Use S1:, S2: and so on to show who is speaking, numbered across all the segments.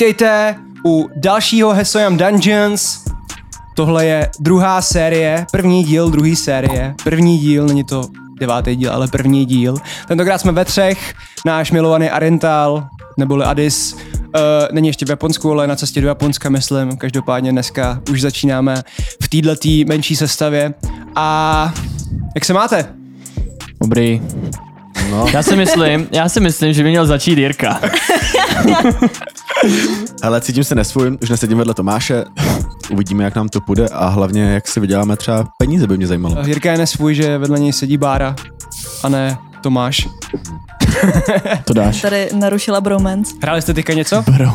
S1: Vítejte u dalšího Hesoyam Dungeons. Tohle je druhá série, první díl, druhý série. První díl, není to devátý díl, ale první díl. Tentokrát jsme ve třech, náš milovaný Arental, neboli Adis, uh, není ještě v Japonsku, ale je na cestě do Japonska, myslím. Každopádně dneska už začínáme v této menší sestavě. A jak se máte?
S2: Dobrý. No. Já si myslím, já si myslím, že by měl začít Jirka.
S3: Hele, cítím se nesvůj, už nesedím vedle Tomáše, uvidíme, jak nám to půjde a hlavně, jak si vyděláme třeba peníze, by mě zajímalo.
S1: Eh, Jirka je nesvůj, že vedle něj sedí Bára a ne Tomáš.
S2: To dáš.
S4: Tady narušila bromance.
S1: Hráli jste teďka něco?
S2: Bro.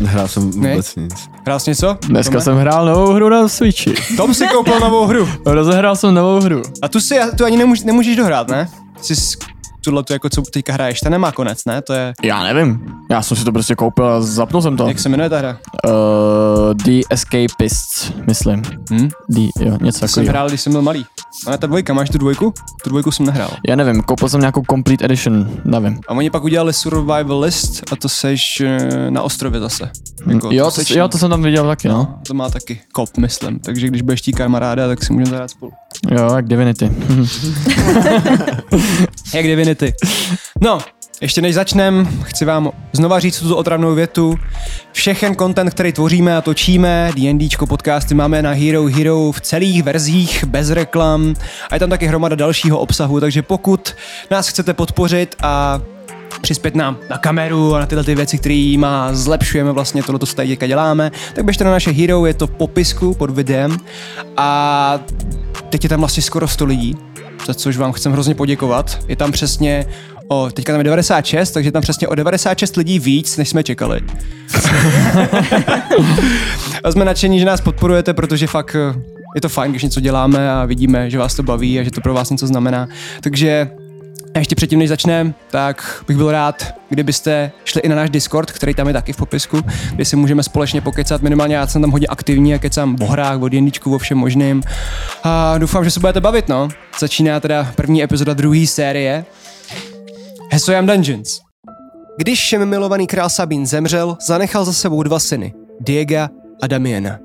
S3: Nehrál jsem vůbec nic.
S1: Hrál jsi něco?
S2: Dneska
S1: Tome?
S2: jsem hrál novou hru na Switchi.
S1: Tom si koupil novou hru.
S2: Rozehrál jsem novou hru.
S1: A tu si tu ani nemůž, nemůžeš dohrát, ne? Jsi s- tuhle tu, jako co teďka hraješ, ta nemá konec, ne? To je,
S2: Já nevím. Já jsem si to prostě koupil a zapnul jsem to.
S1: jak se jmenuje ta hra?
S2: Uh, The Escapists, myslím.
S1: Hm?
S2: The, jo, něco
S1: Jsem
S2: takového.
S1: hrál, když jsem byl malý. A ne ta dvojka, máš tu dvojku? Tu dvojku jsem nehrál.
S2: Já nevím, koupil jsem nějakou Complete Edition, nevím.
S1: A oni pak udělali survival list a to seš eh, na ostrově zase. Jako,
S2: Hm, Jo,
S1: seš-
S2: to, jo, to jsem tam viděl taky, no.
S1: To má taky kop, myslím. Takže když budeš tí kamaráda, tak si můžeme zahrát spolu.
S2: Jo, jak Divinity. Hm,
S1: Jak divinity. No, ještě než začnem, chci vám znova říct tuto otravnou větu. Všechen content, který tvoříme a točíme, D&Dčko podcasty máme na Hero Hero v celých verzích, bez reklam. A je tam taky hromada dalšího obsahu, takže pokud nás chcete podpořit a přispět nám na kameru a na tyhle ty věci, které má zlepšujeme vlastně tohle, co tady teďka děláme, tak běžte na naše Hero, je to v popisku pod videem a teď je tam vlastně skoro 100 lidí, za což vám chcem hrozně poděkovat. Je tam přesně o, teďka tam je 96, takže je tam přesně o 96 lidí víc, než jsme čekali. a jsme nadšení, že nás podporujete, protože fakt eh, je to fajn, když něco děláme a vidíme, že vás to baví a že to pro vás něco znamená. Takže a ještě předtím, než začneme, tak bych byl rád, kdybyste šli i na náš Discord, který tam je taky v popisku, kde si můžeme společně pokecat. Minimálně já jsem tam hodně aktivní a kecám o hrách, o jendičku, o všem možným. A doufám, že se budete bavit, no. Začíná teda první epizoda druhé série. Hesoyam Dungeons. Když všemi milovaný král Sabín zemřel, zanechal za sebou dva syny, Diega a Damiena.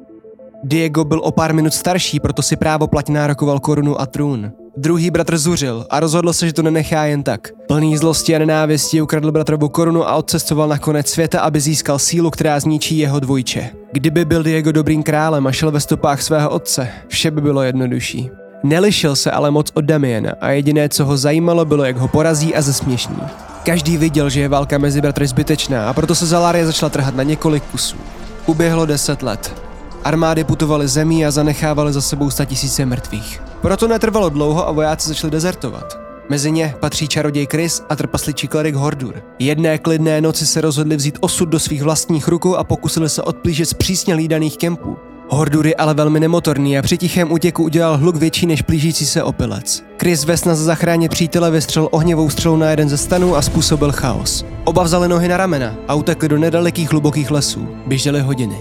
S1: Diego byl o pár minut starší, proto si právo platně nárokoval korunu a trůn. Druhý bratr zuřil a rozhodl se, že to nenechá jen tak. Plný zlosti a nenávisti ukradl bratrovu korunu a odcestoval na konec světa, aby získal sílu, která zničí jeho dvojče. Kdyby byl Diego dobrým králem a šel ve stopách svého otce, vše by bylo jednodušší. Nelišil se ale moc od Damiena a jediné, co ho zajímalo, bylo, jak ho porazí a zesměšní. Každý viděl, že je válka mezi bratry zbytečná a proto se Zalária začala trhat na několik kusů. Uběhlo deset let. Armády putovaly zemí a zanechávaly za sebou tisíce mrtvých. Proto netrvalo dlouho a vojáci začali dezertovat. Mezi ně patří čaroděj Chris a trpasličí klerik Hordur. Jedné klidné noci se rozhodli vzít osud do svých vlastních rukou a pokusili se odplížit z přísně lídaných kempů. Hordur je ale velmi nemotorný a při tichém útěku udělal hluk větší než plížící se opilec. Chris ve snaze zachránit přítele vystřel ohněvou střelou na jeden ze stanů a způsobil chaos. Oba vzali nohy na ramena a utekli do nedalekých hlubokých lesů. Běžely hodiny.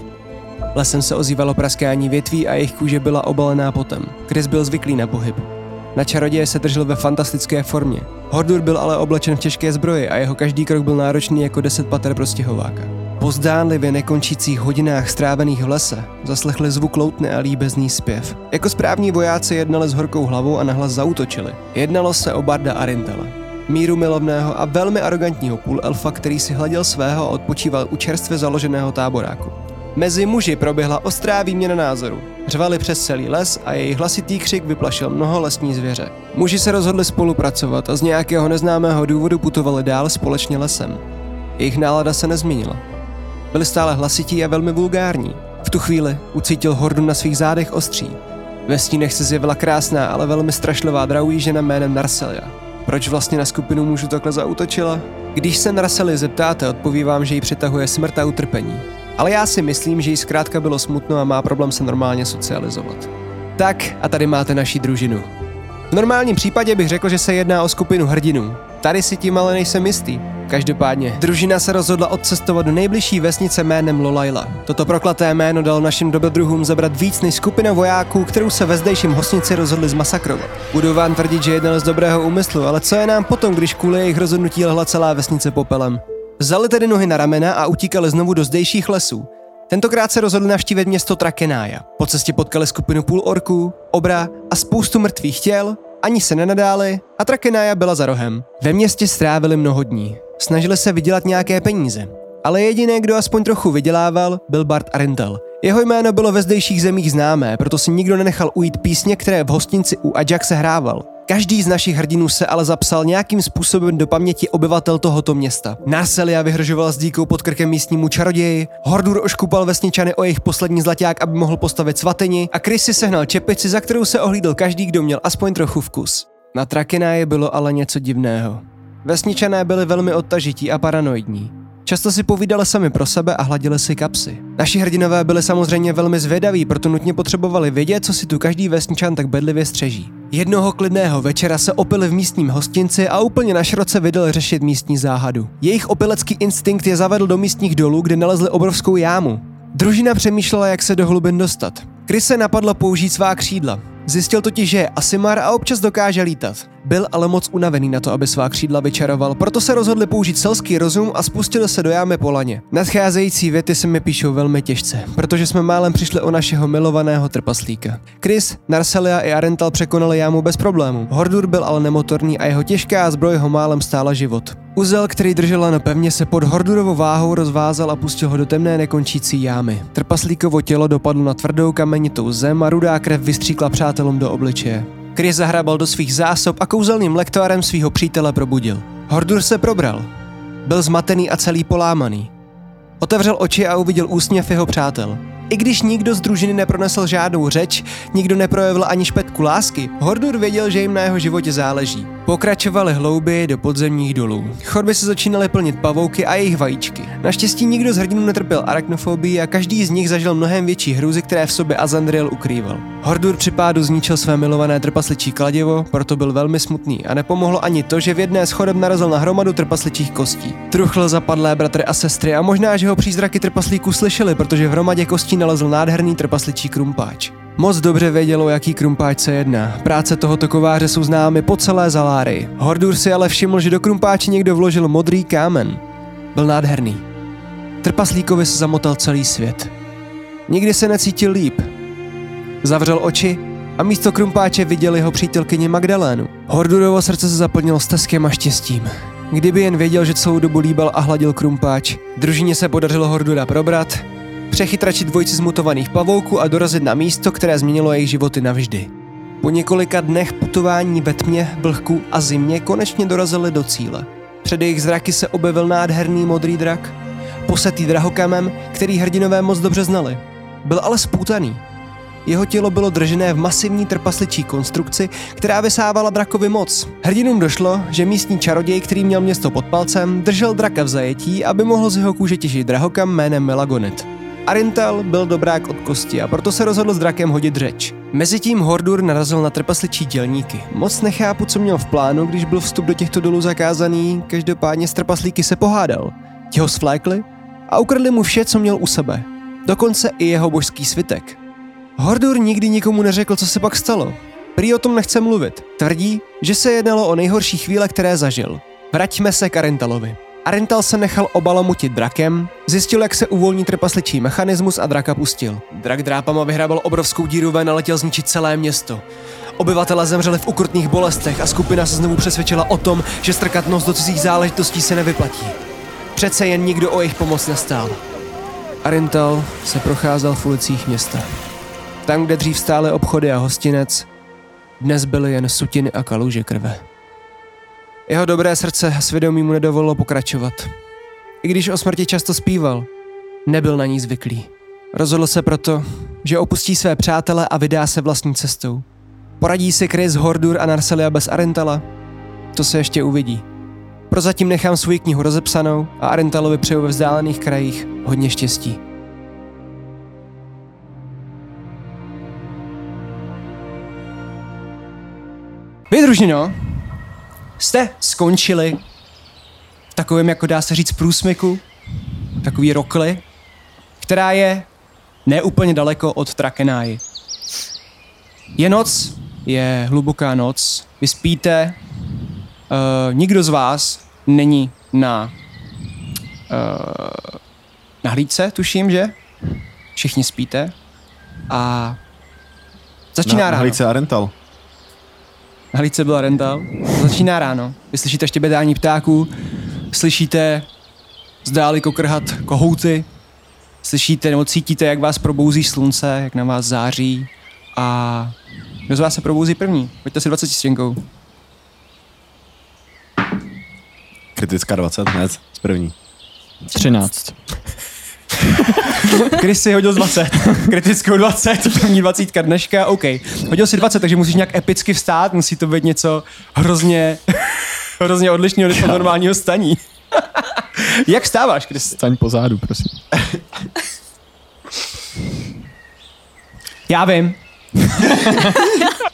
S1: Lesem se ozývalo praskání větví a jejich kůže byla obalená potem. Chris byl zvyklý na pohyb. Na čaroděje se držel ve fantastické formě. Hordur byl ale oblečen v těžké zbroji a jeho každý krok byl náročný jako deset pater pro stěhováka. Po zdánlivě nekončících hodinách strávených v lese zaslechli zvuk loutny a líbezný zpěv. Jako správní vojáci jednali s horkou hlavou a nahlas zautočili. Jednalo se o Barda Arintela míru milovného a velmi arrogantního půlelfa, který si hleděl svého a odpočíval u čerstvě založeného táboráku. Mezi muži proběhla ostrá výměna názoru. Řvali přes celý les a její hlasitý křik vyplašil mnoho lesní zvěře. Muži se rozhodli spolupracovat a z nějakého neznámého důvodu putovali dál společně lesem. Jejich nálada se nezměnila. Byli stále hlasití a velmi vulgární. V tu chvíli ucítil hordu na svých zádech ostří. Ve stínech se zjevila krásná, ale velmi strašlivá draují žena jménem Narselia. Proč vlastně na skupinu mužů takhle zautočila? Když se Narseli zeptáte, odpovím vám, že ji přitahuje smrt a utrpení. Ale já si myslím, že jí zkrátka bylo smutno a má problém se normálně socializovat. Tak a tady máte naši družinu. V normálním případě bych řekl, že se jedná o skupinu hrdinů. Tady si tím ale nejsem jistý. Každopádně, družina se rozhodla odcestovat do nejbližší vesnice jménem Lolaila. Toto proklaté jméno dalo našim dobrodruhům zabrat víc než skupina vojáků, kterou se ve zdejším hosnici rozhodli zmasakrovat. Budu vám tvrdit, že jednali z dobrého úmyslu, ale co je nám potom, když kvůli jejich rozhodnutí lehla celá vesnice popelem? Vzali tedy nohy na ramena a utíkali znovu do zdejších lesů. Tentokrát se rozhodli navštívit město Trakenája. Po cestě potkali skupinu půl orků, obra a spoustu mrtvých těl, ani se nenadáli a Trakenája byla za rohem. Ve městě strávili mnoho dní. Snažili se vydělat nějaké peníze. Ale jediné, kdo aspoň trochu vydělával, byl Bart Arentel. Jeho jméno bylo ve zdejších zemích známé, proto si nikdo nenechal ujít písně, které v hostinci u Ajaxe hrával. Každý z našich hrdinů se ale zapsal nějakým způsobem do paměti obyvatel tohoto města. Narselia vyhrožoval s díkou pod krkem místnímu čaroději, Hordur oškupal vesničany o jejich poslední zlaťák, aby mohl postavit svatyni a Chris si sehnal čepici, za kterou se ohlídl každý, kdo měl aspoň trochu vkus. Na Trakenáje bylo ale něco divného. Vesničané byli velmi odtažití a paranoidní. Často si povídali sami pro sebe a hladili si kapsy. Naši hrdinové byli samozřejmě velmi zvědaví, proto nutně potřebovali vědět, co si tu každý vesničan tak bedlivě střeží. Jednoho klidného večera se opili v místním hostinci a úplně na šroce vydal řešit místní záhadu. Jejich opilecký instinkt je zavedl do místních dolů, kde nalezli obrovskou jámu. Družina přemýšlela, jak se do hlubin dostat. Chris se napadlo použít svá křídla. Zjistil totiž, že je Asimar a občas dokáže lítat. Byl ale moc unavený na to, aby svá křídla vyčaroval, proto se rozhodli použít selský rozum a spustili se do jámy po laně. Nadcházející věty se mi píšou velmi těžce, protože jsme málem přišli o našeho milovaného trpaslíka. Chris, Narselia i Arental překonali jámu bez problému. Hordur byl ale nemotorný a jeho těžká zbroj ho málem stála život. Uzel, který držela na pevně, se pod Hordurovou váhou rozvázal a pustil ho do temné nekončící jámy. Trpaslíkovo tělo dopadlo na tvrdou kamenitou zem a rudá krev vystříkla přátelům do obličeje. Chris zahrabal do svých zásob a kouzelným lektárem svého přítele probudil. Hordur se probral. Byl zmatený a celý polámaný. Otevřel oči a uviděl úsměv jeho přátel. I když nikdo z družiny nepronesl žádnou řeč, nikdo neprojevil ani špetku lásky, Hordur věděl, že jim na jeho životě záleží. Pokračovali hlouběji do podzemních dolů. Chodby se začínaly plnit pavouky a jejich vajíčky. Naštěstí nikdo z hrdinů netrpěl arachnofobii a každý z nich zažil mnohem větší hrůzy, které v sobě Azandriel ukrýval. Hordur při pádu zničil své milované trpasličí kladivo, proto byl velmi smutný a nepomohlo ani to, že v jedné z chodeb narazil na hromadu trpasličích kostí. Truchl zapadlé bratry a sestry a možná, že ho přízraky trpaslíků slyšeli, protože v hromadě kostí nalezl nádherný trpasličí krumpáč. Moc dobře vědělo, jaký krumpáč se jedná. Práce tohoto kováře jsou známy po celé Zalárii. Hordur si ale všiml, že do krumpáče někdo vložil modrý kámen. Byl nádherný. Trpaslíkovi se zamotal celý svět. Nikdy se necítil líp. Zavřel oči a místo krumpáče viděl jeho přítelkyni Magdalénu. Hordurovo srdce se zaplnilo steskem a štěstím. Kdyby jen věděl, že celou dobu líbal a hladil krumpáč, družině se podařilo Hordura probrat, přechytračit dvojici zmutovaných pavouků a dorazit na místo, které změnilo jejich životy navždy. Po několika dnech putování ve tmě, blhku a zimě konečně dorazili do cíle. Před jejich zraky se objevil nádherný modrý drak, posetý drahokamem, který hrdinové moc dobře znali. Byl ale spoutaný. Jeho tělo bylo držené v masivní trpasličí konstrukci, která vysávala drakovi moc. Hrdinům došlo, že místní čaroděj, který měl město pod palcem, držel draka v zajetí, aby mohl z jeho kůže těžit drahokam jménem Melagonet. Arintel byl dobrák od kosti a proto se rozhodl s drakem hodit řeč. Mezitím Hordur narazil na trpasličí dělníky. Moc nechápu, co měl v plánu, když byl vstup do těchto dolů zakázaný, každopádně s trpaslíky se pohádal. Ti ho svlékli a ukradli mu vše, co měl u sebe. Dokonce i jeho božský svitek. Hordur nikdy nikomu neřekl, co se pak stalo. Prý o tom nechce mluvit. Tvrdí, že se jednalo o nejhorší chvíle, které zažil. Vraťme se k Arentalovi. Arental se nechal obalamutit drakem, zjistil, jak se uvolní trpasličí mechanismus a draka pustil. Drak drápama vyhrabal obrovskou díru ven a letěl zničit celé město. Obyvatele zemřeli v ukrutných bolestech a skupina se znovu přesvědčila o tom, že strkat nos do cizích záležitostí se nevyplatí. Přece jen nikdo o jejich pomoc nestál. Arental se procházel v ulicích města. Tam, kde dřív stály obchody a hostinec, dnes byly jen sutiny a kaluže krve. Jeho dobré srdce a svědomí mu nedovolilo pokračovat. I když o smrti často zpíval, nebyl na ní zvyklý. Rozhodl se proto, že opustí své přátele a vydá se vlastní cestou. Poradí si Chris, Hordur a Narselia bez Arentala? To se ještě uvidí. Prozatím nechám svou knihu rozepsanou a Arentalovi přeju ve vzdálených krajích hodně štěstí. Vy, družino, jste skončili v takovém, jako dá se říct, průsmyku, takový rokli, která je neúplně daleko od Trakenáji. Je noc, je hluboká noc, vy eh, spíte, uh, nikdo z vás není na eh, na hlídce, tuším, že? Všichni spíte. A začíná
S3: na, na
S1: ráno.
S3: Hlice a Rental.
S1: Hlídce byla rental. Začíná ráno. Vy slyšíte štěbetání ptáků, slyšíte zdáli kokrhat kohouty, slyšíte nebo cítíte, jak vás probouzí slunce, jak na vás září a kdo z vás se probouzí první? Pojďte si 20 stěnkou.
S3: Kritická 20, ne, z první.
S2: 13.
S1: Chris si hodil z 20. Kritickou 20, první 20 dneška, OK. Hodil si 20, takže musíš nějak epicky vstát, musí to být něco hrozně, hrozně odlišného než od normálního staní. jak stáváš, Chris?
S4: Staň po zádu, prosím.
S1: Já vím.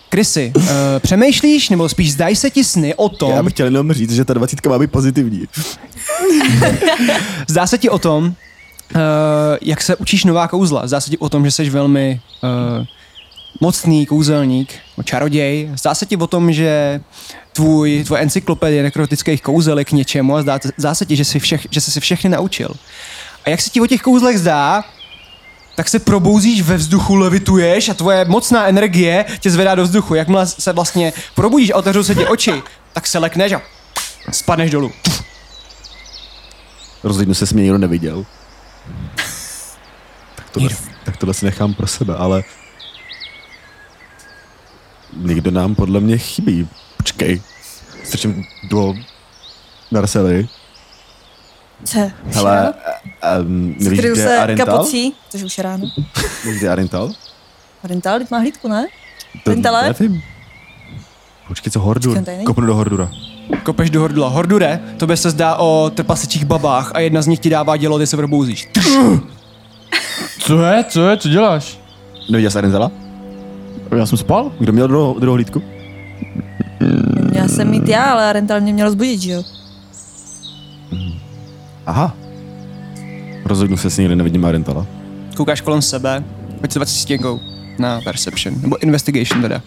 S1: Krysy, uh, přemýšlíš, nebo spíš zdají se ti sny o
S3: Já
S1: tom,
S3: bych chtěl jenom říct, že ta 20 má být pozitivní.
S1: zdá se ti o tom, uh, jak se učíš nová kouzla, zdá se ti o tom, že jsi velmi uh, mocný kouzelník, nebo čaroděj, zdá se ti o tom, že tvůj, tvoje encyklopedie nekrotických kouzel je k něčemu a zdá, zdá se ti, že jsi, všech, že jsi si všechny naučil. A jak se ti o těch kouzlech zdá, tak se probouzíš ve vzduchu, levituješ a tvoje mocná energie tě zvedá do vzduchu. Jakmile se vlastně probudíš a otevřou se ti oči, tak se lekneš a spadneš dolů.
S3: Rozlídnu se, jestli mě nikdo neviděl. Tak tohle, tak tohle si nechám pro sebe, ale... Někdo nám podle mě chybí. Počkej. Strčím do Narsely.
S5: Co? Už
S3: Hele,
S5: ráno?
S3: um, nevíš,
S5: Skryl
S3: kde je
S5: se
S3: Arental?
S5: kapucí. Což už je ráno.
S3: Víš, Kde je Arental?
S5: Rental, teď má hlídku, ne?
S3: To
S5: Rentale?
S3: Nevím. Počkej, co Hordur?
S5: Počkej, tady není.
S3: Kopnu do Hordura.
S1: Kopeš do hordla. Hordure, tobě se zdá o trpasečích babách a jedna z nich ti dává dělo, ty se probouzíš.
S4: Co je, co je, co děláš?
S3: Neviděl jsi Arentala?
S4: Já jsem spal?
S3: Kdo měl druhou, druhou hlídku?
S5: Měla jsem mít já, ale Rental mě měl zbudit, že jo?
S3: Aha. Rozhodnu se, jestli někde nevidím Arentala.
S1: Koukáš kolem sebe, pojď se 20 stěnkou na perception, nebo investigation teda.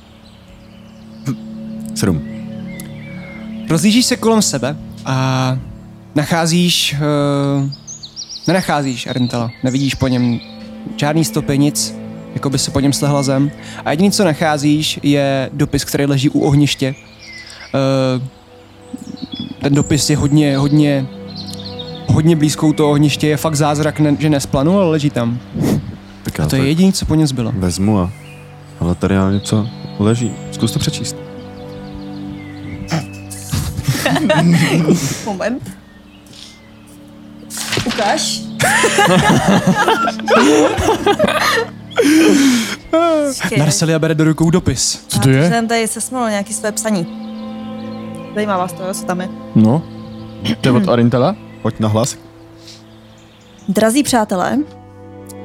S3: Sedm.
S1: Rozlížíš se kolem sebe a nacházíš... Uh, nenacházíš Arentela, nevidíš po něm žádný stopy, nic, jako by se po něm slehla zem. A jediné, co nacházíš, je dopis, který leží u ohniště. Uh, ten dopis je hodně, hodně, hodně blízko u toho ohniště, je fakt zázrak, ne, že nesplanul, ale leží tam.
S3: Tak
S1: A
S3: já
S1: to
S2: No
S1: je jediné, co po něm zbylo.
S3: vezmu a... Ale tady já něco leží. Zkus to přečíst.
S5: Moment. Ukáž. Počkej,
S1: Narselia bere do rukou dopis.
S4: Co to
S5: já
S4: je?
S5: jsem tady sesmul nějaký své psaní. Zajímá vás to, jo, co tam je.
S4: No. To je od Arintela?
S3: Pojď na hlas.
S5: Drazí přátelé,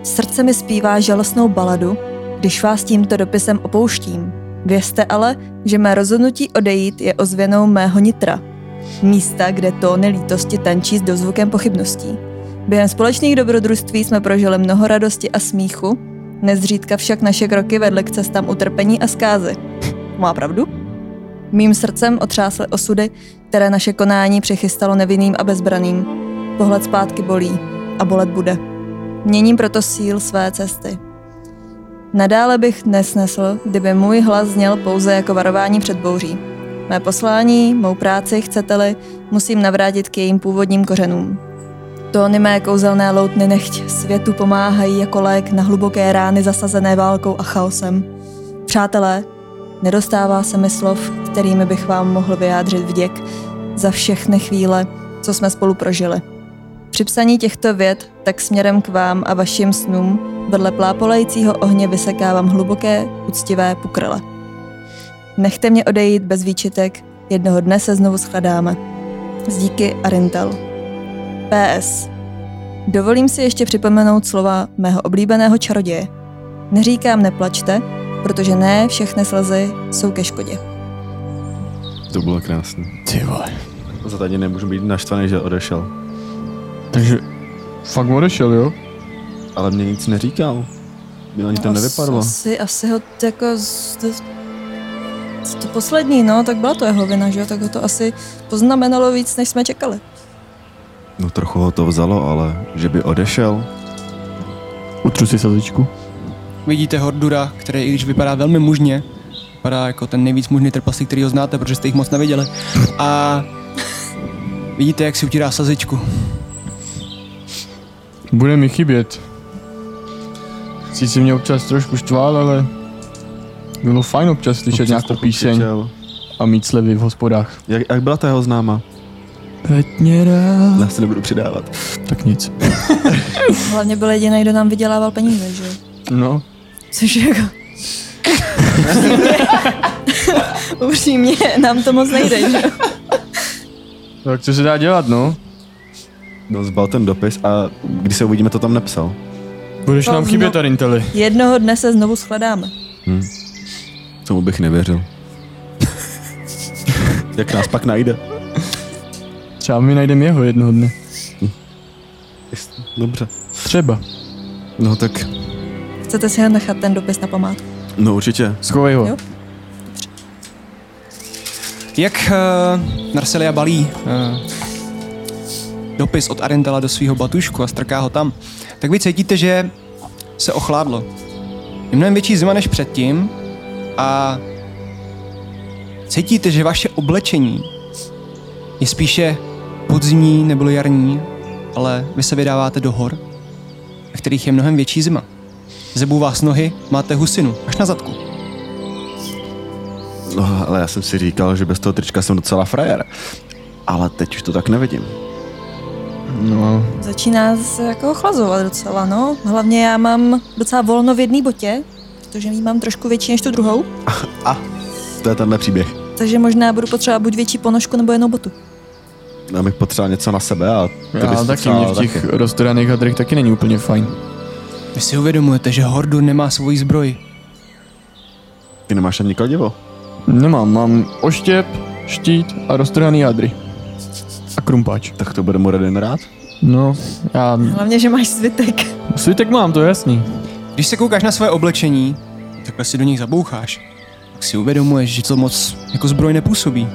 S5: srdce mi zpívá žalostnou baladu, když vás tímto dopisem opouštím. Vězte ale, že mé rozhodnutí odejít je ozvěnou mého nitra. Místa, kde tóny lítosti tančí s dozvukem pochybností. Během společných dobrodružství jsme prožili mnoho radosti a smíchu, nezřídka však naše kroky vedly k cestám utrpení a zkázy. Má pravdu? Mým srdcem otřásly osudy, které naše konání přechystalo nevinným a bezbraným. Pohled zpátky bolí a bolet bude. Měním proto síl své cesty. Nadále bych nesnesl, kdyby můj hlas zněl pouze jako varování před bouří. Mé poslání, mou práci, chcete-li, musím navrátit k jejím původním kořenům. Tóny mé kouzelné loutny nechť světu pomáhají jako lék na hluboké rány zasazené válkou a chaosem. Přátelé, nedostává se mi slov, kterými bych vám mohl vyjádřit vděk za všechny chvíle, co jsme spolu prožili. Při psaní těchto věd tak směrem k vám a vašim snům vedle plápolajícího ohně vysekávám hluboké, úctivé pokrle. Nechte mě odejít bez výčitek, jednoho dne se znovu skladáme. S díky Arintel. PS. Dovolím si ještě připomenout slova mého oblíbeného čaroděje. Neříkám neplačte, protože ne všechny slzy jsou ke škodě.
S3: To bylo krásný.
S2: Ty vole.
S3: Za tady nemůžu být naštvaný, že odešel.
S4: Takže fakt odešel, jo?
S3: Ale mě nic neříkal. Mě ani to nevypadlo.
S5: Asi, asi ho t- jako... z- To, to poslední, no, tak byla to jeho vina, že jo? Tak ho to asi poznamenalo víc, než jsme čekali.
S3: No trochu ho to vzalo, ale že by odešel.
S2: Utřu si sazičku.
S1: Vidíte Hordura, který i když vypadá velmi mužně, vypadá jako ten nejvíc mužný trpaslík, který ho znáte, protože jste jich moc neviděli. A vidíte, jak si utírá sazičku.
S4: Bude mi chybět. Sice mě občas trošku štval, ale bylo fajn občas slyšet
S3: Občas
S4: nějakou
S3: trochu
S4: píseň
S3: křičel.
S4: a mít slevy v hospodách.
S3: Jak, jak byla ta jeho známa?
S4: Pětně rád.
S3: Já se nebudu přidávat.
S4: Tak nic.
S5: Hlavně byl jediný, kdo nám vydělával peníze, že? jo?
S4: No,
S5: Což je jako... Upřímně- Upřímně, nám to moc nejde, že? jo?
S4: tak co se dá dělat, no?
S3: No, zbal ten dopis a když se uvidíme, to tam nepsal.
S4: Budeš
S5: To
S4: nám
S5: zno-
S4: chybět, Arinteli.
S5: Jednoho dne se znovu shledáme.
S3: Tomu bych nevěřil. jak nás pak najde?
S4: Třeba my najdeme jeho jednoho dne.
S3: Dobře.
S4: Třeba.
S3: No tak,
S5: Chcete si nechat ten dopis na památku?
S3: no určitě.
S4: Schovej ho.
S5: Jo.
S1: Jak uh, Narselia balí uh, dopis od Arendela do svého batušku a strká ho tam, tak vy cítíte, že se ochládlo. Je mnohem větší zima než předtím a cítíte, že vaše oblečení je spíše podzimní nebo jarní, ale vy se vydáváte do hor, ve kterých je mnohem větší zima. Zebou vás nohy, máte husinu, až na zadku.
S3: No, ale já jsem si říkal, že bez toho trička jsem docela frajer. Ale teď už to tak nevidím.
S4: No,
S5: Začíná se jako ochlazovat docela, no. Hlavně já mám docela volno v jedné botě, protože ji mám trošku větší než tu druhou,
S3: To je tenhle příběh.
S5: takže možná budu potřebovat buď větší ponožku nebo jenom botu.
S3: Já bych potřeboval něco na sebe a ty bys
S4: já taky
S3: potřeboval
S4: mě v těch roztoraných hadrech taky není úplně fajn.
S1: Vy si uvědomujete, že Hordu nemá svoji zbroj.
S3: Ty nemáš ani kladivo.
S4: Nemám, mám oštěp, štít a roztrhaný hadry. A krumpáč.
S3: Tak to bude mu Redin rád?
S4: No, já...
S5: Hlavně, že máš svitek.
S4: Svitek mám, to je jasný.
S1: Když se koukáš na své oblečení, takhle si do nich zaboucháš, tak si uvědomuješ, že to moc jako zbroj nepůsobí.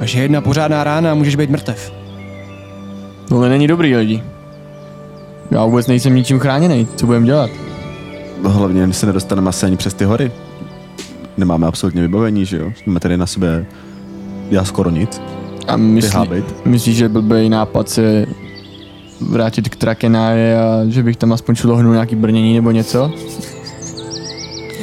S1: A že jedna pořádná rána a můžeš být mrtev.
S4: Tohle No, není dobrý, lidi. Já vůbec nejsem ničím chráněný, co budem dělat?
S3: No hlavně my se nedostaneme asi ani přes ty hory. Nemáme absolutně vybavení, že jo? Máme tady na sebe já skoro nic.
S4: A
S3: Ty
S4: myslí,
S3: hábit.
S4: myslíš, že blbý nápad se vrátit k Trakenáje a že bych tam aspoň šlohnul nějaký brnění nebo něco?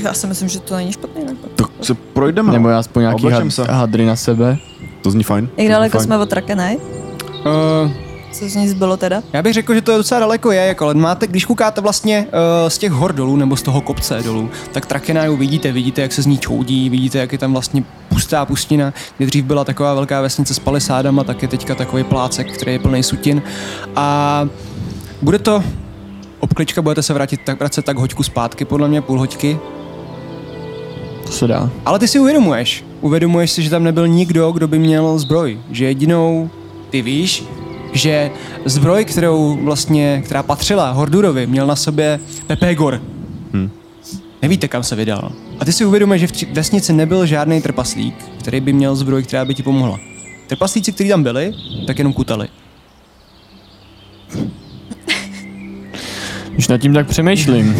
S5: Já si myslím, že to není špatný nápad.
S3: Tak se projdeme.
S4: Nebo aspoň nějaký
S3: Oblečem
S4: had,
S3: se.
S4: hadry na sebe?
S3: To zní fajn.
S5: Jak daleko
S3: Fajn.
S5: jsme od Trakenaj?
S1: Uh,
S5: Co z ní zbylo teda?
S1: já bych řekl, že to je docela daleko je, jako, ale máte, když koukáte vlastně uh, z těch hor dolů nebo z toho kopce dolů, tak Trakenaju vidíte, vidíte, jak se z ní čoudí, vidíte, jak je tam vlastně pustá pustina, kde dřív byla taková velká vesnice s palisádama, tak je teďka takový plácek, který je plný sutin. A bude to obklička, budete se vrátit tak, vracet tak hoďku zpátky, podle mě půl hoďky,
S4: To se dá.
S1: Ale ty si uvědomuješ. Uvědomuješ si, že tam nebyl nikdo, kdo by měl zbroj. Že jedinou ty víš, že zbroj, kterou vlastně, která patřila Hordurovi, měl na sobě Pepegor. Hmm. Nevíte, kam se vydal. A ty si uvědomuješ, že v tři- vesnici nebyl žádný trpaslík, který by měl zbroj, která by ti pomohla. Trpaslíci, kteří tam byli, tak jenom kutali.
S4: Když nad tím tak přemýšlím.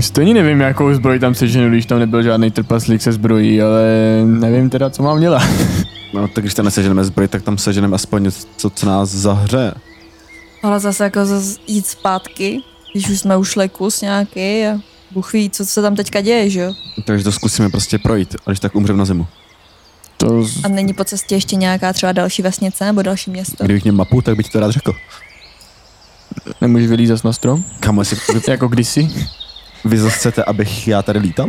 S4: Stejně nevím, jakou zbroj tam seženu, když tam nebyl žádný trpaslík se zbrojí, ale nevím teda, co mám dělat.
S3: No tak když tam neseženeme zbroj, tak tam seženeme aspoň něco, co nás zahře.
S5: Ale zase jako zas jít zpátky, když už jsme ušli kus nějaký a Bůh ví, co se tam teďka děje, že jo?
S3: Takže to zkusíme prostě projít, a když tak umřem na zimu.
S4: To z...
S5: A není po cestě ještě nějaká třeba další vesnice nebo další město?
S3: Kdybych měl mapu, tak bych ti to rád řekl.
S4: nemůžeš vylízat na strom?
S3: Kam jestli vy,
S4: Jako kdysi?
S3: vy zase chcete, abych já tady lítal?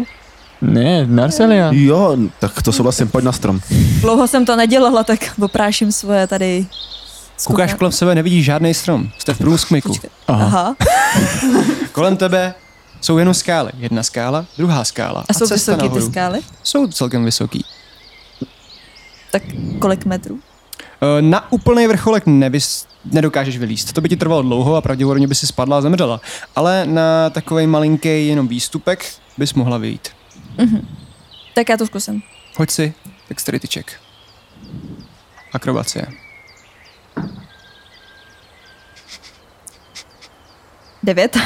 S4: Ne, Narselia.
S3: Jo, tak to souhlasím, pojď na strom.
S5: Dlouho jsem to nedělala, tak opráším svoje tady...
S1: Koukáš
S5: skupna-
S1: kolem sebe, nevidíš žádný strom. Jste v průsmyku.
S5: Počkej. Aha.
S1: Kolem tebe jsou jenom skály. Jedna skála, druhá skála.
S5: A jsou
S1: cesta
S5: vysoké ty
S1: nahoru.
S5: skály?
S1: Jsou celkem vysoký.
S5: Tak kolik metrů?
S1: Eh, Na úplný vrcholek nevys, nedokážeš vylíst. To by ti trvalo dlouho a pravděpodobně by si spadla a zemřela. Ale na takový malinký jenom výstupek bys mohla vyjít.
S5: Tak já to zkusím.
S1: Hoď si dexterity check. Akrobacie.
S5: 9.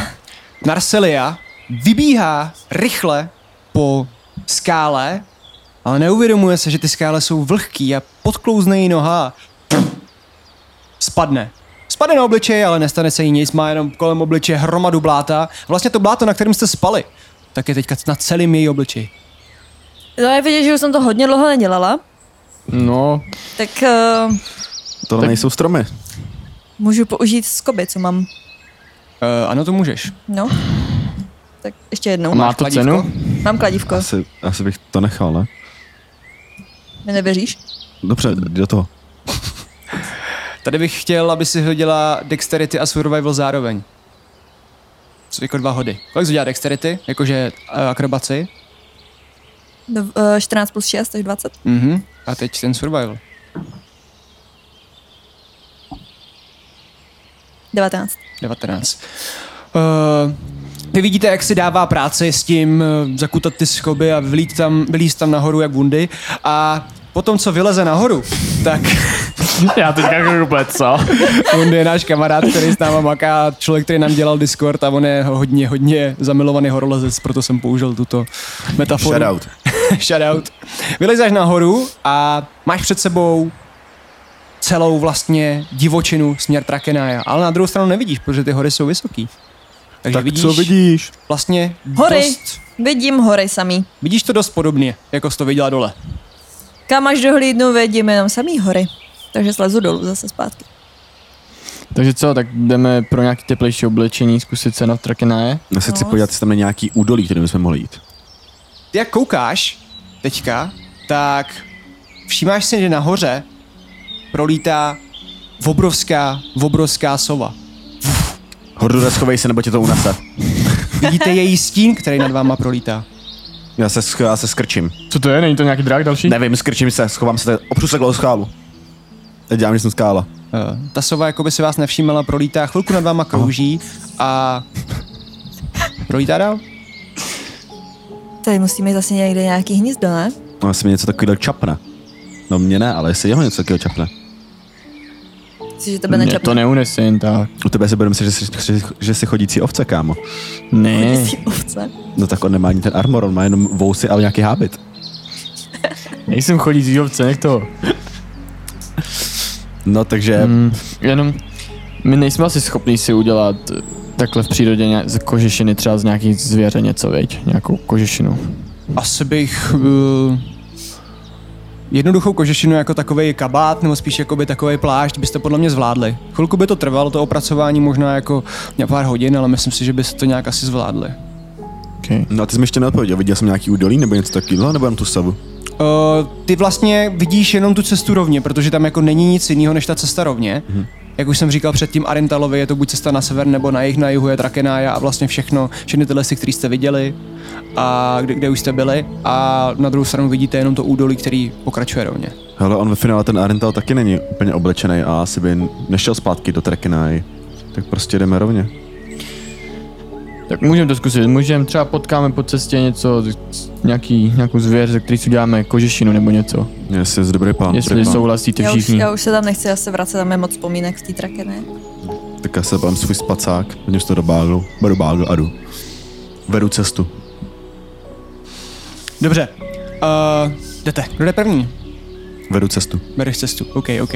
S1: Narselia vybíhá rychle po skále, ale neuvědomuje se, že ty skále jsou vlhký a podklouzne jí noha. Spadne. Spadne na obličej, ale nestane se jí nic, má jenom kolem obličeje hromadu bláta. Vlastně to bláto, na kterém jste spali, tak je teďka na celém její obličeji.
S5: No, je vidět, že už jsem to hodně dlouho nedělala,
S4: No,
S5: tak uh,
S3: To nejsou stromy.
S5: můžu použít skoby, co mám.
S1: Uh, ano, to můžeš.
S5: No. Tak ještě jednou.
S4: má to
S1: kladívko?
S4: cenu?
S5: Mám kladívko.
S3: Asi, asi bych to nechal, ne?
S5: Mi nevěříš?
S3: Dobře, jdi do toho.
S1: Tady bych chtěl, aby si hodila dexterity a survival zároveň. Jsou jako dva hody. Kolik jsi udělá dexterity? Jakože uh, akrobaci?
S5: Do, uh, 14 plus 6, takže 20.
S1: Mhm. A teď ten survival.
S5: 19.
S1: 19. Uh, vy vidíte, jak si dává práci s tím uh, zakutat ty schoby a vylít tam, vylíst tam nahoru jak bundy. A potom, co vyleze nahoru, tak
S2: Já teďka jako úplně, co?
S1: bundy je náš kamarád, který s náma maká, člověk, který nám dělal Discord a on je hodně, hodně zamilovaný horolezec, proto jsem použil tuto metaforu.
S3: Shoutout.
S1: Shoutout. Vylezeš nahoru a máš před sebou celou vlastně divočinu směr Trakenája, ale na druhou stranu nevidíš, protože ty hory jsou vysoký. Takže
S3: Tak
S1: vidíš
S3: co vidíš?
S1: vlastně
S5: Hory.
S1: dost,
S5: Vidím hory samý.
S1: vidíš to dost podobně, jako jsi to viděla dole.
S5: Kam až dohlídnu, vidím jenom samý hory. Takže slezu dolů zase zpátky.
S4: Takže co, tak jdeme pro nějaké teplejší oblečení, zkusit se na trakenáje.
S3: Já se chci
S5: No.
S3: podívat, jestli tam je nějaký údolí, kterým jsme mohli jít.
S1: Ty jak koukáš teďka, tak všímáš si, že nahoře prolítá obrovská, obrovská sova.
S3: Hordura, schovej se, nebo tě to unese.
S1: Vidíte její stín, který nad váma prolítá.
S3: Já se, sch- já se skrčím.
S4: Co to je? Není to nějaký drák další?
S3: Nevím, skrčím se, schovám se, tady- opřu se dlouho skálu. Teď dělám, že jsem skála.
S1: Eh, ta sova jako by si vás nevšímala, prolítá, chvilku nad váma krouží a prolítá dál.
S5: Tady musíme zase někde nějaký hnízdo, ne?
S3: No, jestli mi něco takového čapne. No mě ne, ale jestli jeho něco takového čapne.
S5: Myslíš, že tebe
S4: Mě to
S5: nečapne?
S4: neunese jen tak.
S3: U tebe si budeme se, že jsi, že, že jsi chodící ovce, kámo.
S4: Ne.
S5: Ty ovce.
S3: No tak on nemá ani ten armor, on má jenom vousy a nějaký hábit.
S4: Nejsem chodící ovce, nech toho.
S3: No takže, mm.
S4: Mm, jenom, my nejsme asi schopni si udělat eh, takhle v přírodě ně- z kožešiny třeba z nějakých zvěře něco, veď? Nějakou kožešinu.
S1: Asi bych uh, jednoduchou kožešinu jako takový kabát, nebo spíš jakoby takový plášť, byste podle mě zvládli. Chvilku by to trvalo, to opracování možná jako na pár hodin, ale myslím si, že byste to nějak asi zvládli.
S4: Okay.
S3: no a ty jsi mi ještě neodpověděl, viděl jsem nějaký údolí nebo něco takového, nebo jenom tu savu.
S1: Uh, ty vlastně vidíš jenom tu cestu rovně, protože tam jako není nic jiného než ta cesta rovně. Mm-hmm. Jak už jsem říkal předtím, Arentalovi je to buď cesta na sever nebo na jih, na jihu je Trakenája a vlastně všechno, všechny ty lesy, které jste viděli a kde, kde už jste byli a na druhou stranu vidíte jenom to údolí, který pokračuje rovně.
S3: Hele, on ve finále ten Arental taky není úplně oblečený a asi by nešel zpátky do Trekenai. Tak prostě jdeme rovně.
S4: Tak můžeme to zkusit, můžeme, třeba potkáme po cestě něco, z- nějaký, nějakou zvěř, ze který si uděláme kožešinu nebo něco.
S3: Jestli jsi dobrý pán,
S4: Jestli
S3: dobrý pán.
S4: souhlasíte
S5: No, Já už,
S4: všichni.
S5: já už se tam nechci asi vracet, tam je moc vzpomínek v té trake, ne?
S3: tak já se vám svůj spacák, hodím si to do báglu, beru bágl a jdu. Vedu cestu.
S1: Dobře, uh, jdete. Kdo jde první?
S3: Vedu cestu.
S1: Bereš cestu, OK, OK.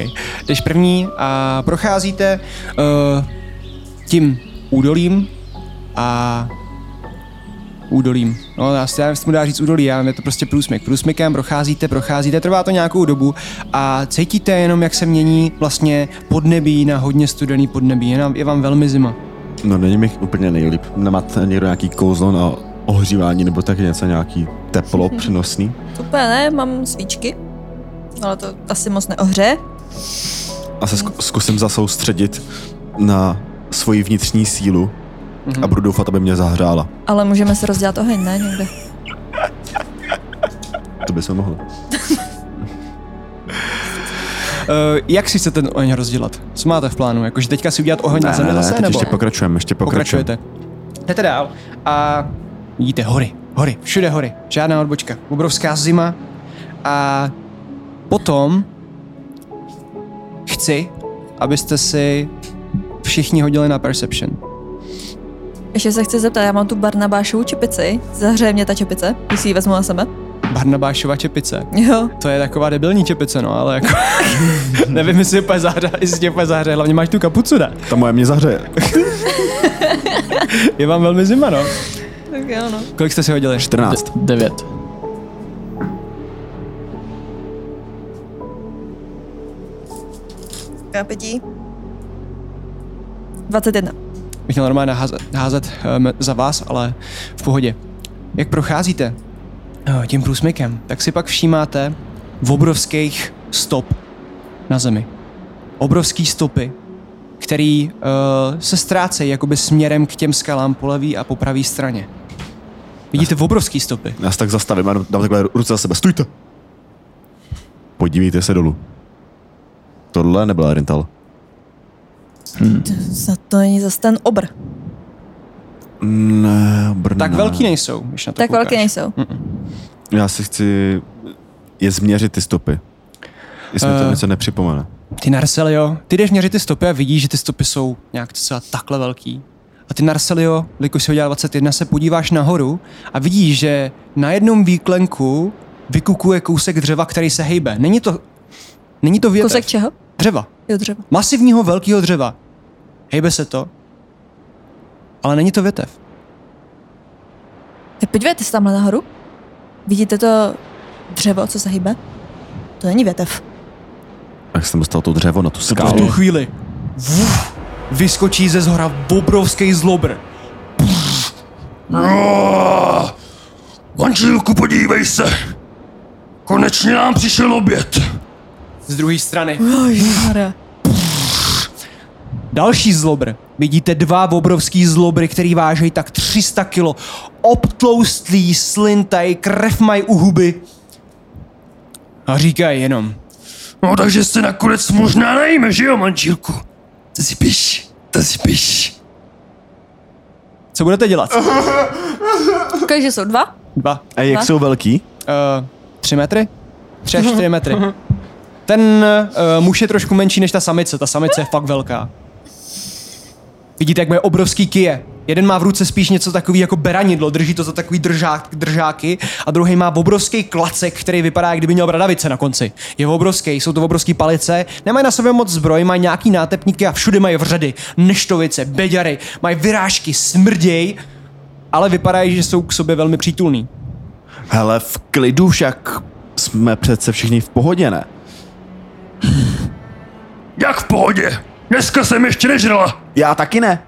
S1: Jdeš první a procházíte uh, tím údolím a údolím. No, já si já nevím, jestli mu dá říct údolí, já nevím, je to prostě průsmyk. Průsmykem procházíte, procházíte, trvá to nějakou dobu a cítíte jenom, jak se mění vlastně podnebí na hodně studený podnebí. Je, nám, je vám velmi zima.
S3: No není mi úplně nejlíp. Nemá t- někdo nějaký kouzlo na ohřívání nebo tak něco, nějaký teplo
S1: Mhm.
S3: přenosný.
S5: To úplně ne, mám svíčky. Ale to asi moc neohře.
S3: A se zku- zkusím zasoustředit na svoji vnitřní sílu
S1: Mhm.
S3: a budu doufat, aby mě zahřála.
S5: Ale můžeme se rozdělat oheň, ne? Někde.
S3: To by se mohlo.
S1: Uh, jak si chcete ten oheň rozdělat? Co máte v plánu? Jakože teďka si udělat oheň na zemi zase?
S3: teď
S1: nebo?
S3: ještě pokračujeme, ještě pokračujeme.
S1: Pokračujete. Jdete dál a vidíte hory, hory, všude hory, žádná odbočka, obrovská zima a potom chci, abyste si všichni hodili na Perception.
S5: Ještě se chci zeptat, já mám tu Barnabášovu čepici. Zahřeje mě ta čepice, když si ji vezmu na sebe.
S1: Barnabášova čepice.
S5: Jo.
S1: To je taková debilní čepice, no, ale jako... nevím, jestli je úplně zahře, jestli je úplně zahře. Hlavně máš tu kapucu, ne?
S3: Ta moje mě zahřeje.
S1: Je vám velmi zima, no.
S5: Tak jo, no.
S1: Kolik jste si hodili?
S3: 14.
S2: Devět.
S5: Kapití. 21.
S1: Bych měl normálně házet, házet um, za vás, ale v pohodě. Jak procházíte eh, tím průsmykem, tak si pak všímáte v obrovských stop na zemi. Obrovský stopy, který uh, se ztrácejí jakoby směrem k těm skalám po levý a po pravý straně. Vidíte obrovský stopy.
S3: Já se tak zastavím a dám takhle ruce za sebe. Stůjte! Podívejte se dolů. Tohle nebyla Rintal.
S5: Za to není zas ten obr.
S3: Ne, Brna.
S1: Tak velký nejsou, když na to
S5: tak
S1: koukáš.
S5: velké nejsou.
S3: Já si chci je změřit ty stopy. Jestli mi to
S1: Eh.
S3: něco nepřipomene.
S1: Ty Narselio, ty jdeš měřit ty stopy a vidíš, že ty stopy jsou nějak třeba takhle velký. A ty Narselio, jelikož si udělal 21, se podíváš nahoru a vidíš, že na jednom výklenku vykukuje kousek dřeva, který se hejbe. Není to, není to větev.
S5: Kousek čeho?
S1: dřeva.
S5: Jo, dřevo.
S1: Masivního velkého dřeva. Hejbe se to. Ale není to větev.
S5: Tak podívejte se tamhle nahoru. Vidíte to dřevo, co se hýbe? To není větev.
S3: Jak jsem dostal to dřevo na tu
S1: V tu
S3: skálu?
S1: chvíli vuf, vyskočí ze zhora obrovský zlobr.
S6: Manželku, podívej se. Konečně nám přišel oběd.
S1: Z druhé strany
S5: Hra.
S1: Další zlobr. Vidíte dva obrovský zlobry, který vážejí tak 300 kilo. Obtloustlí, slintají, krev mají u huby. A říkají jenom.
S6: No takže se nakonec možná najíme, že jo, manželku? Zipiš, to zipiš.
S1: Co budete dělat?
S5: Kolik, že jsou dva?
S1: Dva.
S3: A jak jsou velký?
S1: Uh, tři metry? Tři až čtyři metry. Ten uh, muž je trošku menší než ta samice. Ta samice je fakt velká. Vidíte, jak mají obrovský kije. Jeden má v ruce spíš něco takový jako beranidlo, drží to za takový držák, držáky a druhý má obrovský klacek, který vypadá, jak kdyby měl bradavice na konci. Je obrovský, jsou to obrovský palice, nemají na sobě moc zbroj, mají nějaký nátepníky a všude mají vřady, neštovice, beďary, mají vyrážky, smrděj, ale vypadají, že jsou k sobě velmi přítulní.
S3: Hele, v klidu však jsme přece všichni v pohodě, ne?
S6: Jak v pohodě. Dneska jsem ještě nežrala.
S3: Já taky ne.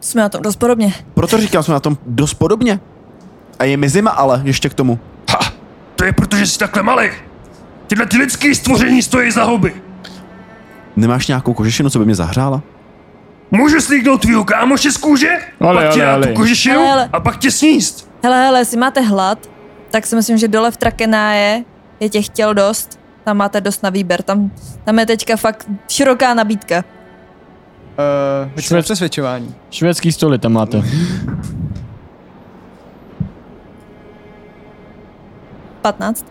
S5: Jsme na tom dost podobně.
S3: Proto říkám, jsme na tom dost podobně. A je mi zima, ale ještě k tomu.
S6: Ha, to je proto, že jsi takhle malý. Tyhle ty lidský stvoření stojí za huby.
S3: Nemáš nějakou kožešinu, co by mě zahřála?
S6: Můžu slíknout tvýho kámoše z kůže,
S4: Ale,
S6: pak ti
S4: ale,
S6: dá
S4: ale.
S6: tu kožešinu
S5: Ale, ale.
S6: a pak tě sníst.
S5: Hele, hele, jestli máte hlad, tak si myslím, že dole v Trakenáje je těch těl dost. Tam máte dost na výběr. Tam, tam je teďka fakt široká nabídka.
S1: Uh, hoď si na
S4: Švec-
S1: přesvědčování.
S4: Švédský stoly tam máte.
S5: 15.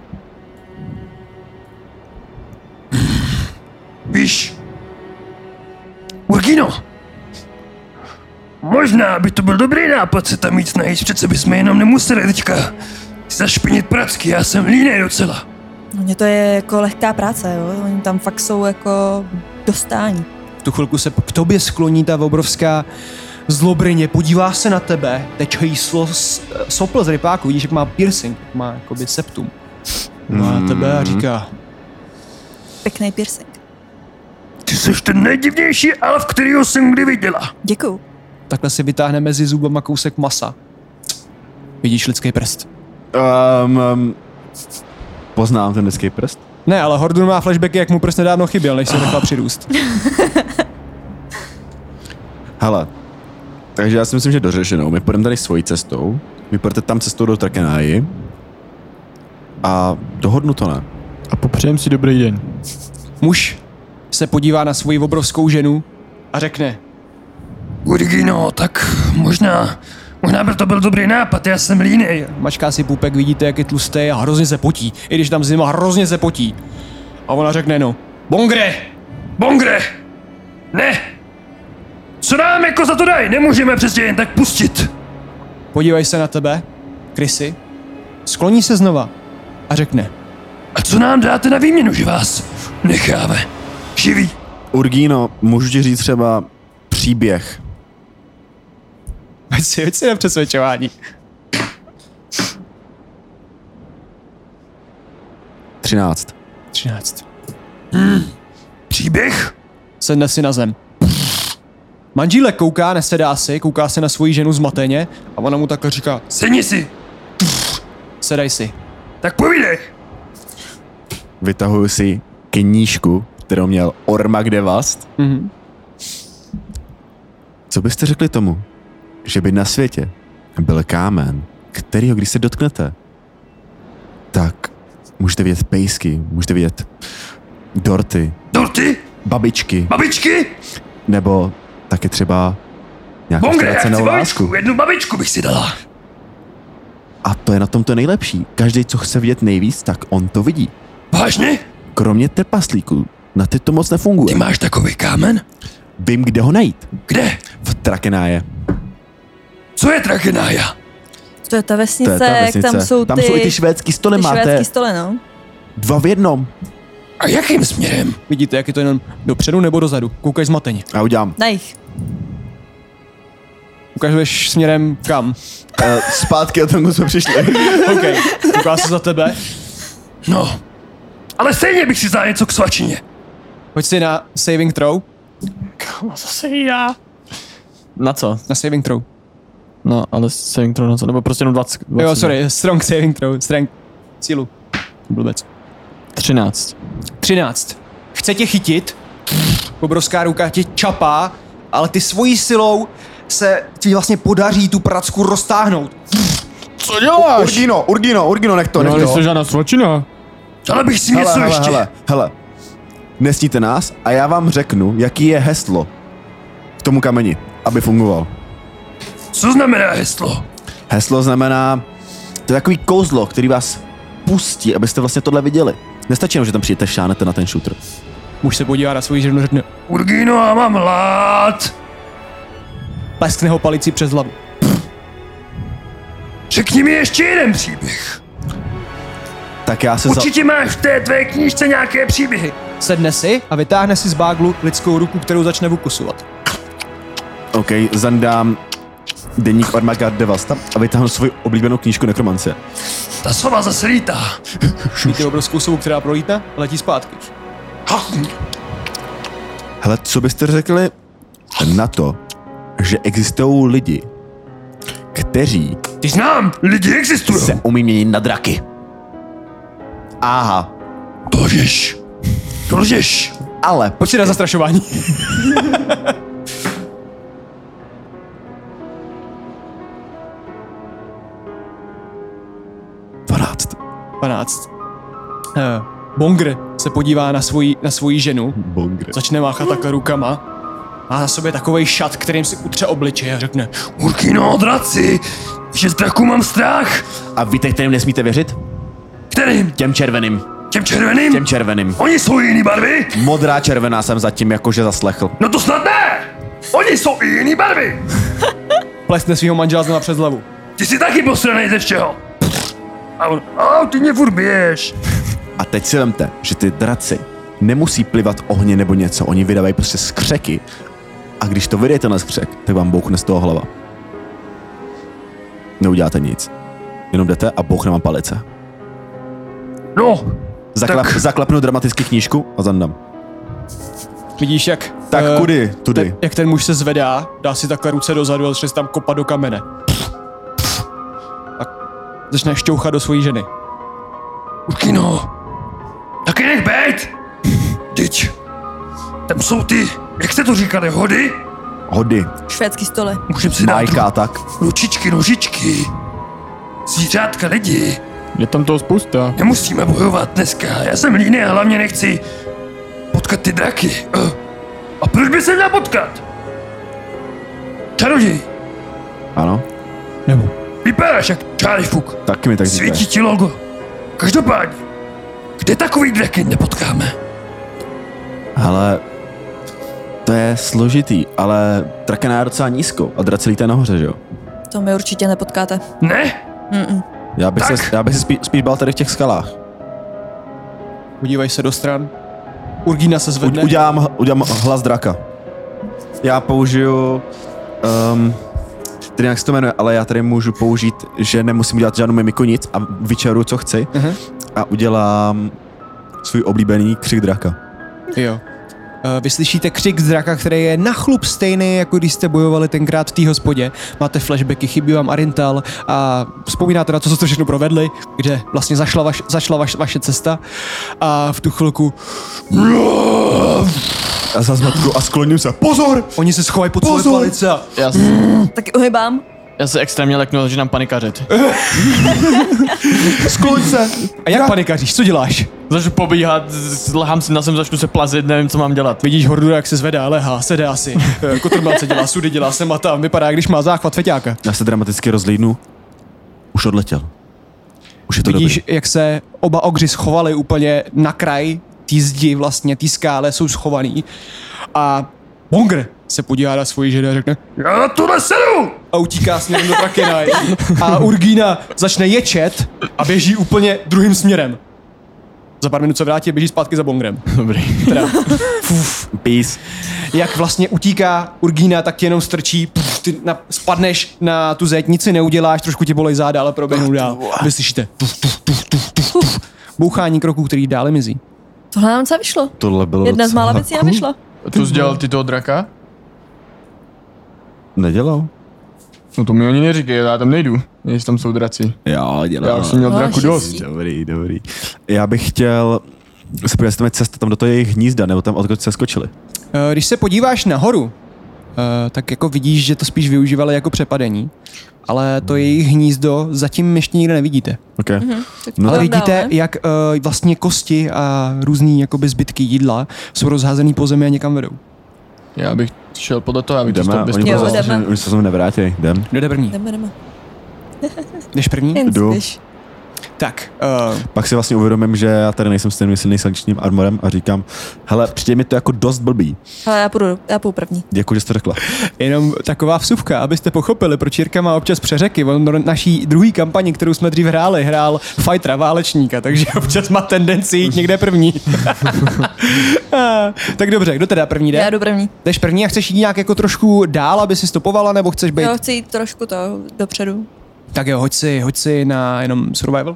S6: Víš, Urgino, možná by to byl dobrý nápad se tam jít najít, přece bychom jenom nemuseli teďka zašpinit pracky, já jsem línej docela.
S5: No mě to je jako lehká práce, jo. Oni tam fakt jsou jako dostání.
S1: V tu chvilku se k tobě skloní ta obrovská zlobrině, podívá se na tebe, teče jí slo, s- sopl z rypáku, vidíš, jak má piercing, jak má jakoby septum. Má na tebe a říká,
S5: Pěkný piercing.
S6: Ty jsi ten nejdivnější alf, kterýho jsem kdy viděla.
S5: Děkuju.
S1: takhle si vytáhne mezi zubama kousek masa. Vidíš lidský prst.
S3: Um, um, poznám ten lidský prst.
S1: Ne, ale Hordun má flashbacky, jak mu prst nedávno chyběl, než se nechala přirůst.
S3: Hele, takže já si myslím, že dořešenou. My půjdeme tady svojí cestou. Vy půjdete tam cestou do Trakenáji. A dohodnu to ne.
S4: A popřejem si dobrý den.
S1: Muž se podívá na svoji obrovskou ženu a řekne,
S6: Urgino, tak možná, možná by to byl dobrý nápad, já jsem línej.
S1: mačká si půpek, vidíte, jak je tlustý a hrozně se potí. I když tam zima, hrozně se potí. A ona řekne, no, Bongre!
S6: Bongre! Ne! Co nám jako za to dají? Nemůžeme přesně jen tak pustit.
S1: Podívej se na tebe, Krysy. Skloní se znova a řekne.
S6: A co nám dáte na výměnu, že vás necháme? Živý.
S3: Urgíno, můžu ti říct třeba příběh.
S1: Veď si, veď si na přesvědčování.
S3: 13.
S1: 13.
S6: Příběh?
S1: Sedne si na zem. Manžílek kouká, nesedá si, kouká se na svoji ženu zmateně a ona mu takhle říká,
S6: Sedni si.
S1: sedaj si.
S6: Tak povídej.
S3: Vytahuju si knížku, kterou měl Ormak Devast. Mm-hmm. Co byste řekli tomu, že by na světě byl kámen, kterýho když se dotknete, tak můžete vidět pejsky, můžete vidět dorty,
S6: Dorty?
S3: babičky,
S6: Babičky?
S3: nebo taky třeba nějakou
S6: Bongre, já chci
S3: ztracenou
S6: babičku.
S3: lásku.
S6: Jednu babičku bych si dala.
S3: A to je na tom to nejlepší. Každý, co chce vidět nejvíc, tak on to vidí.
S6: Vážně?
S3: Kromě trpaslíků. Na ty to moc
S6: Ty
S3: nefunguje.
S6: máš takový kámen?
S3: Vím, kde ho najít.
S6: Kde?
S3: V Trakenáje.
S6: Co je Trakenája?
S5: To je ta
S3: To
S5: vesnice,
S3: je ta
S5: jak
S3: vesnice.
S5: tam jsou ty,
S3: tam jsou i ty švédský stoly,
S5: ty
S3: máte
S5: švédský stole, no.
S3: dva v jednom.
S6: A jakým směrem?
S1: Vidíte, jak je to jenom dopředu nebo dozadu. Koukej zmateně.
S3: A udělám
S5: Na jich.
S1: Ukazuješ směrem kam.
S3: uh, zpátky o tom, co jsme přišli.
S1: OK, kouká se za tebe.
S6: No. Ale stejně bych si dal něco k svačině.
S1: Pojď si na saving throw.
S2: Na co?
S1: Na saving throw.
S2: No, ale saving throw na co? Nebo prostě jenom 20. 20
S4: Vlastně.
S1: Jo, sorry, strong saving throw. Strength. Sílu. Blbec.
S2: 13.
S1: 13. Chce tě chytit, obrovská ruka tě čapá, ale ty svojí silou se ti vlastně podaří tu pracku roztáhnout.
S4: Co děláš?
S3: Urgino, Urgino, Urgino, nech to, nech
S4: No, ale jsi
S3: to.
S4: žádná svačina.
S6: Ale bych si něco
S3: Hele, hele,
S6: ještě.
S3: hele, hele. Nesníte nás a já vám řeknu, jaký je heslo k tomu kameni, aby fungoval.
S6: Co znamená heslo?
S3: Heslo znamená, to je takový kouzlo, který vás pustí, abyste vlastně tohle viděli. Nestačí jenom, že tam přijete, šánete na ten shooter.
S1: Muž se podívá na svoji ženu, řekne,
S6: Urgino, já mám hlad.
S1: pleskne ho palici přes hlavu.
S6: Řekni mi ještě jeden příběh.
S3: Tak já se
S6: Určitě máš v té tvé knížce nějaké příběhy.
S1: Sedne si a vytáhne si z báglu lidskou ruku, kterou začne vukusovat.
S3: za... OK, zandám deník Ormaga Devasta a vytáhnu svoji oblíbenou knížku Nekromancie.
S6: Ta slova zase lítá.
S1: Vidíte obrovskou sobu, která prolítne a letí zpátky.
S3: Hele, co byste řekli na to, že existují lidi, kteří
S6: Ty znám, lidi existují.
S3: se umí měnit na draky. Aha,
S6: To lžeš. To lžeš.
S3: ale
S1: Pojď si na zastrašování.
S3: po 12.
S1: 12. Eh, Bongr se podívá na svoji, na svoji ženu,
S3: Bongre.
S1: začne máchat takhle rukama, má na sobě takový šat, kterým si utře obličeje a řekne
S6: Urgino, draci. Že z draků mám strach.
S3: A víte, kterým nesmíte věřit?
S6: Kterým?
S3: Těm červeným.
S6: Těm červeným?
S3: Těm červeným.
S6: Oni jsou jiný barvy?
S3: Modrá červená jsem zatím jakože zaslechl.
S6: No to snad ne! Oni jsou i jiný barvy!
S1: plesne svého manžela znova přes hlavu.
S6: Ty jsi taky posranej ze všeho! A on, a ty mě furt biješ.
S3: A teď si vemte, že ty draci nemusí plivat ohně nebo něco, oni vydávají prostě skřeky. A když to vydejte na skřek, tak vám bouchne z toho hlava. Neuděláte nic. Jenom jdete a bouchne vám palice.
S6: No,
S3: Zaklap,
S6: Tak.
S3: Zaklapnu dramaticky knížku a zandám.
S1: Vidíš, jak...
S3: Tak
S1: eh,
S3: kudy? Tudy.
S1: Ten, jak ten muž se zvedá, dá si takhle ruce dozadu a začne se tam kopat do kamene. A začne šťouchat do svojí ženy.
S6: Urkino, no. taky nech bejt! Teď. Tam jsou ty, jak se to říkali, hody?
S3: Hody,
S5: Švédský stole.
S6: Můžem si dát
S3: majka a tak.
S6: ručičky, nožičky. Zvířátka lidi.
S4: Je tam toho spousta.
S6: Nemusíme bojovat dneska, já jsem líný a hlavně nechci potkat ty draky. Eh, A proč by se měl potkat? Čaroděj,
S3: Ano,
S1: Nebo?
S6: vypadáš jak čárifuk,
S3: taky mi tak říkají.
S6: svítí ti logo. Každopádně, kde takový draky nepotkáme?
S3: Hele, to je složitý, ale trakaná je docela nízko a dracelí to je nahoře, že jo?
S5: To mi určitě nepotkáte.
S6: Ne?
S5: Mm-mm.
S3: Já bych
S6: Tak.
S3: se, já bych se spí, spíš bál tady v těch skalách.
S1: Podívají se do stran. Urgína se
S3: U,
S1: zvedne.
S3: udělám, h- udělám hlas draka. Já použiju... Um, tedy jak se to jmenuje, ale já tady můžu použít, že nemusím dělat žádnou mimiku nic a vyčaruju, co chci.
S1: Mhm.
S3: A udělám svůj oblíbený křik draka.
S1: Jo. Eh, Vy slyšíte křik z draka, který je na chlup stejný, jako když jste bojovali tenkrát v té hospodě. Máte flashbacky, chybí vám Arintal a vzpomínáte na to, co jste všechno provedli, kde vlastně zašla, vaš, zašla vaš, vaše cesta a v tu chvilku
S3: A zazmatku a skloním se. Pozor!
S1: oni se schovají pod svoje
S3: Pozor!
S1: palice a
S2: Já, s-
S3: Hm.
S5: Taky uhybám.
S2: já se extrémně leknu, začínám panikařit.
S3: Skloň se!
S1: A jak panikaříš, co děláš?
S2: Začnu pobíhat, z- z- lehám si na zem, začnu se plazit, nevím, co mám dělat.
S1: Vidíš Hordura, jak se zvedá, lehá, sedá si. Eh, Kotrmelce dělá sudy, dělá se mata, vypadá, když má záchvat feťáka.
S3: Já se dramaticky rozlídnu. Už odletěl. Už je to
S1: Vidíš,
S3: dobrý.
S1: jak se oba ogři schovali úplně na kraj té zdi, vlastně té skále jsou schovaný. A Bongr se podívá na svoji ženu a řekne
S6: Já na tohle sedu!
S1: a utíká směrem do Trakenaj. A Urgína začne ječet a běží úplně druhým směrem. Za pár minut se vrátí a běží zpátky za Bongrem.
S2: Dobrý.
S1: Teda,
S3: Peace.
S1: jak vlastně utíká Urgína, tak ti jenom strčí, pff, ty na, spadneš na tu zeď, nic si neuděláš, trošku ti bolej záda, ale proběhnou dál. Vy slyšíte tuf, tuf, tuf, tuf, tuf, tuf. bouchání kroků, který dále mizí.
S5: Tohle nám co vyšlo.
S3: Tohle bylo
S5: Jedna z
S3: docela
S5: mála věcí nám
S3: cool.
S5: vyšla.
S4: To jsi dělal ty toho draka?
S3: Nedělal?
S4: No to mi oni neříkej, já tam nejdu, jestli tam jsou draci.
S3: Jo, dělal.
S4: Já už jsem měl
S5: No,
S4: draku
S5: že
S4: dost.
S5: jsi.
S3: Dobrý, dobrý. Já bych chtěl se podívat, jestli tam je cesta tam do toho jejich hnízda, nebo tam odkud se skočili.
S1: Eh, Když se podíváš nahoru, eh, tak jako vidíš, že to spíš využívali jako přepadení, ale to jejich hnízdo zatím ještě nikde nevidíte.
S3: OK.
S5: No,
S3: No,
S1: Ale
S5: tak
S1: vidíte,
S5: dále.
S1: jak uh, vlastně kosti a různý jakoby zbytky jídla jsou rozházený po zemi a někam vedou.
S4: Já bych šel podle toho, já bych to
S3: Jdeme,
S4: stop bez
S3: oni,
S5: Jo,
S3: budou
S5: jdeme.
S3: zase- oni se sem nevrátí, jdem.
S1: Kdo jde první?
S5: Jdeme, jdeme.
S1: Jdeš první?
S5: Jen
S3: Jdu.
S5: spíš.
S1: Tak, uh,
S3: Pak si vlastně uvědomím, že já tady nejsem s tím silný sankčním armorem a říkám, hele, přijde mi to jako dost blbý.
S5: Ale já půjdu, já půjdu první.
S3: Děkuji, že jsi to řekla.
S1: jenom taková vsuvka, abyste pochopili, proč Jirka má občas přeřeky. On do naší druhé kampani, kterou jsme dřív hráli, hrál fightera, válečníka, takže občas má tendenci jít někde první. Ah, tak dobře, kdo teda první
S5: Já
S1: jde?
S5: jdu první.
S1: Jdeš první a chceš jít nějak jako trošku dál, aby si stopovala, nebo chceš být?
S5: Jo, chci jít trošku to dopředu.
S1: Tak jo, hoď si, hoď si na jenom survival.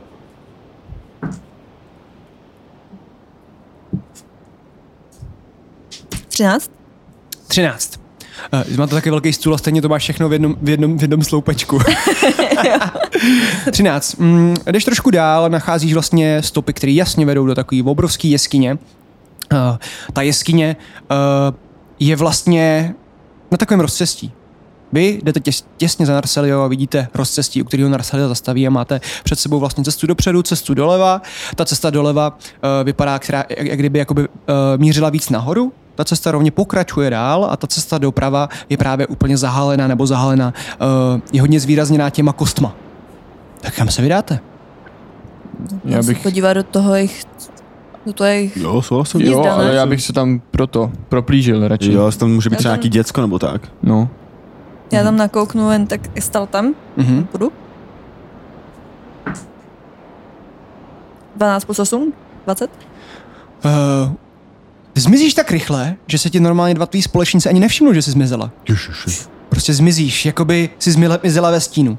S5: Třináct?
S1: 13. Uh, má to taky velký stůl a stejně to máš všechno v jednom, v jednom, v jednom sloupečku. 13. Mm, jdeš trošku dál, nacházíš vlastně stopy, které jasně vedou do takové obrovské jeskyně. Uh, ta jeskyně uh, je vlastně na takovém rozcestí. Vy jdete těs, těsně za Narselio a vidíte rozcestí, u kterého Narselio zastaví a máte před sebou vlastně cestu dopředu, cestu doleva. Ta cesta doleva uh, vypadá, která, jak, jak kdyby jakoby, uh, mířila víc nahoru, ta cesta rovně pokračuje dál a ta cesta doprava je právě úplně zahalená nebo zahalená, uh, je hodně zvýrazněná těma kostma. Tak kam se vydáte?
S4: Já bych,
S5: Podívat do toho jejich... Do toho jejich...
S3: Jo, souhlasím.
S4: jo,
S5: jízda, ne?
S4: ale já bych se tam proto proplížil radši.
S3: Jo, jestli tam může být
S5: Já
S3: třeba
S5: tam-
S3: nějaký děcko nebo tak.
S4: No.
S5: Já tam nakouknu jen tak stal tam.
S1: Mhm.
S5: Půjdu. 12 plus 8? 20?
S1: Uh, zmizíš tak rychle, že se ti normálně dva tví společníci ani nevšimnou, že jsi zmizela.
S3: Ježiši.
S1: Prostě zmizíš, jakoby jsi zmile- zmizela ve stínu.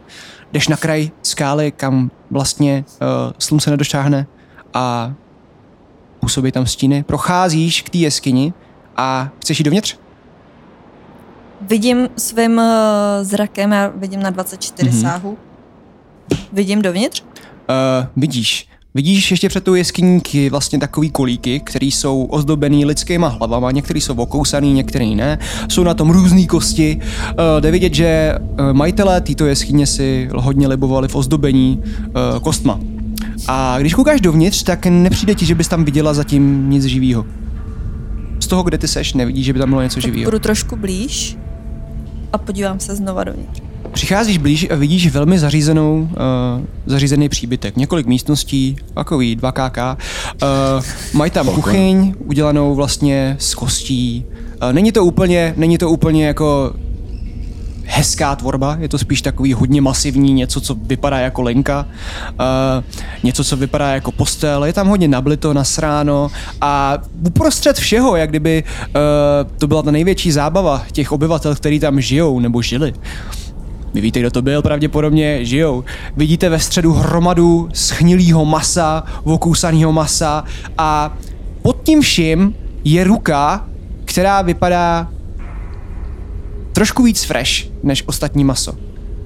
S1: Jdeš na kraj skály, kam vlastně uh, slunce nedošáhne a působí tam stíny. Procházíš k té jeskyni a chceš jít dovnitř?
S5: Vidím svým uh, zrakem, já vidím na 24
S4: Mhm.
S5: mm-hmm. sáhu. Vidím dovnitř?
S1: Uh, vidíš. Vidíš ještě před tou jeskyníky vlastně takový kolíky, které jsou ozdobený lidskýma hlavama, některý jsou okousaný, některý ne. Jsou na tom různé kosti. Uh, jde vidět, že eh, majitelé této jeskyně si hodně libovali v ozdobení uh, kostma. A když koukáš dovnitř, tak nepřijde ti, že bys tam viděla zatím nic živého. Z toho, kde ty seš, nevidíš, že by tam bylo něco živého.
S5: Půjdu trošku blíž a podívám se znova dovnitř.
S1: Přicházíš blíž a vidíš velmi zařízenou, uh, zařízený příbytek. Několik místností, takový 2KK. Uh, mají tam kuchyň, udělanou vlastně z kostí. Uh, není to úplně, není to úplně jako hezká tvorba, je to spíš takový hodně masivní, něco, co vypadá jako linka, uh, něco, co vypadá jako postel, je tam hodně nablito, nasráno a uprostřed všeho, jak kdyby uh, to byla ta největší zábava těch obyvatel, který tam žijou nebo žili. Vy víte, kdo to byl, pravděpodobně žijou. Vidíte ve středu hromadu schnilého masa, okousaného masa a pod tím vším je ruka, která vypadá trošku víc fresh než ostatní maso.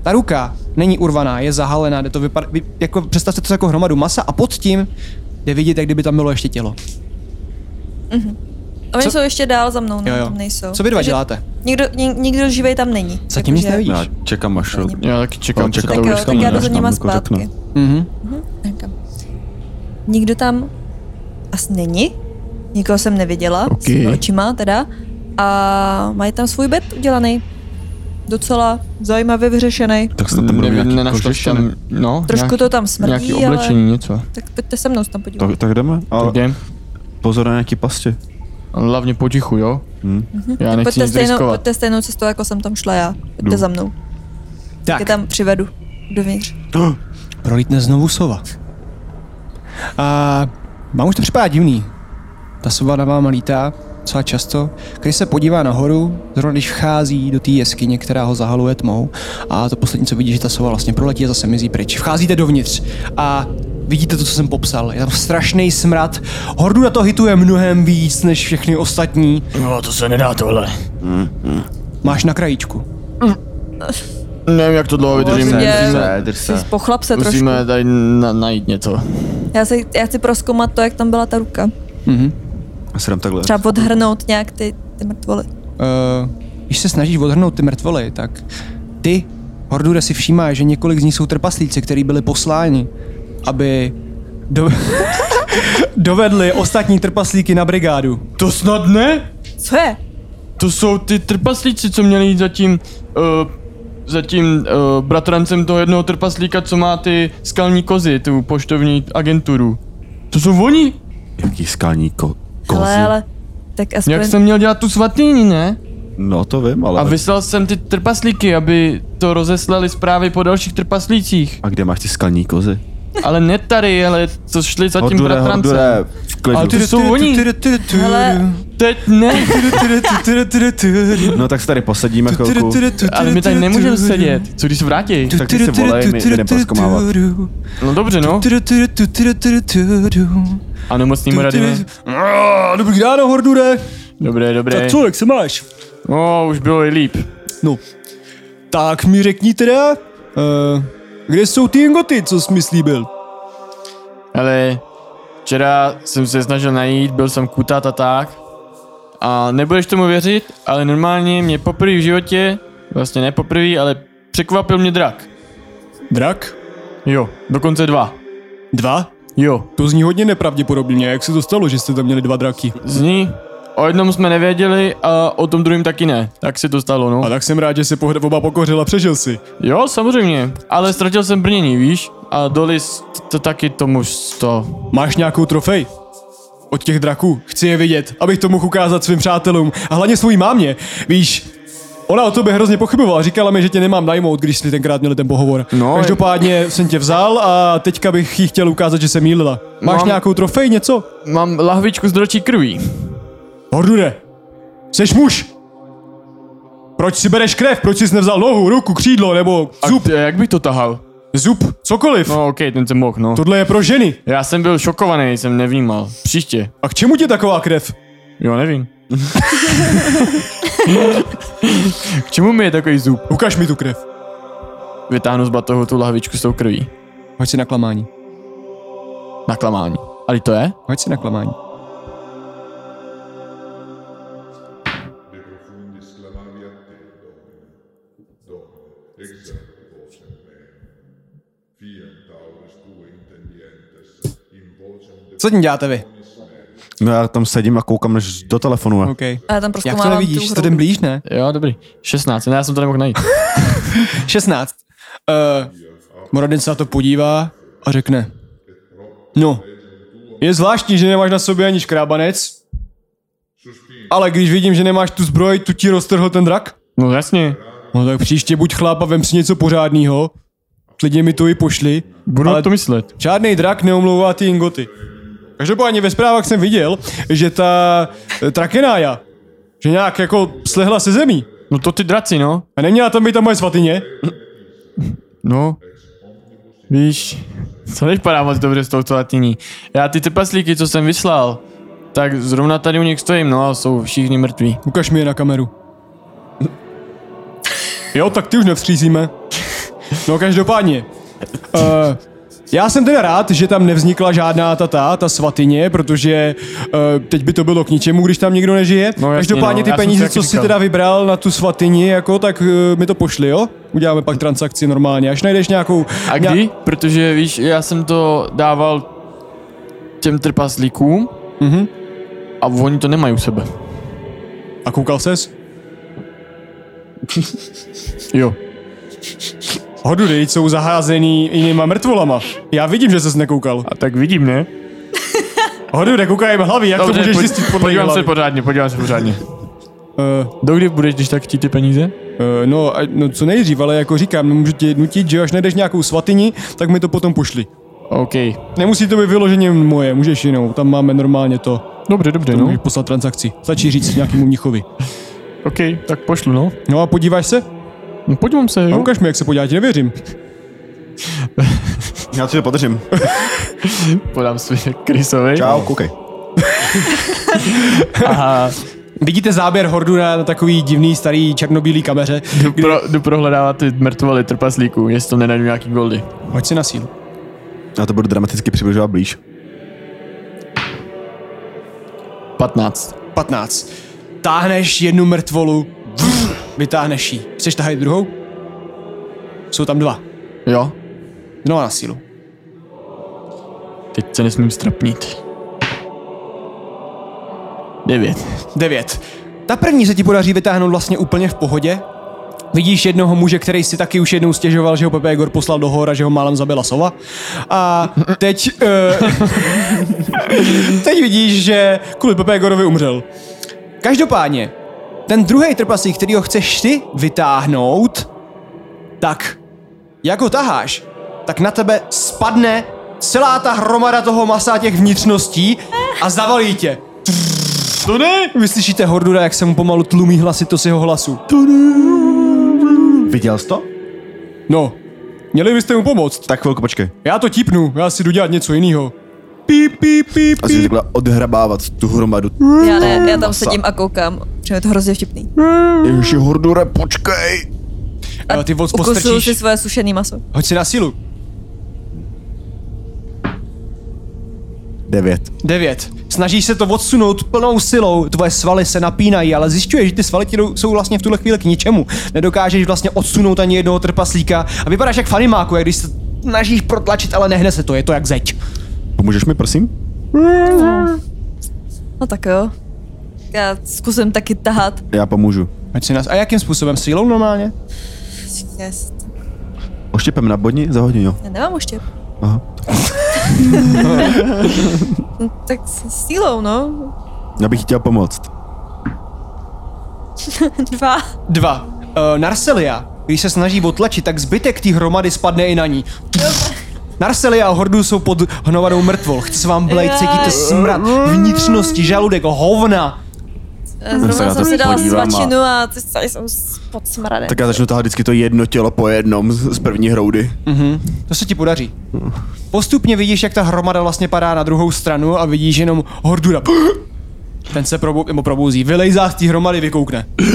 S1: Ta ruka není urvaná, je zahalená, jde to vypadá, vy, jako představte to jako hromadu masa a pod tím jde vidět, jak kdyby tam bylo ještě tělo.
S5: Oni
S1: Co-
S5: jsou ještě dál za mnou, ne?
S1: Jo, jo.
S5: Tam nejsou.
S1: Co vy dva
S5: Takže
S1: děláte?
S5: Nikdo, ni, nikdo živej tam není.
S1: Zatím nic
S5: Takže-
S1: nevidíš.
S3: Já čekám až...
S5: Ani-
S4: Já taky čekám,
S3: No,
S4: co
S3: čekám.
S4: to
S5: Tak
S3: už
S5: jo,
S3: tam
S5: tak já
S3: nedáš,
S5: jdu za
S3: tam
S5: něma
S3: jako řeknu.
S5: zpátky.
S1: Mhm.
S5: Říkám, Nikdo tam asi není. Nikoho jsem neviděla,
S4: Ok.
S5: okay. s očima teda. A mají tam svůj bed udělaný. Docela zajímavě vyřešený.
S3: Tak snad tam budou
S4: Nevi-
S3: nějaký
S4: nenašla jsi
S3: kožešiny.
S4: tam, no,
S5: Trošku
S4: nějaký,
S5: to tam smrdí,
S4: nějaký
S5: ale-
S4: oblečení, něco.
S5: Tak pojďte se mnou se tam podívat.
S3: Tak, tak jdeme, ale
S4: Tak jdem.
S3: pozor na nějaký pasti.
S4: Hlavně potichu, jo? Hmm. Já nechci
S5: Mhm. Pojďte
S4: nic
S5: stejnou,
S4: riskovat.
S5: pojďte stejnou cestou, jako jsem tam šla já. Pojďte
S3: Jdu.
S5: za mnou. Tak.
S1: Tak,
S5: Je tam přivedu dovnitř.
S1: prolítne znovu sova. A mám už to připadá divný. Ta sova na váma lítá docela často. Když se podívá nahoru, zrovna když vchází do té jeskyně, která ho zahaluje tmou, a to poslední, co vidí, že ta sova vlastně proletí a zase mizí pryč. Vcházíte dovnitř a vidíte to, co jsem popsal. Je tam strašný smrad. Hordu na to hituje mnohem víc než všechny ostatní.
S2: No, to se nedá tohle.
S1: Máš na krajíčku.
S4: Nevím, jak to dlouho vydržím.
S5: Rozumím.
S4: Musíme,
S3: drž
S5: Jsi Pochlap se trošku.
S4: musíme tady na, najít něco.
S5: Já, se, já chci proskoumat to, jak tam byla ta ruka.
S3: A se dám takhle.
S5: Třeba odhrnout nějak ty, ty mrtvoly.
S1: Eh, když se snažíš odhrnout ty mrtvoly, tak ty, Hordure, si všímáš, že několik z nich jsou trpaslíci, kteří byli posláni, aby do... dovedli ostatní trpaslíky na brigádu.
S4: To snad ne?
S5: Co je?
S4: To jsou ty trpaslíci, co měli jít za tím, uh, za tím uh, bratrancem toho jednoho trpaslíka, co má ty skalní kozy, tu poštovní agenturu. To jsou oni?
S3: Jaký skalní ko- kozy.
S5: Ale, ale, tak aspoň...
S4: Jak jsem měl dělat tu svatýni, ne?
S3: No to vím, ale...
S4: A vyslal jsem ty trpaslíky, aby to rozeslali zprávy po dalších trpaslících.
S3: A kde máš ty skalní kozy?
S4: Ale ne tady, ale co šli za tím
S3: Hordure,
S4: bratrancem.
S3: hordure, v klidu.
S4: Ale ty- jsou oni.
S5: Hele.
S4: Teď ne,
S3: No tak se tady posadíme chvilku.
S4: ale my tady nemůžeme sedět. Co když se vrátí?
S3: Tak ty si volej, my jdem proskomávat.
S4: No dobře, no. A nemocným rady ne?
S1: Ah, Dobrý ráno, Hordure.
S4: Dobré, dobré.
S1: Tak co, jak se máš?
S4: No, už bylo i líp.
S1: No, tak mi řekni teda, eh, kde jsou ty jengoty, co jsi mi slíbil?
S4: Ale včera jsem se snažil najít, byl jsem kutat a tak. A nebudeš tomu věřit, ale normálně mě poprvé v životě, vlastně ne poprvé, ale překvapil mě drak.
S1: Drak?
S4: Jo, dokonce dva.
S1: Dva?
S4: Jo,
S1: To zní hodně nepravděpodobně, jak se to stalo, že jste tam měli dva draky.
S4: zní. O jednom jsme nevěděli a o tom druhém taky ne. Tak se to stalo, no.
S1: A tak jsem rád, že se pohled oba pokořil a přežil si.
S4: Jo, samozřejmě. Ale ztratil jsem brnění, víš? A doli s- to taky tomu s- to.
S1: Máš nějakou trofej? Od těch draků. Chci je vidět, abych to mohl ukázat svým přátelům a hlavně svojí mámě. Víš, Ona o tobě hrozně pochybovala, říkala mi, že tě nemám najmout, když jsi tenkrát měli ten pohovor.
S4: No,
S1: Každopádně jsem tě vzal a teďka bych jí chtěl ukázat, že se mýlila. Máš
S4: Mám-
S1: nějakou trofej, něco?
S4: Mám lahvičku z dročí krví.
S1: Hordure, seš muž! Proč si bereš krev? Proč jsi nevzal nohu, ruku, křídlo nebo
S4: A
S1: zub?
S4: t- jak bych to tahal?
S1: Zub, cokoliv.
S4: No okej, ten jsem mohl, no.
S1: Tohle je pro ženy.
S4: Já jsem byl šokovaný, jsem nevnímal. Příště.
S1: A k čemu ti taková krev?
S4: Jo, nevím. K čemu mi je takový zub?
S1: Ukaž mi tu krev.
S4: Vytáhnu z batohu tu lahvičku s tou krví.
S1: Hoď si na klamání.
S4: Na klamání. Ale to je?
S1: Hoď si na klamání. Co tím děláte vy?
S3: No já tam sedím a koukám až do telefonu. a-
S1: OK.
S5: A já tam prostě
S1: Jak to nevidíš? To jdem blíž, ne?
S4: Jo, dobrý. 16, ne, já jsem to nemohl najít.
S1: 16. Uh, Moradin se na to podívá a řekne. No, je zvláštní, že nemáš na sobě ani škrábanec, ale když vidím, že nemáš tu zbroj, tu ti roztrhl ten drak.
S4: No jasně.
S1: No tak příště buď chláp a vem si něco pořádného. Klidně mi to i pošli.
S4: Budu
S1: Ale-
S4: Ale... to myslet.
S1: Žádný drak neomlouvá ty ingoty. Každopádně ve zprávách jsem viděl, že ta eh, trakenája, že nějak jako slehla se zemí.
S4: No to ty draci, no.
S1: A neměla tam být ta moje svatyně?
S4: No. Víš, co nevypadá moc dobře s touto latiní. Já ty trpaslíky, co jsem vyslal, tak zrovna tady u nich stojím, no a jsou všichni mrtví.
S1: Ukaž mi je na kameru. Jo, tak ty už nevstřízíme. No každopádně. Uh, já jsem teda rád, že tam nevznikla žádná tata, ta svatyně, protože uh, teď by to bylo k ničemu, když tam nikdo nežije.
S4: No jasně,
S1: Každopádně
S4: no,
S1: ty
S4: já jsem si
S1: peníze,
S4: taky
S1: co jsi
S4: říkal.
S1: teda vybral na tu svatyni, jako, tak uh, mi to pošli, jo? Uděláme pak transakci normálně, až najdeš nějakou...
S4: A
S1: nějak-
S4: kdy? Protože víš, já jsem to dával těm trpaslíkům
S1: Mhm.
S4: a oni to nemají u sebe.
S1: A koukal ses?
S4: Jo.
S1: Hodudy jsou zaházený jinýma mrtvolama. Já vidím, že ses nekoukal.
S4: A tak vidím, ne?
S1: Hodudy, koukaj hlavy, jak to
S4: Dobře,
S1: můžeš
S4: pojď-
S1: zjistit podle
S4: podívám
S1: hlavy?
S4: se pořádně, podívám se pořádně.
S1: Eh,
S4: Dokdy budeš, když tak chtít ty peníze?
S1: Eh, No, a- no, co nejdřív, ale jako říkám, nemůžu tě nutit, že jo, až najdeš nějakou svatyni, tak mi to potom pošli.
S4: OK.
S1: Nemusí to být vyloženě moje, můžeš jinou, tam máme normálně to.
S4: Dobře, dobře,
S1: To
S4: no.
S1: můžeš poslat transakci, stačí říct nějakému mnichovi.
S4: OK, tak pošlu, no.
S1: No a podíváš se?
S4: No podívám se,
S1: A
S4: jo.
S1: ukaž mi, jak se podíváš, nevěřím.
S3: Já ti to podržím.
S4: Podám svý Krysovi.
S3: Čau, koukej.
S1: Vidíte záběr hordu na, na takový divný starý černobílý kameře?
S4: Jdu, pro, jdu prohledávat ty mrtvoly trpaslíků, jestli tam nenajdu nějaký goldy.
S1: Hoď si na sílu.
S3: Já to budu dramaticky přibližovat blíž.
S4: 15.
S1: 15. Táhneš jednu mrtvolu, vytáhneš ji. Chceš tahat druhou? Jsou tam dva.
S4: Jo,
S1: Znova na sílu.
S4: teď se nesmím strapnit. 9.
S1: 9. Ta první se ti podaří vytáhnout vlastně úplně v pohodě. Vidíš jednoho muže, který si taky už jednou stěžoval, že ho Pepe Egor poslal do hora, že ho málem zabila sova. A teď... Uh, teď vidíš, že kvůli Pepe Egorovi umřel. Každopádně, ten druhý trpaslík, který ho chceš ty vytáhnout, tak jak ho taháš, tak na tebe spadne celá ta hromada toho masa těch vnitřností a zavalí tě. To ne! Vy slyšíte Hordura, jak se mu pomalu tlumí hlasitost jeho hlasu.
S3: Viděl jsi to?
S1: No, měli byste mu pomoct.
S3: Tak chvilku, počkej.
S1: Já to tipnu, já si jdu dělat něco jiného. Píp, píp, píp,
S3: A jsi
S1: píp.
S3: takhle odhrabávat tu hromadu.
S5: Já ne, já tam sedím a koukám. Přijde to hrozně vtipný.
S3: Ježi, hordure, počkej!
S1: A ty moc
S5: Ukusuju si
S1: postrčíš.
S5: svoje sušený maso.
S1: Hoď si na sílu.
S3: Devět.
S1: 9. Snažíš se to odsunout plnou silou, tvoje svaly se napínají, ale zjišťuješ, že ty svaly ti jdou- jsou vlastně v tuhle chvíli k ničemu. Nedokážeš vlastně odsunout ani jednoho trpaslíka a vypadáš jak fanimáku, jak když se snažíš protlačit, ale nehne se to, je to jak zeď.
S3: Pomůžeš mi, prosím?
S5: No tak jo. Já zkusím taky tahat.
S3: Já pomůžu.
S1: Hoď si nás. A jakým způsobem? Sílou normálně?
S5: Yes.
S3: Oštěpem na bodni za hodinu, jo.
S5: Já nemám oštěp.
S3: Aha.
S5: No, tak s sílou, no.
S3: Já bych chtěl pomoct.
S5: Dva.
S3: No,
S1: Dva. Uh, Narselia, když se snaží otlačit, tak zbytek té hromady spadne i na ní. Narselia a Hordu jsou pod hnomadou mrtvol. Chce se vám blejt, cítíte smrad vnitřnosti, žaludek, hovna.
S5: Eh,
S3: se na
S5: Zrovna jsem
S3: to
S5: si dala
S3: podívám a-
S5: svačinu a ty tady jsem s- pod smradem.
S3: Tak já začnu tahat vždycky to jedno tělo po jednom z, z první hroudy.
S1: To se ti podaří. Postupně vidíš, jak ta hromada vlastně padá na druhou stranu a vidíš jenom Hordura. Ten se probou, nebo probouzí, vylejzá z té hromady, vykoukne.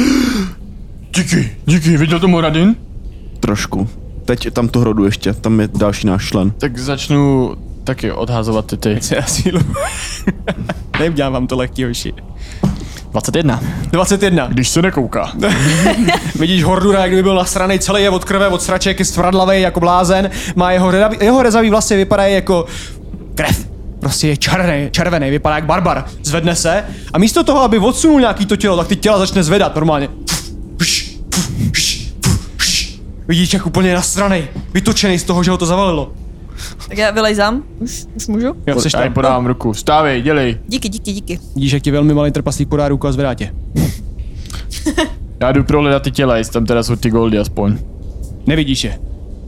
S4: Díky, díky, viděl to Moradin?
S3: Trošku. Teď tam tu hrodu ještě, tam je další náš člen.
S4: Tak začnu taky odhazovat ty ty.
S1: Se na sílu. Neudělám vám to lehký, hoši.
S4: 21.
S1: 21.
S4: Když se nekouká.
S1: Vidíš Hordura, jak kdyby byl nasranej, celý je od krve, od sraček, je stvradlavej jako blázen, má jeho, redav, jeho rezavý vlasy vypadají jako krev. Prostě je červený, červený, vypadá jak barbar. Zvedne se a místo toho, aby odsunul nějaký to tělo, tak ty těla začne zvedat normálně. Vidíš, jak úplně nasranej, vytočený z toho, že ho to zavalilo.
S5: Tak já vylejzám, už, už můžu.
S1: Jo, jsi
S4: Já jim
S1: tam.
S4: podávám ruku. Stávej, dělej.
S5: Díky, díky, díky.
S1: Vidíš, jak ti velmi malý trpaslík podá ruku a zvedá tě.
S4: Já jdu prohledat ty těla, jestli tam teda jsou ty goldy aspoň.
S1: Nevidíš je.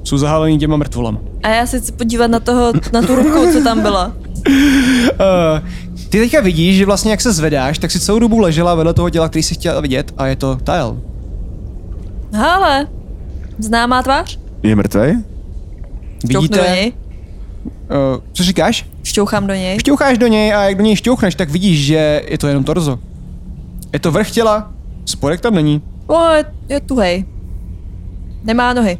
S1: Jsou zahalení těma mrtvolama.
S5: A já se chci podívat na toho, na tu ruku, co tam byla.
S1: Uh, ty teďka vidíš, že vlastně jak se zvedáš, tak si celou dobu ležela vedle toho těla, který si chtěla vidět a je to Tael.
S5: Hele, známá tvář?
S3: Je mrtvý?
S5: Šťouchnu do
S1: Vidíte?
S5: něj.
S1: Uh, co říkáš?
S5: Šťouchám do něj.
S1: Šťoucháš do něj a jak do něj šťouchneš, tak vidíš, že je to jenom torzo. Je to vrch těla, spodek tam není.
S5: O, je, je tuhej. Nemá nohy.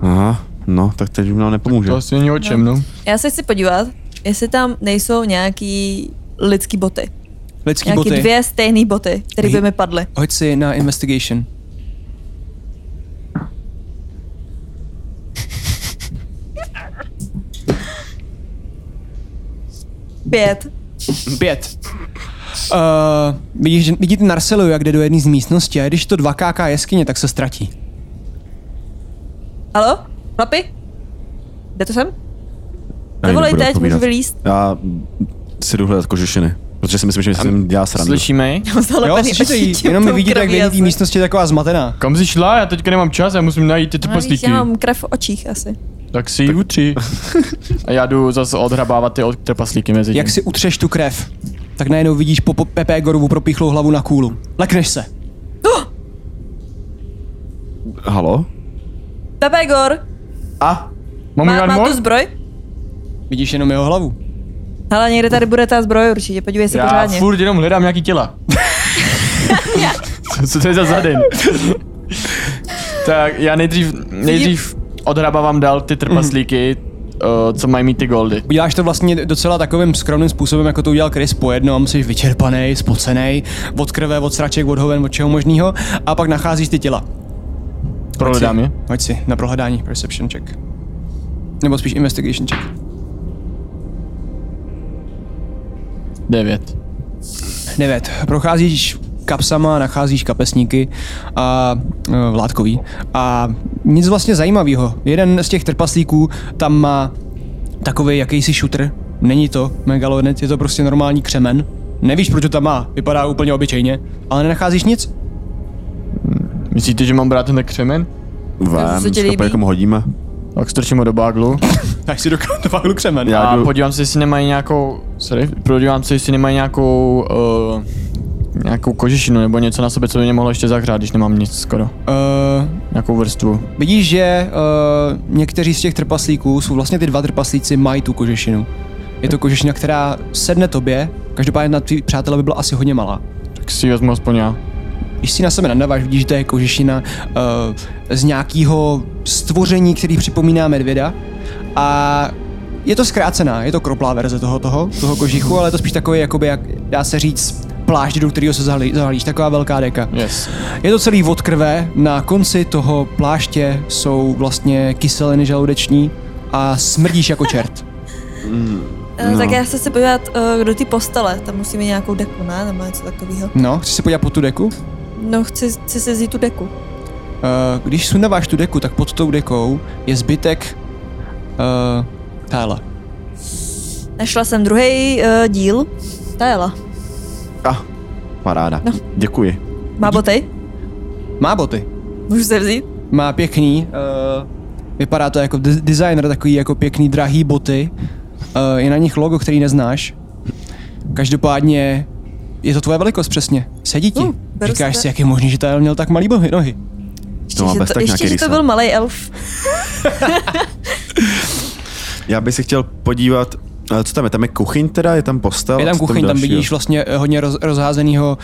S3: Aha, no, tak teď nám nepomůže.
S4: To asi není o čem, no.
S5: Já se chci podívat, jestli tam nejsou nějaký lidský boty.
S1: Lidský
S5: Nějaký
S1: boty.
S5: dvě stejné boty, které by
S1: Nej-
S5: mi padly.
S1: Hoď si na investigation.
S5: Pět.
S1: Pět. Uh, vidíš, že- vidíte Narcelu, jak jde do jedné z místností a když je to 2KK jeskyně, tak se ztratí.
S5: Halo? Chlapi? Kde to jsem?
S3: Já jim
S5: Zavolej
S3: nebudu
S5: teď,
S3: odpovídat.
S5: můžu vylíst.
S3: Já si jdu hledat kožešiny, protože si myslím, že jsem dělá
S4: no.
S3: srandu.
S4: Slyšíme ji?
S1: Jo,
S5: Zalepený
S1: slyšíte
S5: oči
S1: jí,
S5: tím
S1: jenom
S5: No, tou
S1: vidíte, jak
S5: krví
S1: vedení
S5: asi.
S1: té místnosti je taková zmatená.
S4: Kam jsi šla? Já teďka nemám čas, já musím najít ty
S5: No, víš,
S4: trpaslíky.
S5: Já mám krev v očích asi.
S4: Tak si ji utří. A já jdu zase odhrabávat ty od- trpaslíky mezi tím.
S1: Jak si utřeš tu krev, tak najednou vidíš po po- Pepe Gorovu propíchlou hlavu na kůlu. Lekneš se.
S3: Halo?
S5: Pepegor,
S1: Oh
S3: A?
S4: Mám má,
S5: má, má tu zbroj?
S1: Vidíš jenom jeho hlavu.
S5: Hele, někde tady bude ta zbroj určitě, podívej se
S4: Já
S5: pořádně.
S4: furt jenom hledám nějaký těla. co, co to je za zaden? tak já nejdřív, nejdřív odhrabávám dál ty trpaslíky,
S5: Mhm.
S4: eh, co mají mít ty goldy.
S1: Uděláš to vlastně docela takovým skromným způsobem, jako to udělal Chris po jednom, jsi vyčerpaný, spocený, od krve, od sraček, od hoven, od čeho možného, a pak nacházíš ty těla.
S4: Prohledám je.
S1: Hoď si na prohledání perception check. Nebo spíš investigation check.
S4: Devět.
S1: 9. Procházíš kapsama, nacházíš kapesníky a e, vládkový. A nic vlastně zajímavého. Jeden z těch trpaslíků tam má takový jakýsi šutr. Není to megalonet, je to prostě normální křemen. Nevíš, proč to tam má, vypadá úplně obyčejně, ale nenacházíš nic.
S4: Myslíte, že mám brát ten křemen?
S5: To
S3: Vem,
S5: se ti líbí?
S3: skopaj, komu hodíme.
S4: Tak strčím ho do baglu.
S1: Tak si do kartoválu křemen.
S3: Já
S4: A
S3: jdu,
S4: podívám se, jestli nemají nějakou... Sorry, podívám se, jestli nemají nějakou... Uh, nějakou kožešinu nebo něco na sobě, co by mě mohlo ještě zahřát, když nemám nic skoro.
S1: Uh,
S4: Nějakou vrstvu.
S1: vidíš, že uh, někteří z těch trpaslíků, jsou vlastně ty dva trpaslíci, mají tu kožešinu. Je to kožešina, která sedne tobě, každopádně na tvý přátelé by byla asi hodně malá.
S4: Tak si ji vezmu aspoň já.
S1: Když si na sebe nadáváš, vidíš, že to je kožešina uh, z nějakého stvoření, který připomíná medvěda. A je to zkrácená, je to kroplá verze toho, toho, toho kožichu, ale je to spíš takový, jakoby, jak dá se říct, plášť, do kterého se zahalí- zahalíš, taková velká deka.
S4: Yes.
S1: Je to celý od krve, na konci toho pláště jsou vlastně kyseliny žaludeční a smrdíš jako čert.
S5: Eh,
S3: No.
S5: Tak já se chci podívat eh, do ty postele, tam musíme nějakou deku, ne? Nebo něco takového.
S1: No, chci se podívat pod tu deku?
S5: No, chci, chci si vzít tu deku.
S1: Eh, když sundáváš tu deku, tak pod tou dekou je zbytek uh, tála.
S5: Našla jsem druhý uh, díl. Ta jela.
S3: Ah, paráda.
S5: No.
S3: Děkuji.
S5: Má boty?
S1: Má boty.
S5: Můžu se vzít?
S1: má pěkný, uh, vypadá to jako de- designer, takový jako pěkný drahý boty, uh, je na nich logo, který neznáš. Každopádně je to tvoje velikost přesně, sedí ti.
S5: Uh, beru
S1: Říkáš
S5: si to.
S1: si, jak je možný, že tady měl tak malý bohy, nohy.
S5: Ještě,
S3: To má
S5: že
S3: bez
S5: to,
S3: tak
S5: ještě
S3: nějaký
S5: že to
S3: rýsa.
S5: byl malý elf.
S3: Já bych se chtěl podívat, eh, co tam je, tam je kuchyň teda, je tam postel?
S1: Je
S3: a
S1: tam
S3: co
S1: kuchyň, tam
S3: dalšího?
S1: vidíš vlastně eh, hodně roz, rozházenýho,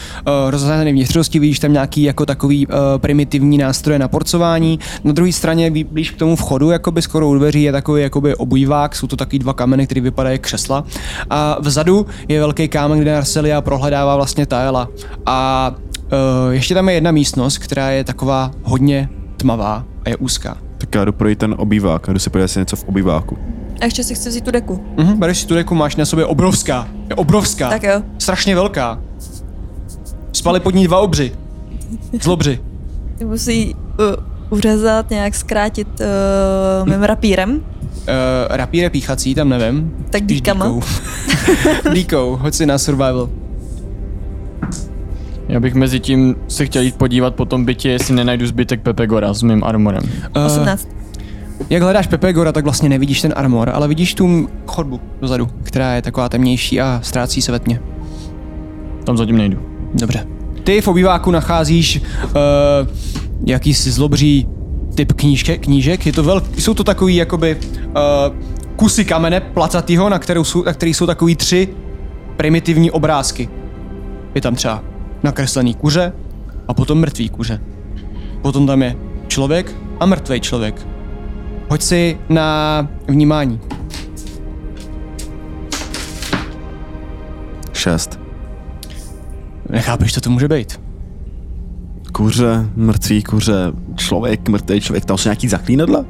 S1: uh, rozházený vnitřnosti, vidíš tam nějaký jako takový uh, primitivní nástroje na porcování. Na druhé straně bí- blíž k tomu vchodu, jakoby skoro u dveří je takový jakoby obývák, jsou to taky dva kameny, které vypadají jak křesla. A vzadu je velký kámen, kde Narcelia prohledává vlastně Taela. A uh, ještě tam je jedna místnost, která je taková hodně tmavá a je úzká.
S3: Tak já jdu projít ten obývák, a jdu si podívat, jestli je něco v obýváku.
S5: A ještě si chci vzít tu deku.
S1: Mhm, bereš si tu deku, máš na sobě obrovská. Je obrovská.
S5: Tak jo.
S1: Strašně velká. Spali pod ní dva obři. Zlobři.
S5: Musí uh, uřezat, nějak zkrátit uh, mým rapírem.
S1: Uh, rapíre píchací, tam nevím.
S5: Tak
S1: Spíš
S5: díkama.
S1: Díkou. díkou, hoď si na survival.
S4: Já bych mezi tím se chtěl jít podívat po tom bytě, jestli nenajdu zbytek Pepe Gora s mým armorem.
S1: Eh,
S5: 18.
S1: Jak hledáš Pepe Gora, tak vlastně nevidíš ten armor, ale vidíš tu chodbu dozadu, která je taková temnější a ztrácí se ve tmě.
S4: Tam zatím nejdu.
S1: Dobře. Ty v obýváku nacházíš uh, jakýsi zlobří typ knížke, knížek. Je to vel, jsou to takový jakoby uh, kusy kamene placatýho, na, kterou jsou, na který jsou takový tři primitivní obrázky. Je tam třeba nakreslený kuře a potom mrtvý kuře. Potom tam je člověk a mrtvý člověk. Hoď si na vnímání.
S3: Šest.
S1: Nechápeš, co to může být.
S3: Kuře, mrtví kuře, člověk, mrtvý člověk, tam jsou nějaký zaklínadla?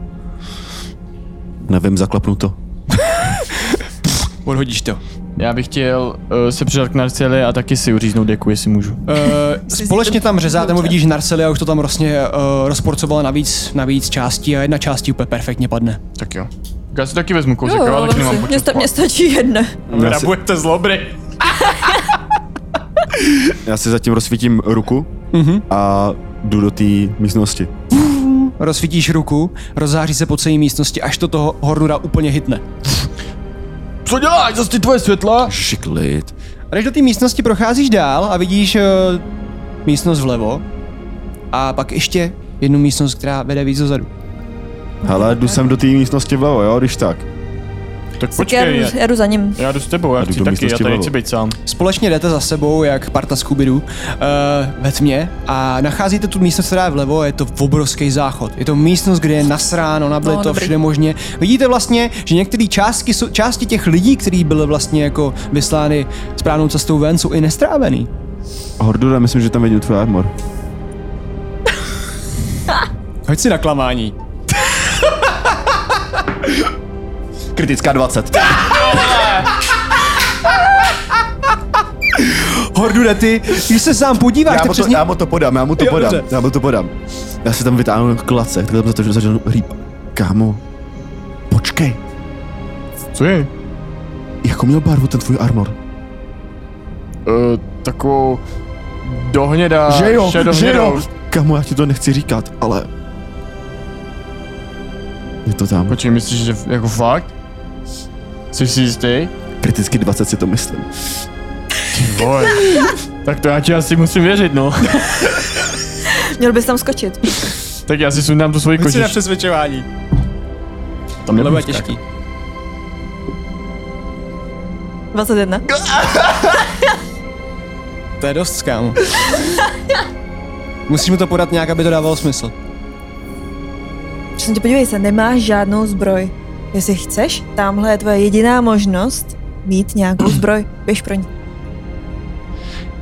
S3: Nevím, zaklepnu to.
S1: Odhodíš to.
S4: Já bych chtěl uh, se přidat k Narceli a taky si uříznout deku, jestli můžu.
S1: Eh, společně tam řezáte, nebo vidíš Narcelia, už to tam vlastně uh, rozporcovala navíc, navíc částí a jedna částí úplně perfektně padne.
S4: Tak jo. Já si taky vezmu kouzek,
S5: Jo,
S4: ale taky
S5: vem
S4: nemám
S5: si. Mně
S4: počet.
S5: sta- mně stačí jedna.
S3: Já si,
S4: Rabujete zlobry.
S3: já si zatím rozsvítím ruku a jdu do té místnosti.
S1: Rozsvítíš ruku, rozzáří se po celé místnosti, až to toho Hornura úplně hitne.
S4: Co děláš, zase ty tvoje světla?
S3: Šiklit.
S1: A když do té místnosti procházíš dál a vidíš uh, místnost vlevo a pak ještě jednu místnost, která vede víc dozadu.
S3: Hele, jdu sem do té místnosti vlevo, jo, když tak.
S4: Tak
S5: Tak já
S4: počkej,
S5: jdu,
S4: já,
S5: já jdu za ním.
S4: já jdu s tebou, já
S3: jdu
S4: chci
S3: do
S4: taky, já
S3: místnosti
S4: tady
S3: vlevo.
S4: chci být sám.
S1: Společně jdete za sebou, jak parta Scooby-Doo, uh, ve tmě a nacházíte tu místnost, která je vlevo, je to obrovský záchod. Je to místnost, kde je nasráno, nabito,
S5: No,
S1: to
S5: dobrý.
S1: všude možně. Vidíte vlastně, že některé části, jsou- části těch lidí, kteří byly vlastně jako vyslány správnou cestou ven, jsou i nestrávený.
S3: Hordura, myslím, že tam vidím tvůj armor.
S1: Hoď si na klamání.
S3: Kritická 20.
S1: Hordure, ty, když se sám podíváš,
S3: Já
S1: tak
S3: mu, to,
S1: přesně...
S3: já mu to podám, já mu to
S1: Jo,
S3: podám,
S1: dobře.
S3: já mu to podám. Já si tam vytáhnu jako klacek, tak tam za to, že začnu hlíp. Kámo, počkej,
S4: Co je?
S3: jakou měl barvu ten tvůj armor?
S4: Uh, takovou dohněda, šedohnědou.
S3: Kámo, já ti to nechci říkat, ale... Je to tam.
S4: Počkej, myslíš, že jako fakt? Jsi si jistý?
S3: Kriticky 20 si to myslím.
S4: Vole. tak to já ti asi musím věřit, no.
S5: Měl bys tam skočit.
S4: tak já si sundám tu svoji
S1: Hoď si na
S4: kožiš.
S1: přesvědčování.
S4: Tam
S1: To
S4: nebudu
S1: bude
S4: skákat.
S1: těžký.
S5: 21.
S1: To je dost, kámo. Musíš mu to podat nějak, aby to dávalo smysl.
S5: Přesně tě podívej se, nemáš žádnou zbroj. Jestli chceš, tamhle je tvoje jediná možnost mít nějakou zbroj. Běž pro ní.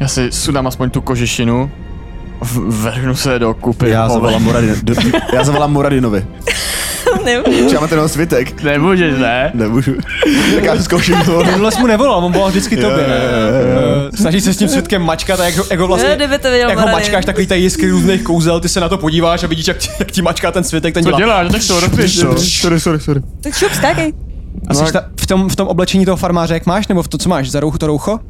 S4: Já si sundám aspoň tu kožešinu. v- Vrhnu se do kupy.
S3: Já
S4: vole.
S3: zavolám, Moradin, do, já zavolám Moradinovi.
S5: Nevím.
S3: Čáme ten jeho svitek.
S4: Nemůžeš, ne?
S3: Nemůžu. Tak já zkouším to.
S1: Minule jsi mu nevolal, on volal vždycky tobě.
S3: Jo,
S1: ne?
S3: jo, jo, jo.
S1: Eh, Snaží se s tím světkem mačkat a jak ho, jak ho
S5: Jo,
S1: vlastně...
S5: No, kdyby to viděl
S1: jak ho
S5: Moradin.
S1: mačkáš takový tady jiskry různých kouzel, ty se na to podíváš a vidíš, jak ti, jak ti mačká ten světek, ten
S4: Co
S1: dělá.
S4: děláš? Tak to rozpěš, to.
S3: Sorry, sorry, sorry.
S5: Tak šup, skákej.
S1: A
S3: No,
S1: jsi ta, v, tom, v tom oblečení toho farmáře, jak máš, nebo v to, co máš, za roucho to roucho?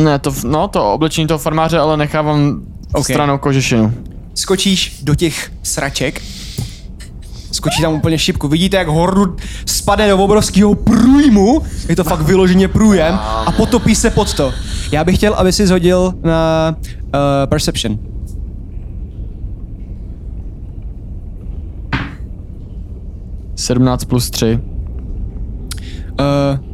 S4: Ne, to, v- no, to oblečení toho farmáře, ale nechávám
S1: Ok.
S4: stranou kožešinu.
S1: Skočíš do těch sraček, skočí tam úplně šipku. Vidíte, jak hordu spadne do obrovského průjmu, je to fakt vyloženě průjem, a potopí se pod to. Já bych chtěl, aby si zhodil na uh, Perception.
S4: Sedmnáct plus tři.
S1: Uh,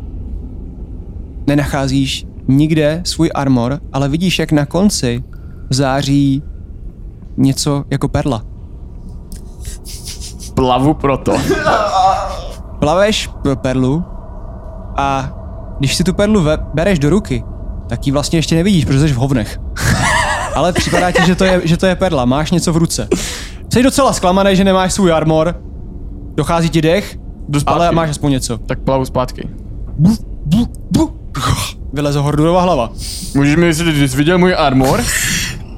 S1: nenacházíš nikde svůj armor, ale vidíš, jak na konci září něco jako perla.
S4: Plavu proto.
S1: Plaveš pro perlu a když si tu perlu ve- bereš do ruky, tak ji vlastně ještě nevidíš, protože jsi v hovnech. Ale připadá ti, že to, je, že to je perla, máš něco v ruce. Jsi docela zklamaný, že nemáš svůj armor, dochází ti dech
S4: Jdu zpátky.
S1: Ale máš aspoň něco.
S4: Tak plavu zpátky.
S1: Vyleze Hordurova hlava.
S4: Můžeš mi vysvětlit, že jsi viděl můj armor?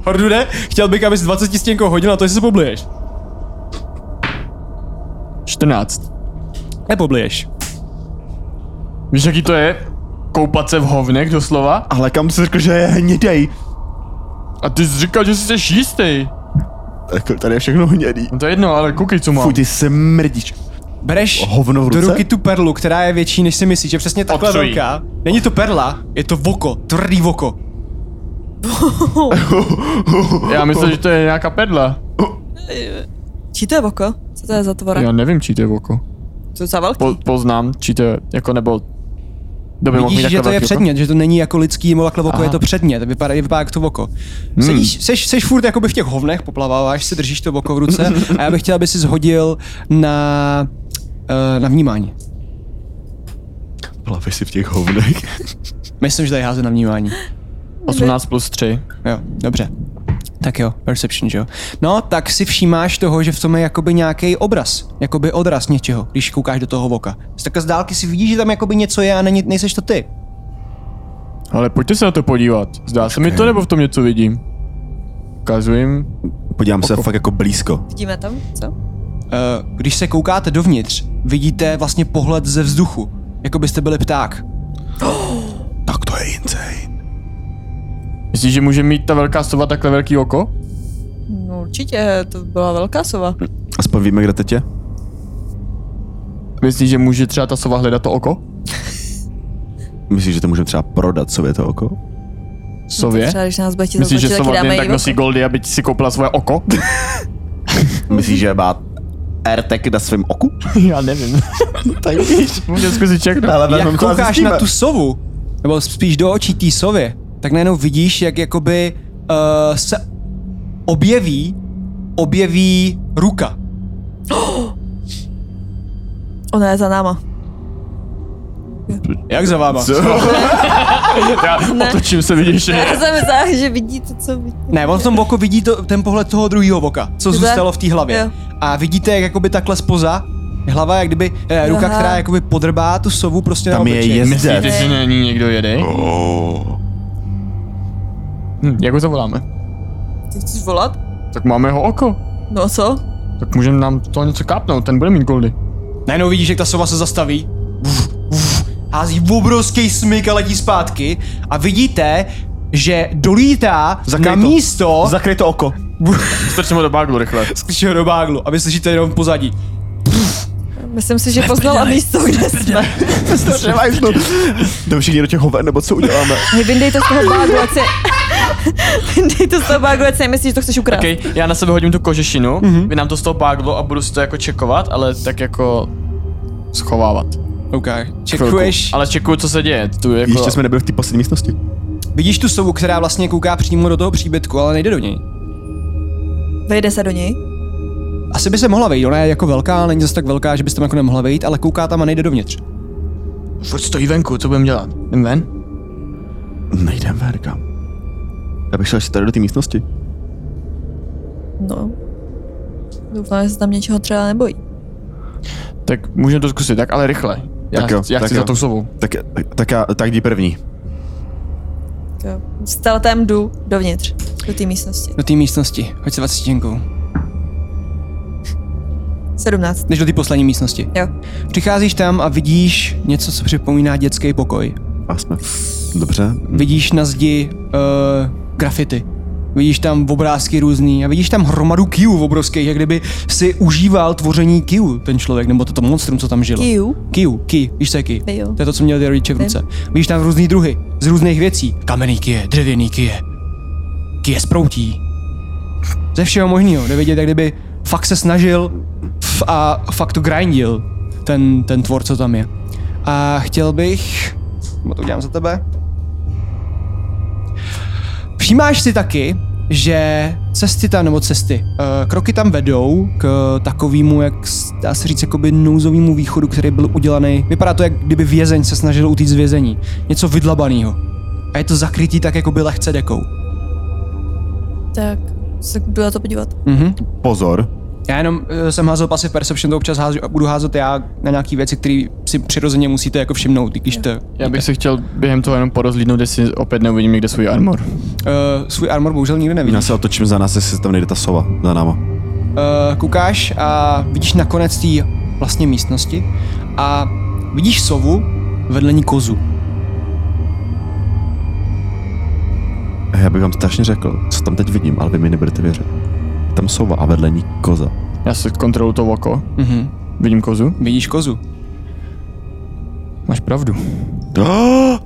S1: Hordude, chtěl bych, abys 20 stěnkou hodil na to, jestli se pobliješ.
S4: 14.
S1: Nepobliješ.
S4: Víš, jaký to je? Koupat se v hovnech doslova?
S3: Ale kam jsi řekl, že je hnědej?
S4: A ty jsi říkal, že jsi se jistý.
S3: Jako tady je všechno hnědý.
S4: No to je jedno, ale koukej, co mám.
S3: Fuj, ty se mrdíš.
S1: Bereš
S3: Hovno v
S1: do
S3: ruce?
S1: ruky tu perlu, která je větší, než si myslíš, že přesně takhle
S4: Otřují.
S1: velká. Není to perla, je to voko, tvrdý voko.
S4: Já myslím, že to je nějaká pedla.
S5: Čí to je oko? Co to je za tvora?
S4: Já nevím, čí to je oko.
S5: To je za velký.
S4: Po, poznám, čí to je, jako nebo... Kdo by mohl mít
S1: Vidíš, že
S4: takhle
S1: to je
S4: velký oko?
S1: předmět, že to není jako lidský molakle voko,
S4: Aha.
S1: je to předmět, vypadá, vypadá jak to voko. Hmm. Sedíš, seš, seš furt jakoby v těch hovnech, poplaváváš si, držíš to voko v ruce a já bych chtěl, aby si zhodil na, eh, na vnímání.
S3: Plaveš si v těch hovnech.
S1: Myslím, že tady háze na vnímání.
S4: 18 plus 3.
S1: Jo, dobře. Tak jo, perception, že jo. No, tak si všímáš toho, že v tom je jakoby nějaký obraz, jakoby odraz něčeho, když koukáš do toho voka. Z takhle z dálky si vidíš, že tam jakoby něco je a není, nejseš to ty.
S4: Ale pojďte se na to podívat. Zdá se mi to, nebo v tom něco vidím? Ukazujím.
S3: Podívám se fakt jako blízko.
S5: Vidíme tam? Co?
S1: Eh, Když se koukáte dovnitř, vidíte vlastně pohled ze vzduchu, jako byste byli pták.
S3: Tak to je insane.
S4: Myslíš, že může mít ta velká sova takhle velký oko?
S5: No určitě, to byla velká
S4: Hm,
S5: sova.
S3: Aspoň víme, kde teď je?
S4: Myslíš, že může třeba ta sova hledat to oko?
S3: Myslíš, že to můžeme třeba prodat sobě to oko?
S4: Sově?
S5: Třeba, když nás bude chtít
S4: Myslíš, že
S5: zatlačit, taky
S4: sova
S5: dáme
S4: jen tak
S5: jí
S4: nosí goldy, aby si koupila svoje oko?
S3: Myslíš, že má AirTag na svém oku?
S4: Já nevím. tak víš, můžu zkusit čeknout.
S3: Ale
S1: Jak koukáš na tu sovu, nebo spíš do očí té sovy, tak najednou vidíš, jak jakoby uh, se objeví, objeví ruka.
S5: Ona je za náma.
S1: Jak za váma?
S5: Ne,
S4: Otočím se, vidíš, že...
S5: já jsem myslela, že vidíte, co vidíte.
S1: Ne, on v tom oku vidí to, ten pohled toho druhého oka, co
S5: Zde?
S1: zůstalo v té hlavě.
S5: Jo.
S1: A vidíte, jak jakoby takhle spoza, hlava, jak kdyby eh, ruka,
S5: Aha.
S1: která jakoby podrbá tu sovu prostě
S3: Tam
S1: na
S3: je
S1: obličeji.
S3: jezdec.
S4: Myslíte, že není někdo jedej? Oh. Hm, jak ho zavoláme?
S5: Ty chceš volat?
S4: Tak máme jeho oko.
S5: No a co?
S4: Tak můžeme nám to něco kápnout, ten bude mít goldy.
S1: Najednou vidíš, jak ta sova se zastaví. Vuf, vuf, Hází obrovský smyk a letí zpátky. A vidíte, že dolítá
S3: Zakryj
S1: na
S3: to.
S1: místo
S3: Zakryj to oko.
S4: Strčím ho do baglu rychle.
S1: slyšího do báglu a vy slyšíte jenom v pozadí.
S5: Myslím si, že poznala místo, kde jsme.
S3: Jdeme všichni do těch hoven, nebo co uděláme?
S5: Hej, vyndej to z toho bágu, ať si... vyndej to z toho bágu, ať si nemyslíš, že to chceš ukrást.
S4: Okay, já na sebe hodím tu kožešinu, mm-hmm. vy nám to z toho páglo a budu si to jako čekovat, ale tak jako schovávat.
S1: OK,
S4: Chvilku.
S1: čekuješ.
S4: Ale čekuju, co se děje. Tu jako...
S3: Ještě jsme nebyli v té poslední místnosti.
S1: Vidíš tu sovu, která vlastně kouká přímo do toho příbytku, ale nejde do něj.
S5: Vejde se do něj.
S1: Asi by se mohla vejít, ona je jako velká, ale není zase tak velká, že byste tam jako nemohla vejít, ale kouká tam a nejde dovnitř.
S4: Furt stojí venku, co budeme dělat? Jdem ven?
S3: Nejdem ven, kam. Já bych šel ještě tady do té místnosti.
S5: No. Doufám, že se tam něčeho třeba nebojí.
S4: Tak můžeme to zkusit, tak ale rychle. Já,
S3: Tak jo,
S4: já
S3: tak
S4: chci
S3: jo.
S4: za tou sovou.
S3: Tak, tak, já, tak jdi první.
S5: Tak jo. S teletem jdu dovnitř, do té místnosti.
S1: Do té místnosti, hoď se 20 těnkou.
S5: 17.
S1: Jdeš do té poslední místnosti.
S5: Jo.
S1: Přicházíš tam a vidíš něco, co připomíná dětský pokoj.
S3: A jsme. Dobře.
S1: Vidíš na zdi uh, grafity. Vidíš tam obrázky různý a vidíš tam hromadu kiů obrovských, jak kdyby si užíval tvoření kiů ten člověk, nebo to monstrum, co tam žilo.
S5: Kiu.
S1: Kiu, ki, víš co je ki?
S5: Jo.
S1: To je to, co měl ty rodiče v
S5: Vím.
S1: ruce. Víš tam různý druhy, z různých věcí. Kamenný kije, dřevěný kije, kije z proutí. Ze všeho možného, jde vidět, jak kdyby fakt se snažil f- a fakt to grindil, ten, ten tvor, co tam je. A chtěl bych, nebo to udělám za tebe, Všímáš si taky, že cesty tam, nebo cesty, eh, kroky tam vedou k takovému, jak s- dá se říct, jakoby nouzovému východu, který byl udělaný. Vypadá to, jak kdyby vězeň se snažil utíct z vězení. Něco vydlabaného. A je to zakrytý tak jakoby lehce dekou.
S5: Tak se jdu na to podívat.
S1: Mhm.
S3: Pozor.
S1: Já jenom eh, jsem házel passive perception, to občas házu, budu házet já na nějaký věci, které si přirozeně musíte jako všimnout, i když to...
S4: Já bych se chtěl během toho jenom porozlídnout, jestli opět neuvidím někde svůj armor.
S1: Uh, svůj armor bohužel nikdy nevidíš.
S3: Já se otočím za nás, jestli tam nejde ta sova za náma.
S1: Eh, koukáš a vidíš nakonec té vlastně místnosti a vidíš sovu vedle ní kozu.
S3: A Já bych vám strašně řekl, co tam teď vidím, ale vy mi nebudete věřit. Je Tam sova a vedle ní koza.
S4: Já se kontroluji to oko. Mm-hmm. Vidím kozu?
S1: Vidíš kozu.
S4: Máš pravdu.
S3: Oh!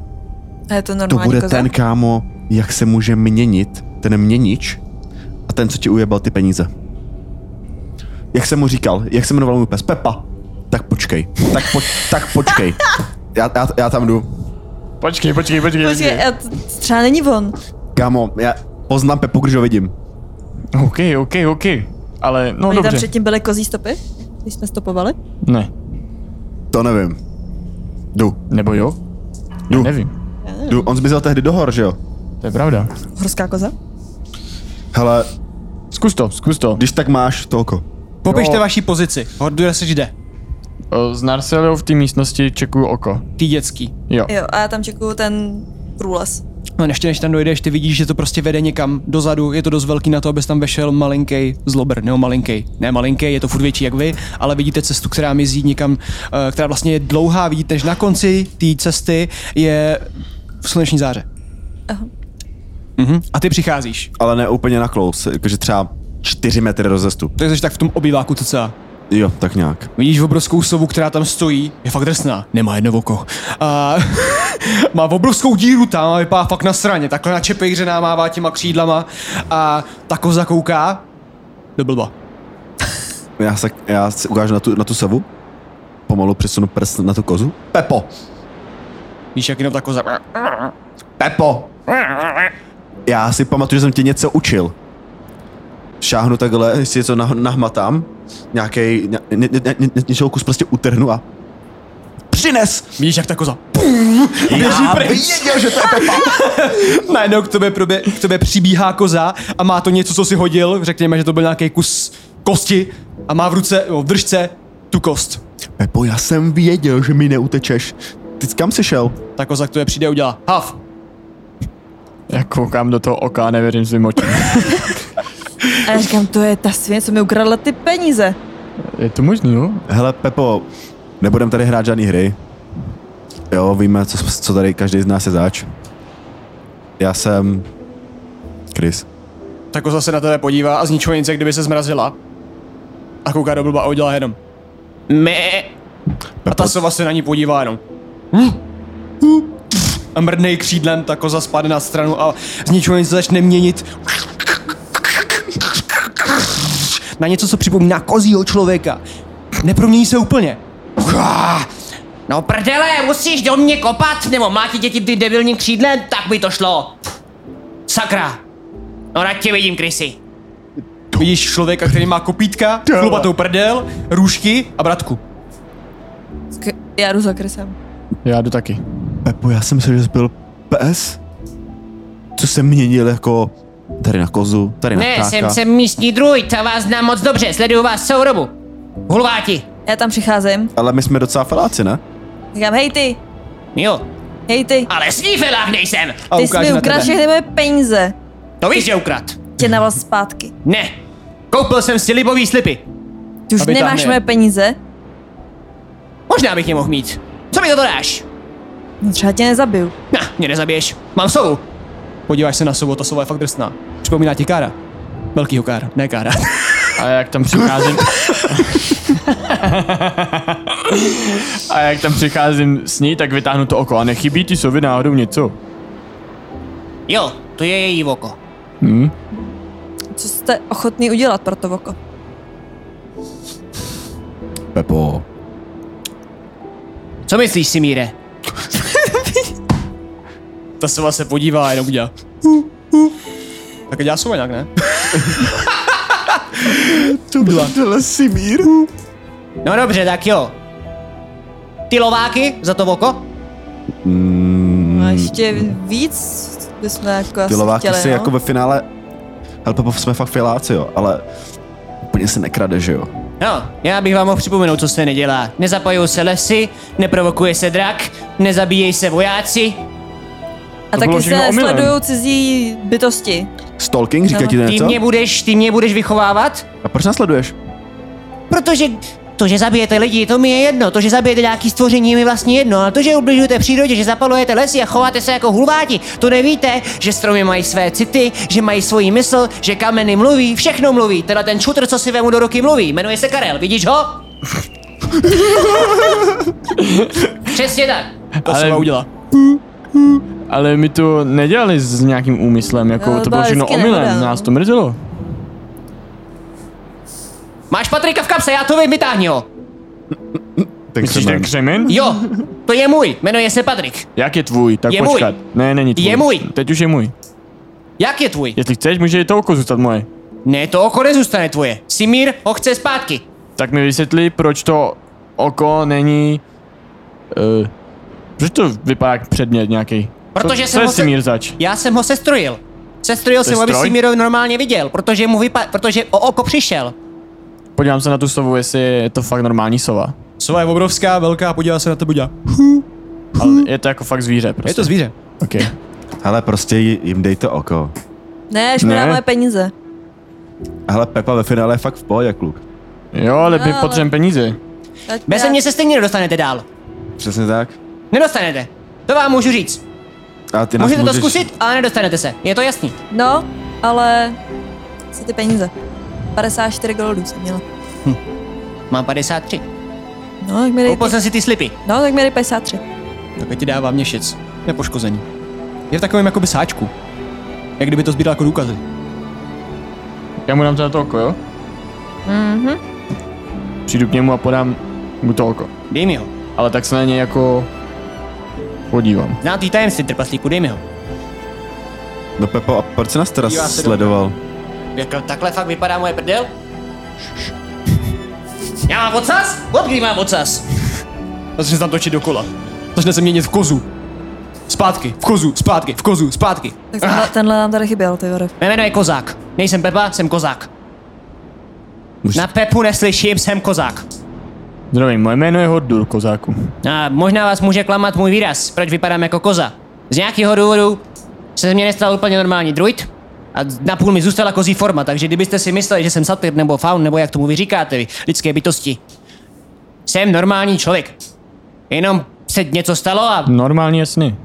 S5: A je to
S3: To
S5: normální
S3: bude
S5: koza?
S3: ten, kámo, jak se může měnit ten měnič a ten, co ti ujebal ty peníze. Jak jsem mu říkal, jak se jmenoval můj pes? Pepa. Tak počkej, tak, po, tak počkej. Já, já, já tam jdu.
S4: Počkej, počkej, počkej.
S5: Počkej, a eh, t- třeba není on.
S3: Kámo, já poznám Pepu, když ho vidím.
S4: OK, OK, OK. Ale no
S5: Oni
S4: dobře.
S5: tam předtím byly kozí stopy, když jsme stopovali.
S4: Ne.
S3: To nevím. Jdu,
S4: Nebo jo?
S3: jdu,
S4: Nevím.
S3: jdu. On zmizel tehdy do hor, že jo?
S4: To je pravda.
S5: Horská koza.
S3: Hele,
S4: Zkus to, zkus to.
S3: když tak máš to oko.
S1: Popište
S4: Jo.
S1: vaši pozici. Hordure se jde.
S4: O, Eh, S Narselou v té místnosti čekuju oko.
S1: Ty dětský.
S4: Jo.
S5: Jo, a já tam čekuju ten průlez.
S1: No ještě než tam dojdeš, ty vidíš, že to prostě vede někam dozadu, je to dost velký na to, abys tam vešel malinký zlobr, nebo malinký, ne malinký, je to furt větší jak vy, ale vidíte cestu, která mizí někam, eh, která vlastně je dlouhá, vidíte, že na konci té cesty je sluneční záře.
S5: Aha.
S1: Mhm. A ty přicházíš,
S3: Ale ne úplně na close, jakože třeba 4 metry rozestup.
S1: takže jsi tak v tom obýváku cca.
S3: Jo, tak nějak.
S1: Vidíš obrovskou sovu, která tam stojí, je fakt drsná, nemá jedno oko. A má obrovskou díru tam a vypadá fakt na straně, takhle na čepejřená mává těma křídlama a ta koza kouká do blba.
S3: Já se, já se ukážu na tu, na tu sovu. Pomalu přesunu prst na tu kozu. Pepo,
S1: Víš, jak jenom ta koza.
S3: Pepo! Já si pamatuju, že jsem tě něco učil. Šáhnu takhle, jestli něco nah- nahmatám, nějaký, ně, ně, ně, ně, ně, něčeho kus prostě utrhnu a přines!
S1: Víš, jak ta koza.
S3: Běží
S1: pryč.
S3: věděl, že to je Pepa!
S1: Najednou no, k tobě, probě, k tobě přibíhá koza a má to něco, co si hodil, řekněme, že to byl nějaký kus kosti a má v ruce, no, v držce tu kost.
S3: Pepo, já jsem věděl, že mi neutečeš. Ty jsi kam jsi šel?
S1: Ta koza k tobě přijde a udělá haf.
S4: Já koukám do toho oka a nevěřím svým očím.
S5: A já říkám, to je ta svině, co mi ukradla ty peníze.
S4: Je to možný, jo?
S3: Hele, Pepo, nebudem tady hrát žádný hry. Jo, víme, co, co tady každý z nás je zač. Já jsem... Chris.
S1: Ta koza se jako na tebe podívá a z ničeho nic, jak kdyby se zmrazila. A kouká do blba a udělá jenom. Me. A ta sova se vlastně na ní podívá jenom.
S7: Hm?
S1: A mrdnej křídlem, ta koza spadne na stranu a z ničeho nic se začne měnit. Na něco, co připomíná kozího člověka. Nepromění se úplně.
S7: No prdele, musíš do mě kopat, nebo máte děti ty debilní křídle, tak by to šlo. Sakra. No rád tě vidím, Krysy.
S1: Vidíš člověka, který má kopítka, chlupatou prdel, růžky a bratku.
S5: K- já jdu za krysem.
S4: Já jdu taky.
S3: Pepo, já jsem myslel, že jsi byl pes, co se měnil jako tady na kozu, tady na
S7: Ne,
S3: ptáka.
S7: jsem, jsem místní druid a vás znám moc dobře, sleduju vás celou dobu. Hulváti.
S5: Já tam přicházím.
S3: Ale my jsme docela feláci, ne?
S5: Říkám, hej ty,
S7: Jo,
S5: hej ty,
S7: ale snífelák nejsem.
S1: A
S5: ty jsi mi ukradl všechny moje peníze.
S7: To víš, že ukrad.
S5: Tě na vás zpátky.
S7: Ne. Koupil jsem si libový slipy.
S5: Ty už
S1: Aby tam
S5: nemáš
S1: je.
S5: moje peníze.
S7: Možná bych je mohl mít. Co mi to dodáš?
S5: No třeba tě nezabiju.
S7: Na, mě nezabiješ. Mám sovu.
S1: Podíváš se na sovu, ta sova je fakt drsná. Připomíná ti kára. Velkýho kára, ne kára.
S4: A jak tam přicházím... a jak tam přicházím s ní, tak vytáhnu to oko. A nechybí ti sově náhodou něco?
S7: Jo, to je její oko.
S5: Co jste ochotný udělat pro to oko?
S3: Pepo.
S7: Co myslíš, Simíre?
S1: Ta sova se podívá a jenom udělá. Tak dělá sova nějak, ne?
S3: To byla tohle Simír.
S7: No dobře, tak jo. Ty lováky za to oko?
S5: No ještě víc bychom jako
S3: Ty
S5: asi
S3: lováky
S5: chtěli,
S3: si
S5: no?
S3: jako ve finále... Hele Pepo, jsme fakt feláci, jo, ale úplně se nekrade, že jo?
S1: No, já bych vám mohl připomenout, co se nedělá. Nezapajují se lesy, neprovokuje se drak, nezabíjejí se vojáci,
S5: A
S4: bylo
S5: taky
S4: všechno
S5: se
S4: omylem.
S5: sledují cizí bytosti.
S3: Stalking, říká
S5: No,
S3: ti to
S1: ty
S3: něco?
S1: mě budeš, ty mě budeš vychovávat?
S3: A proč nás sleduješ?
S1: Protože to, že zabijete lidi, to mi je jedno. To, že zabijete nějaký stvoření, je mi vlastně jedno. Ale to, že ubližujete přírodě, že zapalujete lesy a chováte se jako hulváti, to nevíte, že stromy mají své city, že mají svoji mysl, že kameny mluví, všechno mluví. Teda ten čutr, co si vemu do ruky, mluví. Jmenuje se Karel, vidíš ho? Přesně tak.
S8: To se vám udělá.
S4: Ale my to nedělali s nějakým úmyslem, jako
S5: No,
S4: to
S5: byla
S4: bylo všechno
S5: vždycky
S4: omylem,
S5: nehoda.
S4: nás to mrzelo.
S1: Máš Patrika v kapse, já to vím, vytáhni ho.
S3: Ten
S4: Myslíš ten křemen?
S1: Jo, to je můj, jmenuje se Patrik.
S4: Jak je tvůj? Tak
S1: Je můj.
S4: počkat. Ne, není tvůj.
S1: Je můj.
S4: Teď už je můj.
S1: Jak je tvůj?
S4: Jestli chceš, může i to oko zůstat moje.
S1: Ne, to oko nezůstane tvoje. Simír ho chce zpátky.
S4: Tak mi vysvětli, proč to oko není... Uh, proč to vypadá jak předmět nějaký?
S1: Protože
S4: co,
S1: jsem
S4: co je
S1: ho se-
S4: Simír zač?
S1: Já jsem ho sestrojil. Sestrojil jsem ho, aby
S4: Sestroj?
S1: Simíro normálně viděl, protože mu vypa- protože o oko přišel.
S4: Podívám se na tu sovu, jestli je to fakt normální sova.
S8: Sova je obrovská, velká, podívá se na tebe, dělá.
S4: Ale
S1: Hmm.
S4: je to jako fakt zvíře prostě.
S8: Je to zvíře.
S4: Okay.
S3: Hele, prostě j- jim dejte oko.
S5: Ne, až mi dá
S4: Ne.
S5: moje peníze.
S3: Hele, Pepa ve finále je fakt v pohodě, kluk.
S4: Jo, ale my
S5: No, ale-
S4: potřebujeme peníze.
S5: Ať mi
S1: Bez
S5: dá-
S1: mě se stejně nedostanete dál.
S3: Přesně tak.
S1: Nedostanete. To vám můžu říct.
S3: A ty nás
S1: Můžete to
S3: můžeš...
S1: zkusit, ale nedostanete se. Je to jasný.
S5: No, ale co ty peníze? 54 goldů jsem měla.
S1: Mám 53.
S5: No, tak mi dej,
S1: Koupil jsem si ty slipy.
S5: no, tak mi dej 53.
S8: Tak já ti dává měšec. Nepoškození. Je v takovém jakoby sáčku. Jak kdyby to sbíral jako důkazy.
S4: Já mu dám teda to oko, jo? Mhm. Přijdu k němu a podám mu to oko.
S1: Dej mi ho.
S4: Ale tak se na něj jako podívám.
S1: Znáte tajemství, trpaslíku, dej mi ho.
S3: No Pepo, a proč jsi nás teda
S8: Dívá se do-
S3: sledoval?
S1: Jako, takhle fakt vypadá moje prdel? Já mám ocas? Od kdy mám ocas?
S8: Začne se tam točit dokola. Začne se měnit v kozu. Zpátky, v kozu, zpátky, v kozu, zpátky.
S5: Tak tenhle, tenhle nám tady chyběl, ty vole.
S1: Jmenuje Kozák. Nejsem Pepa, jsem Kozák.
S3: Už-
S1: Na Pepu neslyším, jsem Kozák.
S4: Zdravím, moje jméno je Hordur, kozáku.
S1: A možná vás může klamat můj výraz, proč vypadám jako koza. Z nějakého důvodu se ze mě nestal úplně normální druid a napůl mi zůstala kozí forma, takže kdybyste si mysleli, že jsem satyr nebo faun, nebo jak tomu vy říkáte, vy, lidské bytosti, jsem normální člověk. Jenom se něco stalo a
S4: Normální je sny.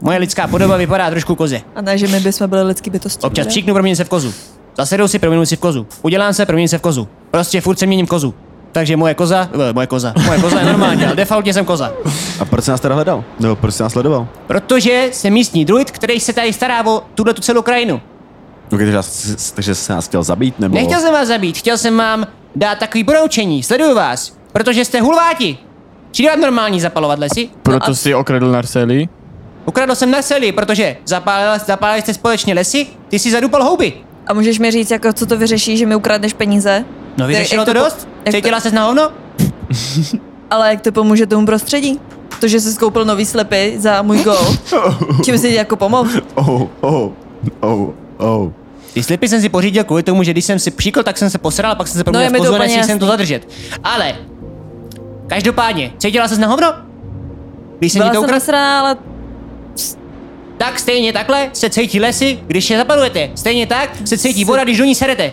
S1: moje lidská podoba vypadá trošku koze.
S5: A ne, že my bychom byli lidský bytosti.
S1: Občas
S5: ne?
S1: křiknu, proměním se v kozu. Zasedou si, proměním se v kozu. Udělám se, proměním se v kozu. Prostě furt se měním v kozu. Takže moje koza, eh, moje koza, moje koza je normální, ale defaultně jsem koza.
S3: A proč jsi nás teda hledal? No, proč jsi nás sledoval?
S1: Protože jsem místní druid, který se tady stará o tuhle tu celou krajinu.
S3: No, takže, nás- takže jsi nás chtěl zabít, nebo...
S1: Nechtěl jsem vás zabít, chtěl jsem vám dát takový poroučení, sleduju vás, protože jste hulváti. Přijde vám normální zapalovat lesy?
S4: Proto si okradl Narceli.
S1: Ukradl jsem na seli, protože zapálil, zapálili jste společně lesy, ty si zadupal houby.
S5: A můžeš mi říct, jako co to vyřeší, že mi ukradneš peníze?
S1: No vyřešilo
S5: Jak
S1: to
S5: po-
S1: dost?
S5: jak
S1: Cítila ses na hovno?
S5: Ale jak to pomůže tomu prostředí? To, že jsi skoupil nový slepy za můj gol, čím jsi jako pomohl?
S3: Oh, oh, oh, oh.
S1: Ty slipy jsem si pořídil kvůli tomu, že když jsem si přikl, tak jsem se posral, pak jsem se proměnil
S5: je mi
S1: v
S5: to
S1: kozu a
S5: úplně
S1: nesíl jsem
S5: jasný.
S1: No, to zadržet. Ale, každopádně, cítila ses na hovno? Když jsem ti
S5: Byla
S1: to
S5: jsem
S1: ukradl?
S5: nasraná, ale
S1: Tak stejně takhle se cítí lesy, když je zapalujete. Stejně tak se cítí voda, když do ní serete.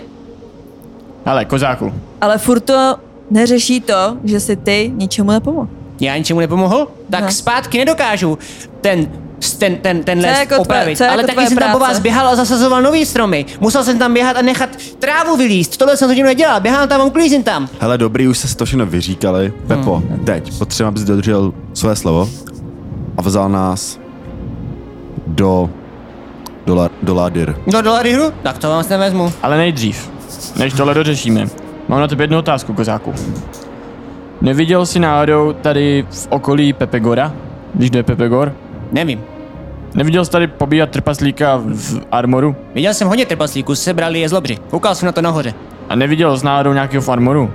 S4: Ale kozáku,
S5: Ale furt to neřeší to, že si ty ničemu nepomohl.
S1: Já ničemu nepomohl, tak
S5: No.
S1: zpátky nedokážu ten ten, ten, ten
S5: Co je
S1: les
S5: jako tvoje-
S1: opravit.
S5: co je
S1: Ale
S5: jako
S1: taky
S5: tvoje
S1: jsem tam po
S5: práce?
S1: vás běhal a zasazoval nový stromy. Musel jsem tam běhat a nechat trávu vylíst. Tohle jsem hodinu nedělal. Běhám tam a uklízím tam.
S3: Hele, dobrý, už se to všechno vyříkali. Pepo, teď potřebujeme, abys dodržel své slovo a vzal nás do, do, La, do Ladyr.
S1: No dolary hru? Tak to vám se vezmu.
S4: ale nejdřív, než tohle dořešíme, mám na tebe jednu otázku, kozáku. Neviděl jsi náhodou tady v okolí Pepegora, když jde Pepegor?
S1: Nevím.
S4: Neviděl jsi tady pobíhat trpaslíka v- v armoru?
S1: Viděl jsem hodně trpaslíků, sebrali je z lobři. Koukal jsem na to nahoře.
S4: A neviděl jsi náhodou nějakého v armoru?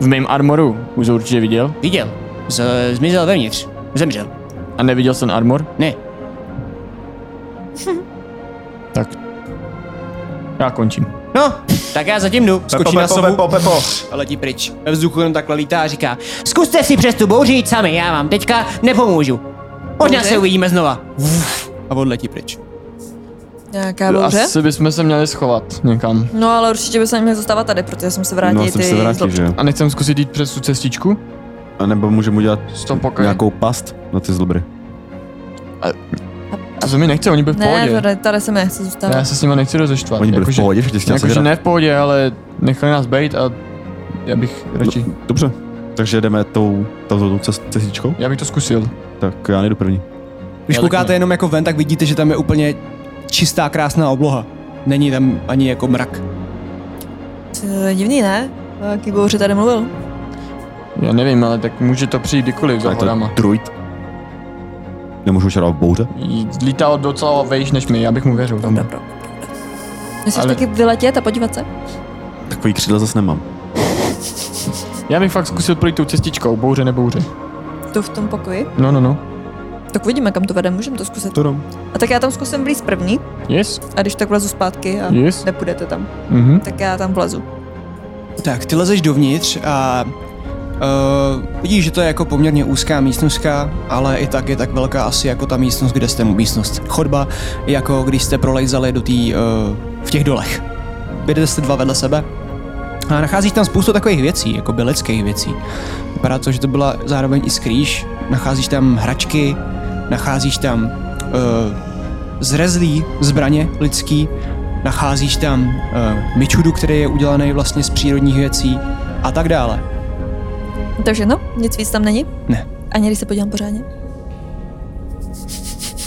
S4: V mém armoru už ho určitě viděl.
S1: Viděl. Z, zmizel vevnitř. Zemřel.
S4: A neviděl jsi ten armor?
S1: Ne.
S4: Tak já končím.
S1: No, tak já zatím jdu. Skočí na sobu
S9: Pepo, Pepo.
S8: a letí pryč. Ve vzduchu jenom takhle lítá a říká,
S1: Zkuste si přes tu bouři jít sami, já vám teďka nepomůžu. Možná se uvidíme znova.
S8: a odletí pryč.
S5: Nějaká bouře?
S4: Asi bychom se měli schovat někam.
S5: No ale určitě by se neměl zastávat tady, protože jsem se vrátil
S3: No, jsem
S5: ty
S3: se vrátil,
S5: zlobčí.
S3: že jo?
S4: A nechcem zkusit jít přes tu cestičku?
S3: A nebo můžeme udělat
S4: Z toho pokoje.
S3: nějakou past na ty zlobry.
S4: To se mi nechce, oni byli v
S5: Ne,
S4: pohodě.
S5: tady, tady se mi nechce zůstat.
S4: Já se s nimi nechci rozeštvat.
S3: Oni byli v
S4: Jakože-
S3: pohodě, že tě chtěl
S4: Jakože
S3: sežrat.
S4: ne v pohodě, ale nechali nás bejt a já bych radši,
S3: No, Dobře, takže jdeme tou, tou, tou cest- cestičkou?
S4: já bych to zkusil.
S3: Tak já nejdu první.
S8: Když
S4: Já taky
S8: koukáte
S4: ne.
S8: jenom jako ven, tak vidíte, že tam je úplně čistá, krásná obloha. Není tam ani jako mrak.
S5: To je divný, ne? O jaký bouře tady mluvil?
S4: Já nevím, ale tak může to přijít kdykoliv za
S3: Tak to
S4: horama.
S3: druid. Nemůžu čarovat v bouře?
S4: Lítal docela vejš než my, já bych mu věřil tomu.
S5: Dobro. Myslíš
S4: Ale-
S5: taky vyletět a podívat se?
S3: Takový křídla zase nemám.
S4: Já bych fakt zkusil projít tou cestičkou, bouře nebouře.
S5: Tu v tom pokoji?
S4: No, no, no.
S5: Tak uvidíme, kam to vede, můžeme to zkusit.
S3: To dám.
S5: A tak já tam zkusím vlíz první
S4: Yes,
S5: a když tak vlezu zpátky a
S4: yes.
S5: nepůjdete tam,
S4: Mhm.
S5: tak já tam vlezu.
S8: Tak, ty lezeš dovnitř a uh, vidíš, že to je jako poměrně úzká místnostka, ale i tak je tak velká asi jako ta místnost, kde jste místnost chodba, jako když jste prolejzali do té uh, v těch dolech. Jedete jste dva vedle sebe a nacházíš tam spoustu takových věcí, jako bylických věcí. Vypadá to, že to byla zároveň i skrýž. Nacházíš tam hračky, nacházíš tam uh, zrezlý zbraně lidský, nacházíš tam uh, mičudu, který je udělaný vlastně z přírodních věcí a tak dále.
S5: Takže no, nic víc tam není?
S8: Ne.
S5: Ani když se podívám pořádně?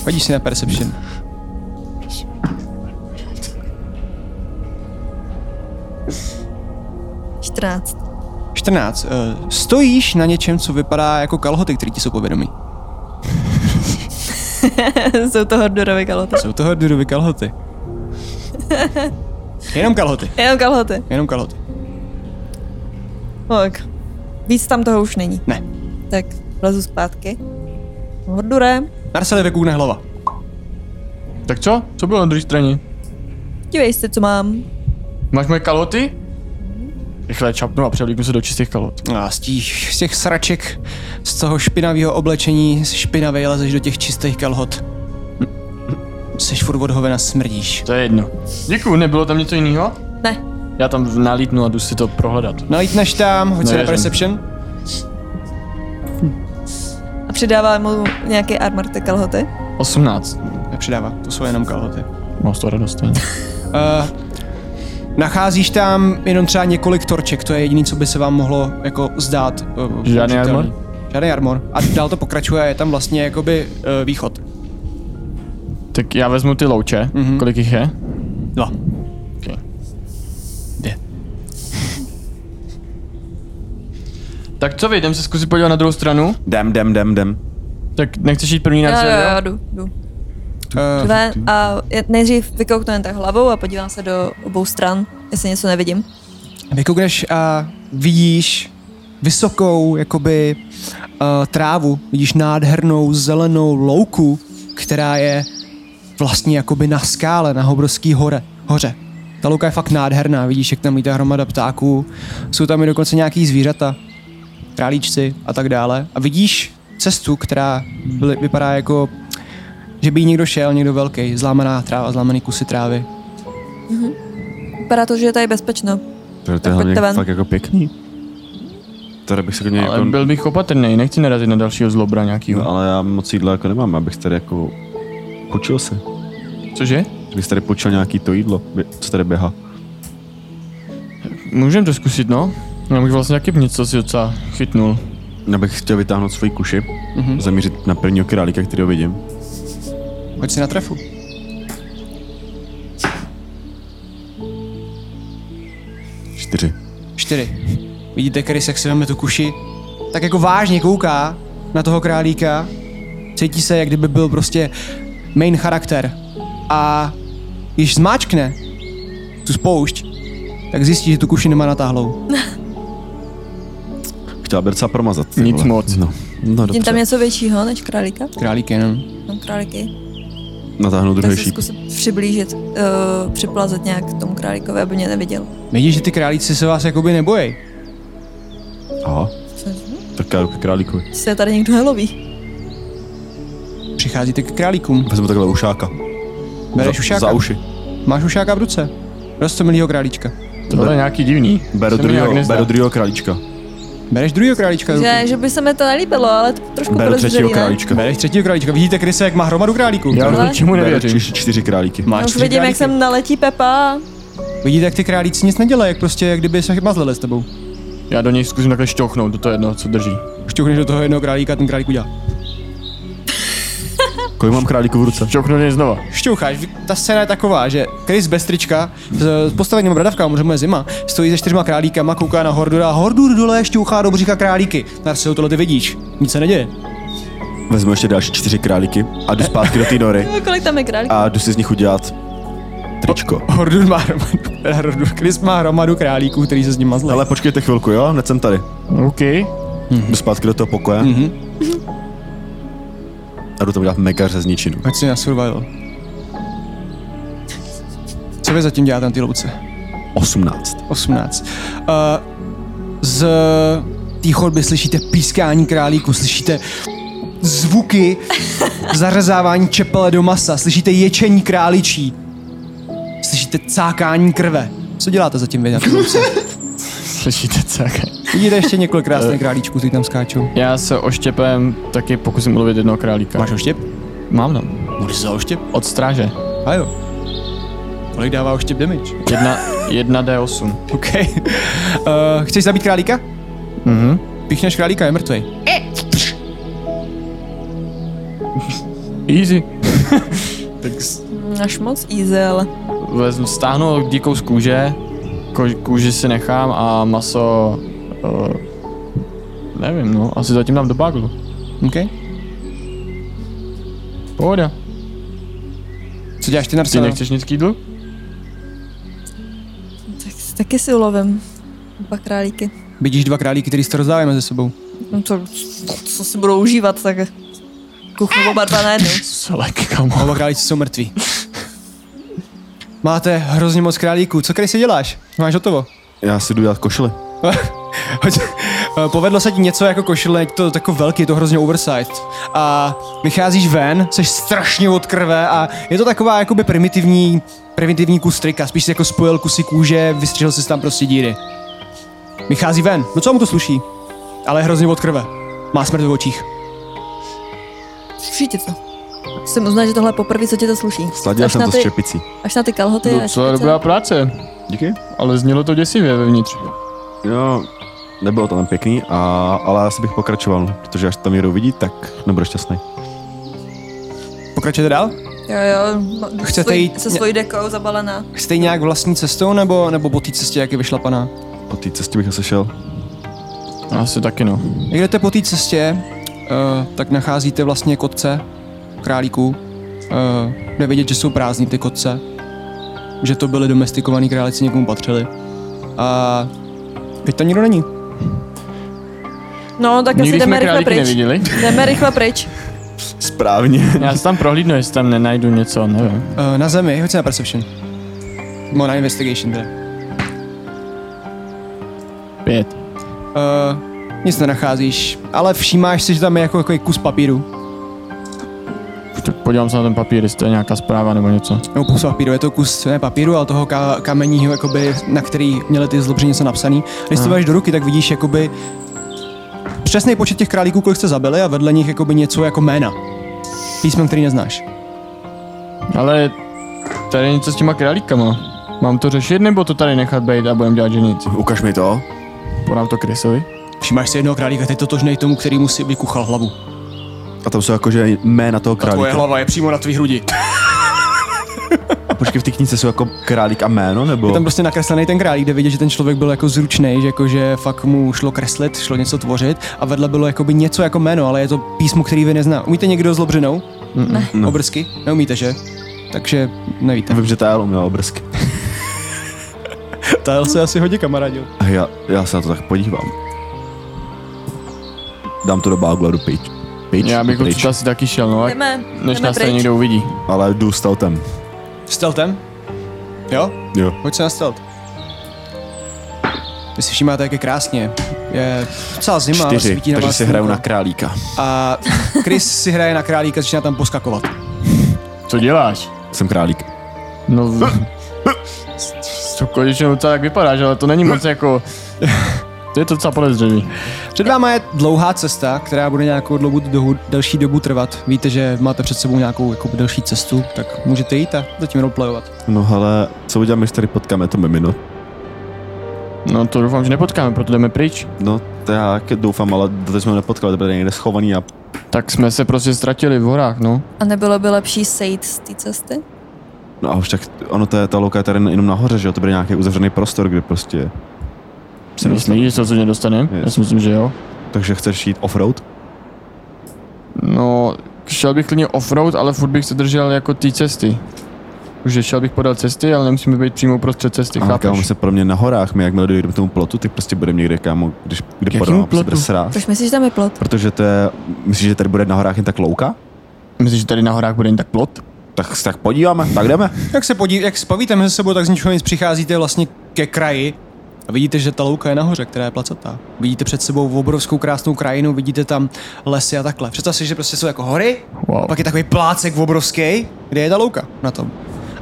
S8: Hodíš si na Perception.
S5: čtrnáct.
S8: 14. Uh, stojíš na něčem, co vypadá jako kalhoty, které ti jsou povědomí.
S5: Jsou to hordorovy kalhoty.
S8: Jsou to hordurovy kalhoty. Jenom kalhoty.
S5: Jenom kalhoty.
S8: Jenom kalhoty.
S5: Tak. Víc tam toho už není.
S8: Ne.
S5: Tak vlezu zpátky. Hordure,
S8: Narseli vykoukne hlava.
S4: Tak co? Co bylo na druhé straně?
S5: dívej se, co mám.
S4: Máš moje kaloty? Rychle čapnu a převlíknu se do čistých kalot.
S8: A z, tí, z těch sraček, z toho špinavého oblečení, z špinavej lezeš do těch čistých kalhot. Hm. Seš furt odhovena, smrdíš.
S4: To je jedno. Děkuju, nebylo tam něco jiného?
S5: Ne,
S4: Já tam nalítnu a jdu si to prohledat.
S8: Nalítneš tam, hoď se na
S4: Neježem.
S8: Perception.
S5: a přidává mu nějaký armor ty kalhoty.
S4: 18.
S8: Nepřidává, to jsou jenom kalhoty.
S4: Mám z toho radost. ne?
S8: Uh, nacházíš tam jenom třeba několik torček, to je jediné, co by se vám mohlo jako zdát. Uh, použitelný.
S4: armor?
S8: Žádný armor. A dál to pokračuje, je tam vlastně jakoby uh, východ.
S4: tak já vezmu ty louče.
S8: Mhm.
S4: Kolik jich je? No.
S8: Dva.
S4: Tak co vy, jdem se zkusit podívat na druhou stranu?
S3: Jdem, jdem, jdem, jdem.
S4: Tak nechceš jít první na
S5: Já, já, já
S4: sever?
S5: jdu, jdu.
S8: Uh,
S5: Ven a je- nejdřív vykouknu jen tak hlavou a podívám se do obou stran, jestli něco nevidím.
S8: Vykoukneš Jako a vidíš vysokou jakoby uh, trávu, vidíš nádhernou zelenou louku, která je vlastně jakoby na skále, na obrovský hore, hoře. Ta louka je fakt nádherná, vidíš, jak tam lítá hromada ptáků, jsou tam i dokonce nějaký zvířata, králíčci a tak dále. A vidíš cestu, která byly, vypadá jako, že by jí někdo šel, někdo velký, zlámaná tráva, zlámaný kusy trávy.
S5: Vypadá to, že je tady bezpečno.
S3: Takže to
S5: Tak
S3: je hlavně
S5: pojďte ven.
S3: fakt jako pěkný. Tady bych se klidně
S4: Ale
S3: jako...
S4: byl bych opatrný, nechci narazit na dalšího zlobra
S3: No,
S4: nějakýho.
S3: ale já moc jídla jako nemám, abych tady jako... Počil se.
S4: Cože?
S3: Že bych tady počil nějaký to jídlo, bě- co tady běhá.
S4: Můžeme to zkusit, no. Já bych vlastně taky něco si docela chytnul.
S3: Já bych chtěl vytáhnout svoji kuši,
S5: Mhm.
S3: mm-hmm. zamířit na prvního králíka, kterého vidím.
S8: Hoď si na trefu.
S3: Čtyři.
S8: čtyři. Vidíte, Chris, jak si veme tu kuši, tak jako vážně kouká na toho králíka, cítí se, jak kdyby byl prostě main charakter. A když zmáčkne tu spoušť, tak zjistí, že tu kuši nemá natáhlou.
S3: Chtěla bych docela promazat. ty
S4: Nic
S3: vole.
S4: moc.
S3: No, no
S5: Vidím tam
S3: dobře.
S5: něco většího než králíka.
S8: Králík jenom.
S5: No, králíky.
S3: natáhnu
S5: Tak
S3: druhý
S5: se
S3: šíp.
S5: zkusím přiblížit, uh, připlazit nějak k tomu králíkovi, aby mě neviděl.
S8: Vidíš, že ty králíci se vás jakoby nebojí.
S3: Aha, tak já jdu k králíkovi.
S5: Co je tady někdo neloví?
S8: Přicházíte k králíkům.
S3: Vezmu takhle ušáka.
S8: Bereš
S3: za,
S8: ušáka?
S3: Za uši.
S8: Máš ušáka v ruce. Rostomilýho králíčka.
S4: Tohle je nějaký divný.
S3: Beru
S4: Se mi nějak
S3: druhého,
S4: nezdá.
S3: beru druhého králíčka.
S5: Jako
S8: Bereš druhýho králíčka do ruky.
S5: Že, že by se mi to nelíbilo, ale trošku
S3: Beru třetího
S5: podezřelý, ne?
S3: králíčka.
S8: Bereš třetího králíčka. Vidíte kryse, jak má hromadu králíků.
S4: Já už
S5: Tohle?
S4: ničemu
S3: Beru
S4: nevěřím.
S3: čtyři, čtyři králíky.
S8: Máš
S5: Já No už
S8: čtyři
S5: vidím, jak
S8: králíky.
S5: sem naletí Pepa.
S8: Vidíte, jak ty králíci nic nedělají, jak prostě, jak kdyby se mazlili s tebou.
S4: Já do něj zkusím takhle šťouchnout, do toho jednoho, co drží.
S8: Šťuchneš do toho jednoho králíka, ten králík udělá.
S3: Kolik mám králíků v ruce?
S4: Šťouchnu do něj znova.
S8: Šťoucháš, vy- ta scéna je taková, že Chris bez trička, s s postaveným bradavkám, protože mu je zima, stojí se čtyřma králíkama, kouká na Hordura a Hordur dole šťouchá do břicha králíky. Narsil, tohle ty vidíš, nic se neděje.
S3: Vezmu ještě další čtyři králíky a jdu zpátky do té nory
S5: No, kolik tam je králíků?
S3: a jdu si z nich udělat tričko.
S8: Hordur má hromadu, teda Hordur, Chris má hromadu králíků, který se s ním mazlí.
S3: Ale počkejte chvilku, jo? Hned jsem tady.
S4: OK.
S3: Jdu zpátky do toho pokoje. A jdu tam dělat mega řezničinu.
S8: Pojď si na survival. Co vy zatím děláte na té louce?
S3: 18.
S8: 18. Uh, z té chodby slyšíte pískání králíku, slyšíte zvuky zařezávání čepele do masa, slyšíte ječení králičí, slyšíte cákání krve. Co děláte zatím vy na té louce?
S4: Slyšíte co?
S8: Vidíte ještě několik krásných králíčků, kteří tam skáčou.
S4: Já se oštěpem taky pokusím ulovit jednoho králíka.
S8: Máš oštěp?
S4: Mám tam.
S8: Můžeš za oštěp?
S4: Od stráže.
S8: A jo. Kolik dává oštěp damage?
S4: Jedna, jedna D8.
S8: OK. Uh, chceš zabít králíka? Mhm. Píchneš králíka, je mrtvej.
S4: Easy.
S5: Až moc easel.
S4: Vezmu, stáhnu díkou z kůže, ko, kůži si nechám a maso... Uh, nevím, no, asi zatím dám do baglu.
S8: OK.
S4: Pohoda.
S8: Co děláš ty
S4: Ty
S8: napsal?
S4: nechceš nic k jídlu?
S5: Tak, taky si ulovím. Dva králíky.
S8: Vidíš dva králíky, který se rozdávají mezi sebou.
S5: No to, co si budou užívat, tak kuchnu oba dva najednou.
S4: Selek, kamo.
S8: Oba králíci jsou mrtví. Máte hrozně moc králíků. Co když si děláš? Máš hotovo.
S3: Já si jdu dělat košile.
S8: Hoď- eh, Povedlo se ti něco jako košile, je to jako velký, je to hrozně oversized. A vycházíš ven, jsi strašně od krve a je to taková jakoby primitivní, primitivní kus trika. Spíš si jako spojil kusy kůže, vystřihl si tam prostě díry. Vychází ven, docela mu to sluší, ale je hrozně od krve. Má smrt v očích.
S5: Sluší ti to. Jsem uznat, že tohle je poprvé, co ti to sluší.
S3: Sladil
S5: až,
S3: jsem
S5: na
S3: to
S5: ty,
S3: s čepicí.
S5: až na ty kalhoty. až
S4: Docela
S5: na ty-
S4: dobrá práce,
S3: Díky.
S4: ale znělo to děsivě vevnitř.
S3: Jo, nebylo to tam pěkný, a, ale asi bych pokračoval, protože až tam jedou vidí, tak nebudu šťastný.
S8: Pokračujete dál?
S5: Jo, jo. no,
S8: Chcete
S5: svoj-
S8: jít-
S5: Se svojí dekou zabalená.
S8: Chcete jít nějak vlastní cestou, nebo, nebo po té cestě, jak je vyšlapaná?
S3: Po té cestě bych asi šel.
S4: Asi taky no.
S8: Jak jdete po té cestě, uh, tak nacházíte vlastně kotce králíků. Uh, jde vidět, že jsou prázdní ty kotce. Že to byly domestikovaný králíci, někomu patřili. A teď tam nikdo není.
S5: No, tak asi
S4: Nikdy
S5: jdeme
S4: jsme
S5: rychle
S4: králíky
S5: pryč.
S4: neviděli.
S5: Jdeme rychle pryč.
S3: Správně.
S4: Já se tam prohlídnu, jestli tam nenajdu něco, nevím.
S8: Uh, na zemi, hoď se na Perception. No, na Investigation teda.
S4: Pět.
S8: Uh, nic nenacházíš, ale všímáš si, že tam je jako, jako kus papíru.
S4: Tak podívám se na ten papír, jestli to je nějaká zpráva nebo něco.
S8: nebo kus papíru, je to kus ne papíru, ale toho ka- kamenního, jakoby, na který měli ty zlobři něco napsaný. Když to máš do ruky, tak vidíš jakoby přesný počet těch králíků, kolik jste zabili a vedle nich jakoby něco jako jména. Písmen, který neznáš.
S4: Ale tady je něco s těma králíkama. Mám to řešit nebo to tady nechat být a budem dělat, že nic?
S3: Ukaž mi to.
S4: Podám to Krysovi.
S8: Všimáš si jednoho králíka, teď totožnej tomu, který mu si vykuchal hlavu.
S3: A tam jsou jakože jména toho králíka.
S8: hlava je přímo na tvý hrudi.
S3: A počkej, v té knize jsou jako králík a jméno,
S8: Je
S3: nebo?
S8: tam prostě nakreslený ten králík, kde vidět, že ten člověk byl jako zručný, že, jako, že fakt mu šlo kreslit, šlo něco tvořit a vedle bylo jakoby něco jako jméno, ale je to písmo, který vy nezná. Umíte někdo s lobřinou?
S3: No.
S8: Obrsky? Neumíte, že? Takže nevíte.
S3: Vím, že Tajl uměl obrsky.
S8: Tajl se asi hodně kamarádil.
S3: A já, já se na to tak podívám. Dám to do bagla do pejč. pryč,
S4: Já bych
S3: pryč.
S4: určitě asi taky šel, no, ať-
S5: Jdeme,
S4: než
S5: jdeme
S4: nás tady
S5: pryč.
S4: někdo uvidí.
S3: Ale jdu stealthem.
S8: Steltem? Jo?
S3: Jo.
S8: Pojď se na stelt. Vy si všimáte, jak je krásně. Je docela zima, ale
S3: Čtyři,
S8: svítí na
S3: takže
S8: vás
S3: si hraju na
S8: slunko.
S3: králíka.
S8: A Chris si hraje na králíka, začíná tam poskakovat.
S4: Co děláš?
S3: Jsem králík.
S4: No, to konečně docela tak vypadáš, ale to není moc jako... To je to docela podezřelý.
S8: Před váma je dlouhá cesta, která bude nějakou dlouhou dobu, delší dobu trvat. Víte, že máte před sebou nějakou jako delší cestu, tak můžete jít a zatím roleplayovat.
S3: No hele, co uděláme, když tady potkáme to mimino? No,
S4: To doufám, že nepotkáme, proto jdeme pryč.
S3: no to já taky doufám, ale teď jsme ho nepotkali, to bude někde schovaný a
S4: Tak jsme se prostě ztratili v horách, no.
S5: A nebylo by lepší sejít z té cesty?
S3: No a už tak, ono to je, ta louka je tady jenom nahoře, že jo, to bude nějaký uzavřený prostor, kde prostě...
S4: Si myslíš, že se rozhodně dostaneme?
S3: Je.
S4: Já si myslím, že jo.
S3: Takže chceš jít offroad?
S4: No, šel bych klidně offroad, ale furt bych se držel jako té cesty. Že šel bych podal cesty, ale nemusíme být přímo uprostřed cesty,
S3: A kámo, my
S4: chápeš?
S3: se pro mě na horách, my jakmile dojdeme k tomu plotu, tak prostě budeme někde, kámo, když, kde
S4: jakému
S3: podám, se prostě bude
S4: plotu?
S3: srát.
S5: Proč myslíš, že tam je plot?
S3: Protože to je, myslíš, že tady bude na horách jen tak louka?
S4: Myslíš, že tady na horách bude jen tak plot?
S3: Tak se tak podíváme, tak jdeme.
S8: Jak se podí, jak spavíte mezi sebou, tak z ničeho nic přicházíte vlastně ke kraji a vidíte, že ta louka je nahoře, která je placatá. Vidíte před sebou obrovskou krásnou krajinu, vidíte tam lesy a takhle. Představ si, že prostě jsou jako hory,
S4: Wow.
S8: pak je takový plácek obrovský, kde je ta louka na tom.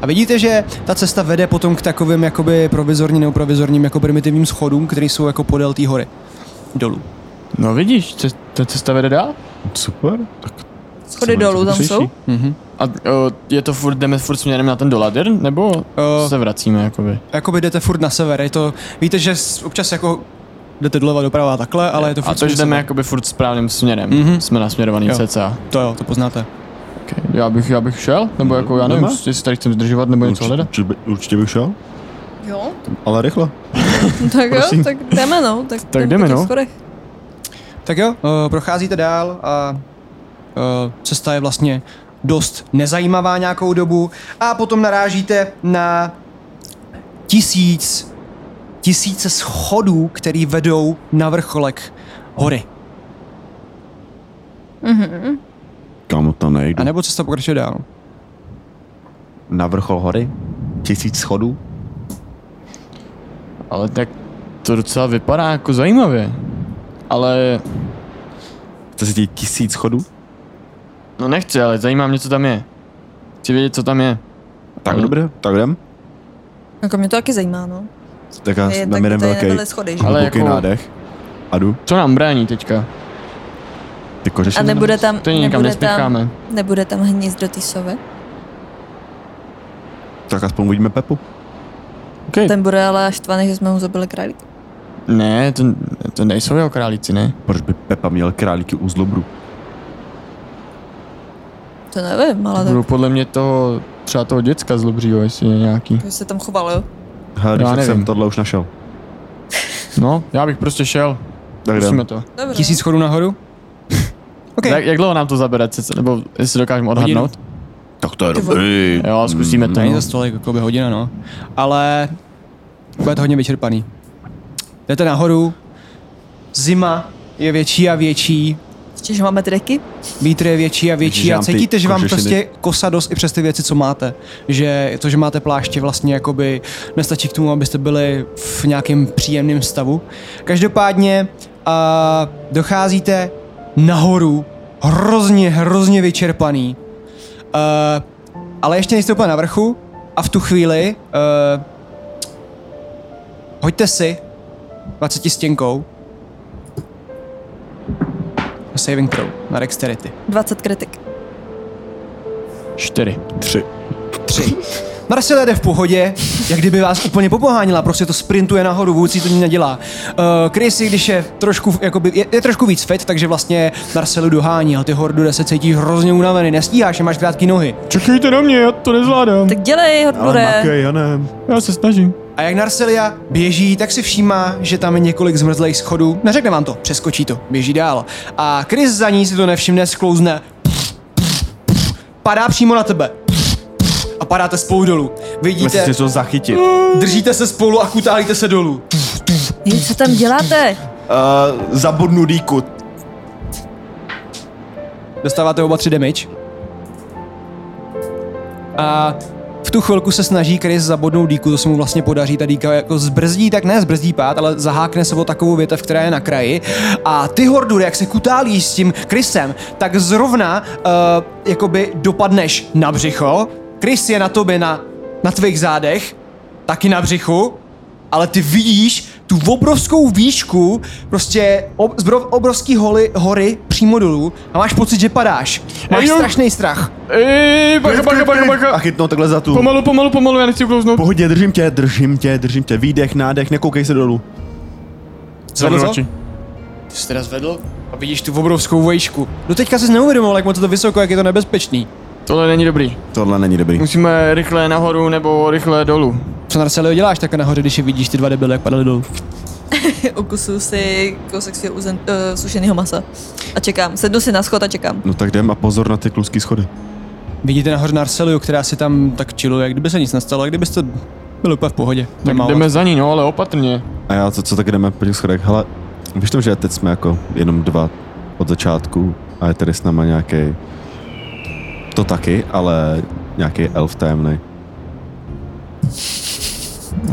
S8: A vidíte, že ta cesta vede potom k takovým jakoby provizorním nebo provizorním jako primitivním schodům, které jsou jako podél té hory. Dolů.
S4: No vidíš, ce- ta cesta vede dál?
S3: Super. Tak
S5: Schody dolů tam jsou?
S4: A o, je to furt, jdeme furt směrem na ten doladir, nebo
S8: Eh.
S4: se vracíme jakoby?
S8: Jakoby jdete furt na sever, je to, víte, že s- občas jako jdete doleva doprava a takhle, ale je to furt
S4: A to, že
S8: směr
S4: jdeme
S8: sever.
S4: jakoby furt správným směrem,
S8: Mhm.
S4: mm-hmm. jsme nasměrovaný
S8: Jo.
S4: cca.
S8: To jo, to poznáte.
S4: Okay. Já bych, já bych šel, nebo jako já nevím,
S3: Jdeme?
S4: jestli tady chcem zdržovat, nebo něco hledat.
S3: určitě, by- určitě bych šel,
S5: Jo.
S3: ale rychle.
S5: Tak jo,
S3: Prosím.
S5: tak jdeme no. Tak, po
S4: jdeme,
S5: těch
S4: no.
S5: schodech.
S8: Tak jo, eh, procházíte dál a eh, cesta je vlastně dost nezajímavá nějakou dobu a potom narážíte na tisíc, tisíce schodů, který vedou na vrcholek hory.
S3: Kámo, to nejdu.
S8: A nebo cesta pokračuje dál.
S3: Na vrchol hory? Tisíc schodů?
S4: Ale tak to docela vypadá jako zajímavě. Ale,
S3: Chce si dělat tisíc schodů?
S4: no nechci, ale zajímá mě, co tam je. Chci vědět, co tam je.
S3: Tak
S4: Ale-
S3: dobře, tak jdem.
S5: Jako mě to taky zajímá, no.
S3: Tak já
S5: Je,
S3: dám
S5: tak
S3: jeden
S5: to je
S3: velký
S5: nebyly schody, že?
S4: Ale
S3: hluboký
S4: jako-
S3: nádech. A jdu.
S4: Co nám brání teďka?
S3: Ty kořeš
S5: A nebude tam,
S4: To nikam
S5: nebude
S4: nespěcháme.
S5: tam, nebude tam hnízdo ty sovy?
S3: Tak aspoň uvidíme Pepu.
S4: Okay.
S5: Ten bude ale štvaný, že jsme mu zabili králíka.
S4: Ne, to, to nejsou jeho králíci, ne?
S3: Proč by Pepa měl králíky u zlobru?
S5: To nevím, ale
S4: To
S5: tak
S4: budou podle mě toho, třeba toho děcka z Lubřího, jestli je nějaký.
S5: že se tam choval, jo.
S3: Hele, když
S4: Já
S3: tak
S4: nevím.
S3: jsem tohle už našel.
S4: No, já bych prostě šel.
S3: Tak
S4: Musíme
S3: jdem.
S4: to.
S5: Dobře.
S8: Tisíc schodů nahoru? OK,
S4: Jak, jak dlouho nám to zabere, cece? nebo jestli dokážeme odhadnout?
S3: Tak to je
S5: Ty vole.
S3: dobrý.
S4: Jo, zkusíme to.
S8: není
S4: No.
S8: za stolik, jako by hodina, no. Ale budete hodně vyčerpaný. Jdete nahoru, zima je větší a větší,
S5: Ještě, že máme treky?
S8: Vítr je větší a větší
S3: Vidíš, že
S8: a
S3: mám ty
S8: cítíte, že vám
S3: kožešiny.
S8: prostě kosa dost i přes ty věci, co máte. Že to, že máte pláště vlastně jakoby nestačí k tomu, abyste byli v nějakém příjemném stavu. Každopádně a docházíte nahoru hrozně, hrozně vyčerpaný. Eh, ale ještě nejste úplně na vrchu a v tu chvíli eh, hoďte si 20 stěnkou saving throw na dexterity.
S5: 20 kritik.
S4: Čtyři.
S3: Tři.
S8: tři. Marcela jde v pohodě, jak kdyby vás úplně popohánila, prostě to sprintuje nahoru, vůbec jí to nic nedělá. Uh, Chris, i když je trošku, jakoby, je, je, trošku víc fit, takže vlastně Marcelu dohání, ale ty hordu se cítíš hrozně unavený, nestíháš, že máš krátké nohy.
S4: Čekejte na mě, já to nezvládám.
S5: Tak dělej,
S3: Ale
S5: Hornure.
S3: makej, já ne.
S4: Já se snažím.
S8: A jak Narcelia běží, tak si všímá, že tam je několik zmrzlých schodů. Neřekne vám to, přeskočí to, běží dál. A Chris za ní si to nevšimne, sklouzne. Padá přímo na tebe. A padáte spolu dolů.
S3: Myslím,
S8: Vidíte,
S3: že to zachytit.
S8: držíte se spolu a kutálíte se dolů.
S5: Jej, co tam děláte?
S3: Uh, zabodnu dýku.
S8: Dostáváte oba tři damage. A v tu chvilku se snaží Chris zabodnout díku, to se mu vlastně podaří, ta díka jako zbrzdí, tak ne zbrzdí pád, ale zahákne se o takovou větev, která je na kraji a ty hordur, jak se kutálíš s tím Chrisem, tak zrovna uh, jakoby dopadneš na břicho, Chris je na tobě na, na tvých zádech, taky na břichu, ale ty vidíš tu obrovskou výšku, prostě ob, zbrov, obrovský holy, hory přímo dolů a máš pocit, že padáš. Máš
S4: Ejjo.
S8: strašný strach.
S4: Ej, bacha, bacha, bacha,
S3: A
S4: bacha.
S3: chytnou takhle za tu.
S4: Pomalu, pomalu, pomalu, já nechci uklouznout.
S3: Pohodě, držím tě, držím tě, držím tě. Výdech, nádech, nekoukej se dolů.
S8: Zvedl to?
S4: Ty jsi teda zvedl?
S8: A vidíš tu obrovskou vejšku. No teďka jsi neuvědomoval, jak moc je to vysoko, jak je to nebezpečný.
S4: Tohle není dobrý.
S3: Tohle není dobrý.
S4: Musíme rychle nahoru nebo rychle dolů.
S8: Co Narcelio děláš tak nahoře, když je vidíš ty dva debily, jak padaly dolů?
S5: Okusu si kousek svého uzen, uh, sušeného masa a čekám. Sednu si na schod a čekám.
S3: No tak jdem a pozor na ty kluský schody.
S8: Vidíte nahoře Narceliu, která si tam tak chilluje, jak kdyby se nic nestalo, jak kdybyste byli úplně v pohodě.
S4: Tak
S8: Normálně.
S4: jdeme za ní, no, ale opatrně.
S3: A já, co, co tak jdeme po těch schodech? Hele, víš to, že teď jsme jako jenom dva od začátku a je tady s náma nějaký to taky, ale nějaký elf tajemný.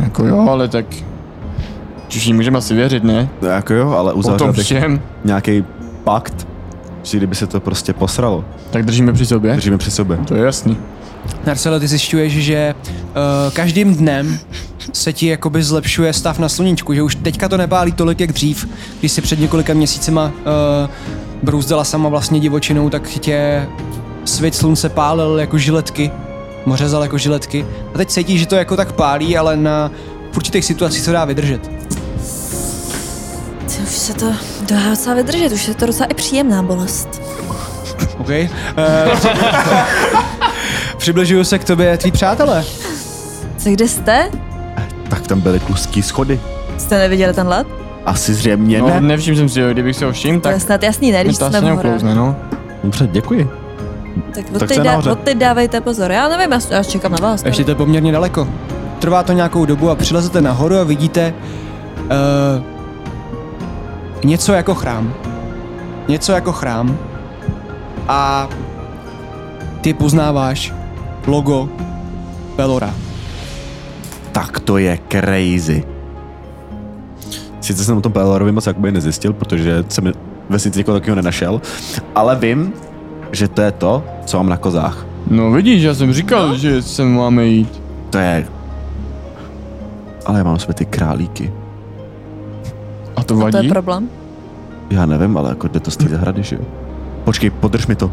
S4: Jako jo, ale tak... Už jí můžeme asi věřit, ne?
S3: No jako jo, ale
S4: Po tom
S3: uzavřel bych
S4: všem.
S3: nějaký pakt, že kdyby se to prostě posralo.
S4: Tak držíme při sobě.
S3: Držíme při sobě.
S4: To je jasný.
S8: Narcelo, ty zjišťuješ, že uh, každým dnem se ti jakoby zlepšuje stav na sluníčku, že už teďka to nepálí tolik, jak dřív, když si před několika měsícima uh, brouzdala sama vlastně divočinou, tak tě svět slunce pálil jako žiletky, mořezal jako žiletky a teď cítíš, že to jako tak pálí, ale na v určitých situacích to dá vydržet.
S5: Ty už se to dá docela vydržet, už je to docela i příjemná bolest.
S8: OK? Uh, přibližuju se k tobě, tví přátelé.
S5: Co kde jste?
S3: Tak tam byly kluský schody.
S5: Jste neviděli ten let?
S3: Asi zřejmě
S4: No,
S3: ne.
S4: nevšiml jsem si ho, kdybych si ho všiml,
S5: To je
S4: tak
S5: snad jasný, ne?
S4: mi
S5: Když
S4: to
S5: jsme
S4: asi
S5: v horách.
S4: neuklouzne, no.
S3: Dobře, děkuji.
S5: Tak od
S3: Tak co
S5: teď,
S3: je
S5: dá,
S3: nahoře?
S5: od teď dávejte pozor. Já nevím, já, já čekám na vás.
S8: Ještě to je poměrně daleko. Trvá to nějakou dobu a přilezete nahoru a vidíte uh, něco jako chrám. Něco jako chrám. A ty poznáváš logo Belora.
S3: Tak to je crazy. Sice jsem o tom Pelorovi moc jakoby nezjistil, protože jsem ve světě někoho takového nenašel, ale vím, že to je to, co mám na kozách.
S4: No vidíš, já jsem říkal, no? že sem máme jít.
S3: To je... Ale já mám své ty králíky.
S4: A to
S5: A No, to je
S4: vadí?
S5: problém.
S3: Já nevím, ale jako jde to z té zahrady, že jo? Počkej, podrž mi to.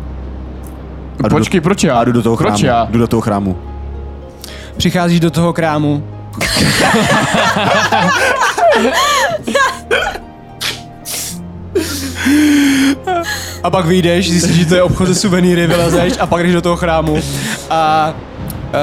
S3: A jdu
S4: Počkej, proč
S3: do,
S4: já?
S3: a jdu do toho chrámu.
S4: Proč já?
S3: Jdu do toho chrámu.
S8: Přicházíš do toho krámu. a pak vyjdeš, zjistíš, že to je obchod se suvenýry, vylezeš a pak jdeš do toho chrámu. A Uh,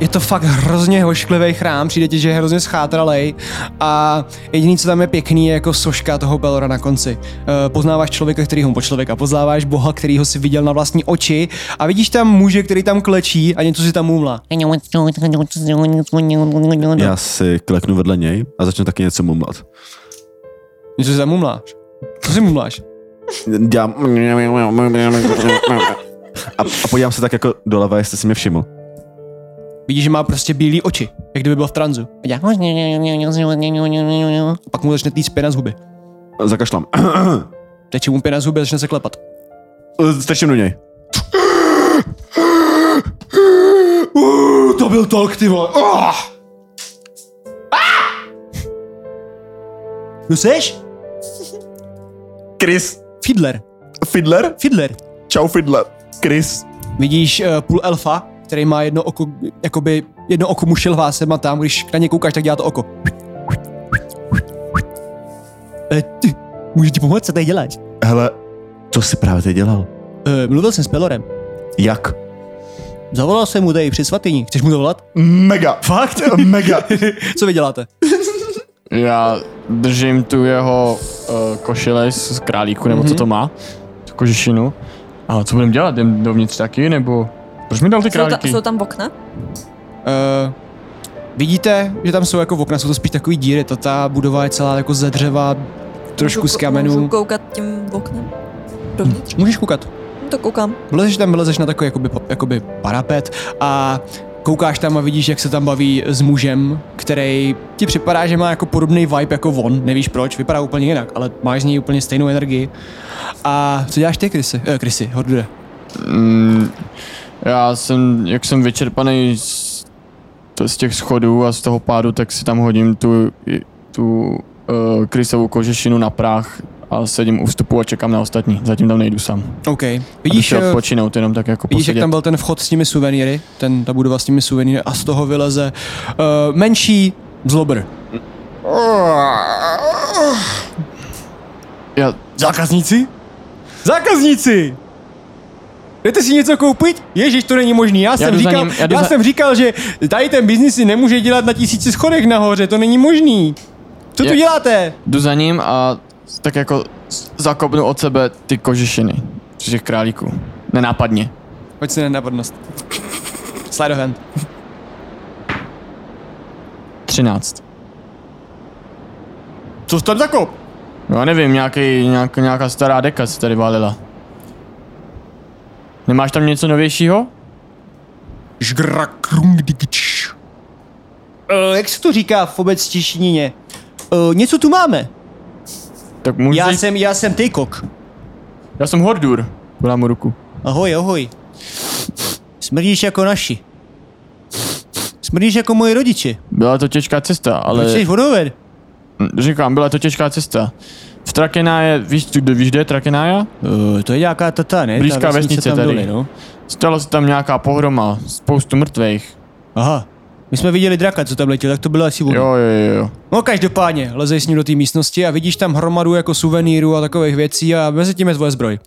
S8: je to fakt hrozně hošklivý chrám, přijde ti, že je hrozně schátralej a jediný, co tam je pěkný, je jako soška toho Belora na konci. Uh, poznáváš člověka, který ho po člověka, poznáváš boha, který ho si viděl na vlastní oči a vidíš tam muže, který tam klečí a něco si tam umla.
S3: Já si kleknu vedle něj a začnu taky něco mumlat.
S8: Něco si tam umláš. Co si mumláš?
S3: Dělám... A, a podívám se tak jako doleva, jestli si mě všiml.
S8: Vidíš, že má prostě bílé oči, jak kdyby byl v tranzu. A dělá, pak mu začne týct pěna z huby.
S3: Zakašlám.
S8: Teče mu pěna z huby a začne se klepat.
S3: Strčím do něj.
S8: To byl tok, ty vole. Ah! Kdo No seš?
S3: Chris.
S8: Fiddler.
S3: Fiddler?
S8: Fiddler.
S3: Čau Fiddler. Chris.
S8: Vidíš uh, půl elfa, který má jedno oko, jakoby jedno oko mu šilhá sem a tam, když na ně koukáš, tak dělá to oko. Eh, ty, můžu ti pomoct, co tady děláš?
S3: Hele, co jsi právě teď dělal?
S8: Eh, mluvil jsem s Pelorem.
S3: Jak?
S8: Zavolal jsem mu tady při svatyni. Chceš mu zavolat?
S3: Mega. Fakt? Mega.
S8: Co vy děláte?
S4: Já držím tu jeho uh, košile z z králíku, nebo mm-hmm.
S5: Mhm.
S4: co to má, tu kožešinu. A co budeme dělat? Jdem dovnitř taky, nebo... Proč mi dal ty
S5: Jsou, ta,
S4: králíky?
S5: jsou tam okna?
S8: Uh, vidíte, že tam jsou jako v okna, jsou to spíš takový díry, ta, ta budova je celá jako ze dřeva, trošku
S5: Můžu
S8: z
S5: kou- Můžu
S8: kamenů.
S5: koukat tím oknem? Dovnitř?
S8: Můžeš koukat.
S5: to koukám.
S8: Vlezeš tam, vlezeš na takový jakoby, jakoby parapet a koukáš tam a vidíš, jak se tam baví s mužem, který ti připadá, že má jako podobný vibe jako on, nevíš proč, vypadá úplně jinak, ale máš z něj úplně stejnou energii. A co děláš ty, Krysy? Eh, Krysy, Hordude.
S4: Mm, já jsem, jak jsem vyčerpaný z, to, z těch schodů a z toho pádu, tak si tam hodím tu, tu uh, krysovou kožešinu na prach a sedím u vstupu a čekám na ostatní. Zatím tam nejdu sám.
S8: OK.
S4: Aby
S8: Vidíš,
S4: si
S8: eh,
S4: odpočinout jenom tak jako
S8: Vidíš, jak
S4: posedět.
S8: tam byl ten vchod s těmi suvenýry, ten, ta budova s těmi suvenýry a z toho vyleze uh, menší zlobr.
S4: Já,
S8: Zákazníci? Zákazníci! Jdete si něco koupit? Ježíš, to není možný. Já, jsem
S4: jdu za
S8: říkal,
S4: ním,
S8: já,
S4: já jdu za-
S8: jsem říkal, že tady ten biznis si nemůže dělat na tisíci schodech nahoře, to není možný. Co tu
S4: Je-
S8: děláte?
S4: jdu za ním a tak jako s- zakopnu od sebe ty kožešiny z těch králíků. Nenápadně.
S8: Pojď si na napadnost. Slide of hand.
S4: 13.
S8: Co jsi tam zakop?
S4: No já nevím, nějaký, nějak, nějaká stará deka se tady válila. Nemáš tam něco novějšího?
S8: Uh, jak se to říká v obecní češtině? Uh, něco tu máme.
S4: Tak můžu
S8: Já
S4: jít-
S8: jsem, já jsem Tejkok.
S4: já jsem Hordur. Podám mu ruku.
S8: Ahoj, ahoj. Smrdíš jako naši. Smrdíš jako moji rodiče.
S4: Byla to těžká cesta, ale...
S8: Proč jsi vodover?
S4: Říkám, byla to těžká cesta. V Trakená je, víš, tu- kde, víš, kde je Trakenája?
S8: Uh, to je nějaká tata, ne?
S4: Blízká vesnice
S8: tam
S4: tady.
S8: Dole, no.
S4: Stalo se tam nějaká pohroma, spoustu mrtvých.
S8: Aha. My jsme viděli draka, co tam letěl, tak to bylo asi ono.
S4: Jo, jo, jo.
S8: No každopádně, lezeš s ním do té místnosti a vidíš tam hromadu jako suvenýrů a takových věcí a mezi tím je tvoje zbroj.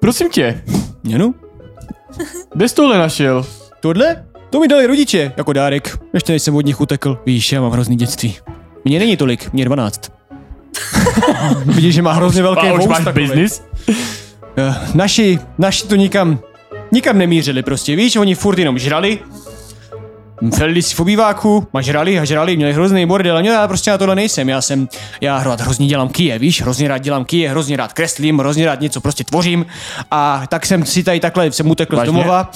S4: Prosím tě,
S8: Jenu?
S4: kde jsi tohle našel?
S8: no. Tohle? To mi dali rodiče, jako dárek. Ještě než jsem od nich utekl. Víš, já mám hrozný dětství. Mně není tolik, mě je 12. Vidíš, že má hrozně velký vous takovej. Eh, naši, naši to nikam, nikam nemířili prostě, víš, oni furt jenom žrali, Felili si v obýváku, ma žrali a žrali, měli hrozný bordel, a já prostě na tohle nejsem, já jsem, já rád hrozně dělám kije, víš, hrozně rád dělám kije, hrozně rád kreslím, hrozně rád něco prostě tvořím a tak jsem si tady takhle, jsem utekl z
S4: Vážně?
S8: domova,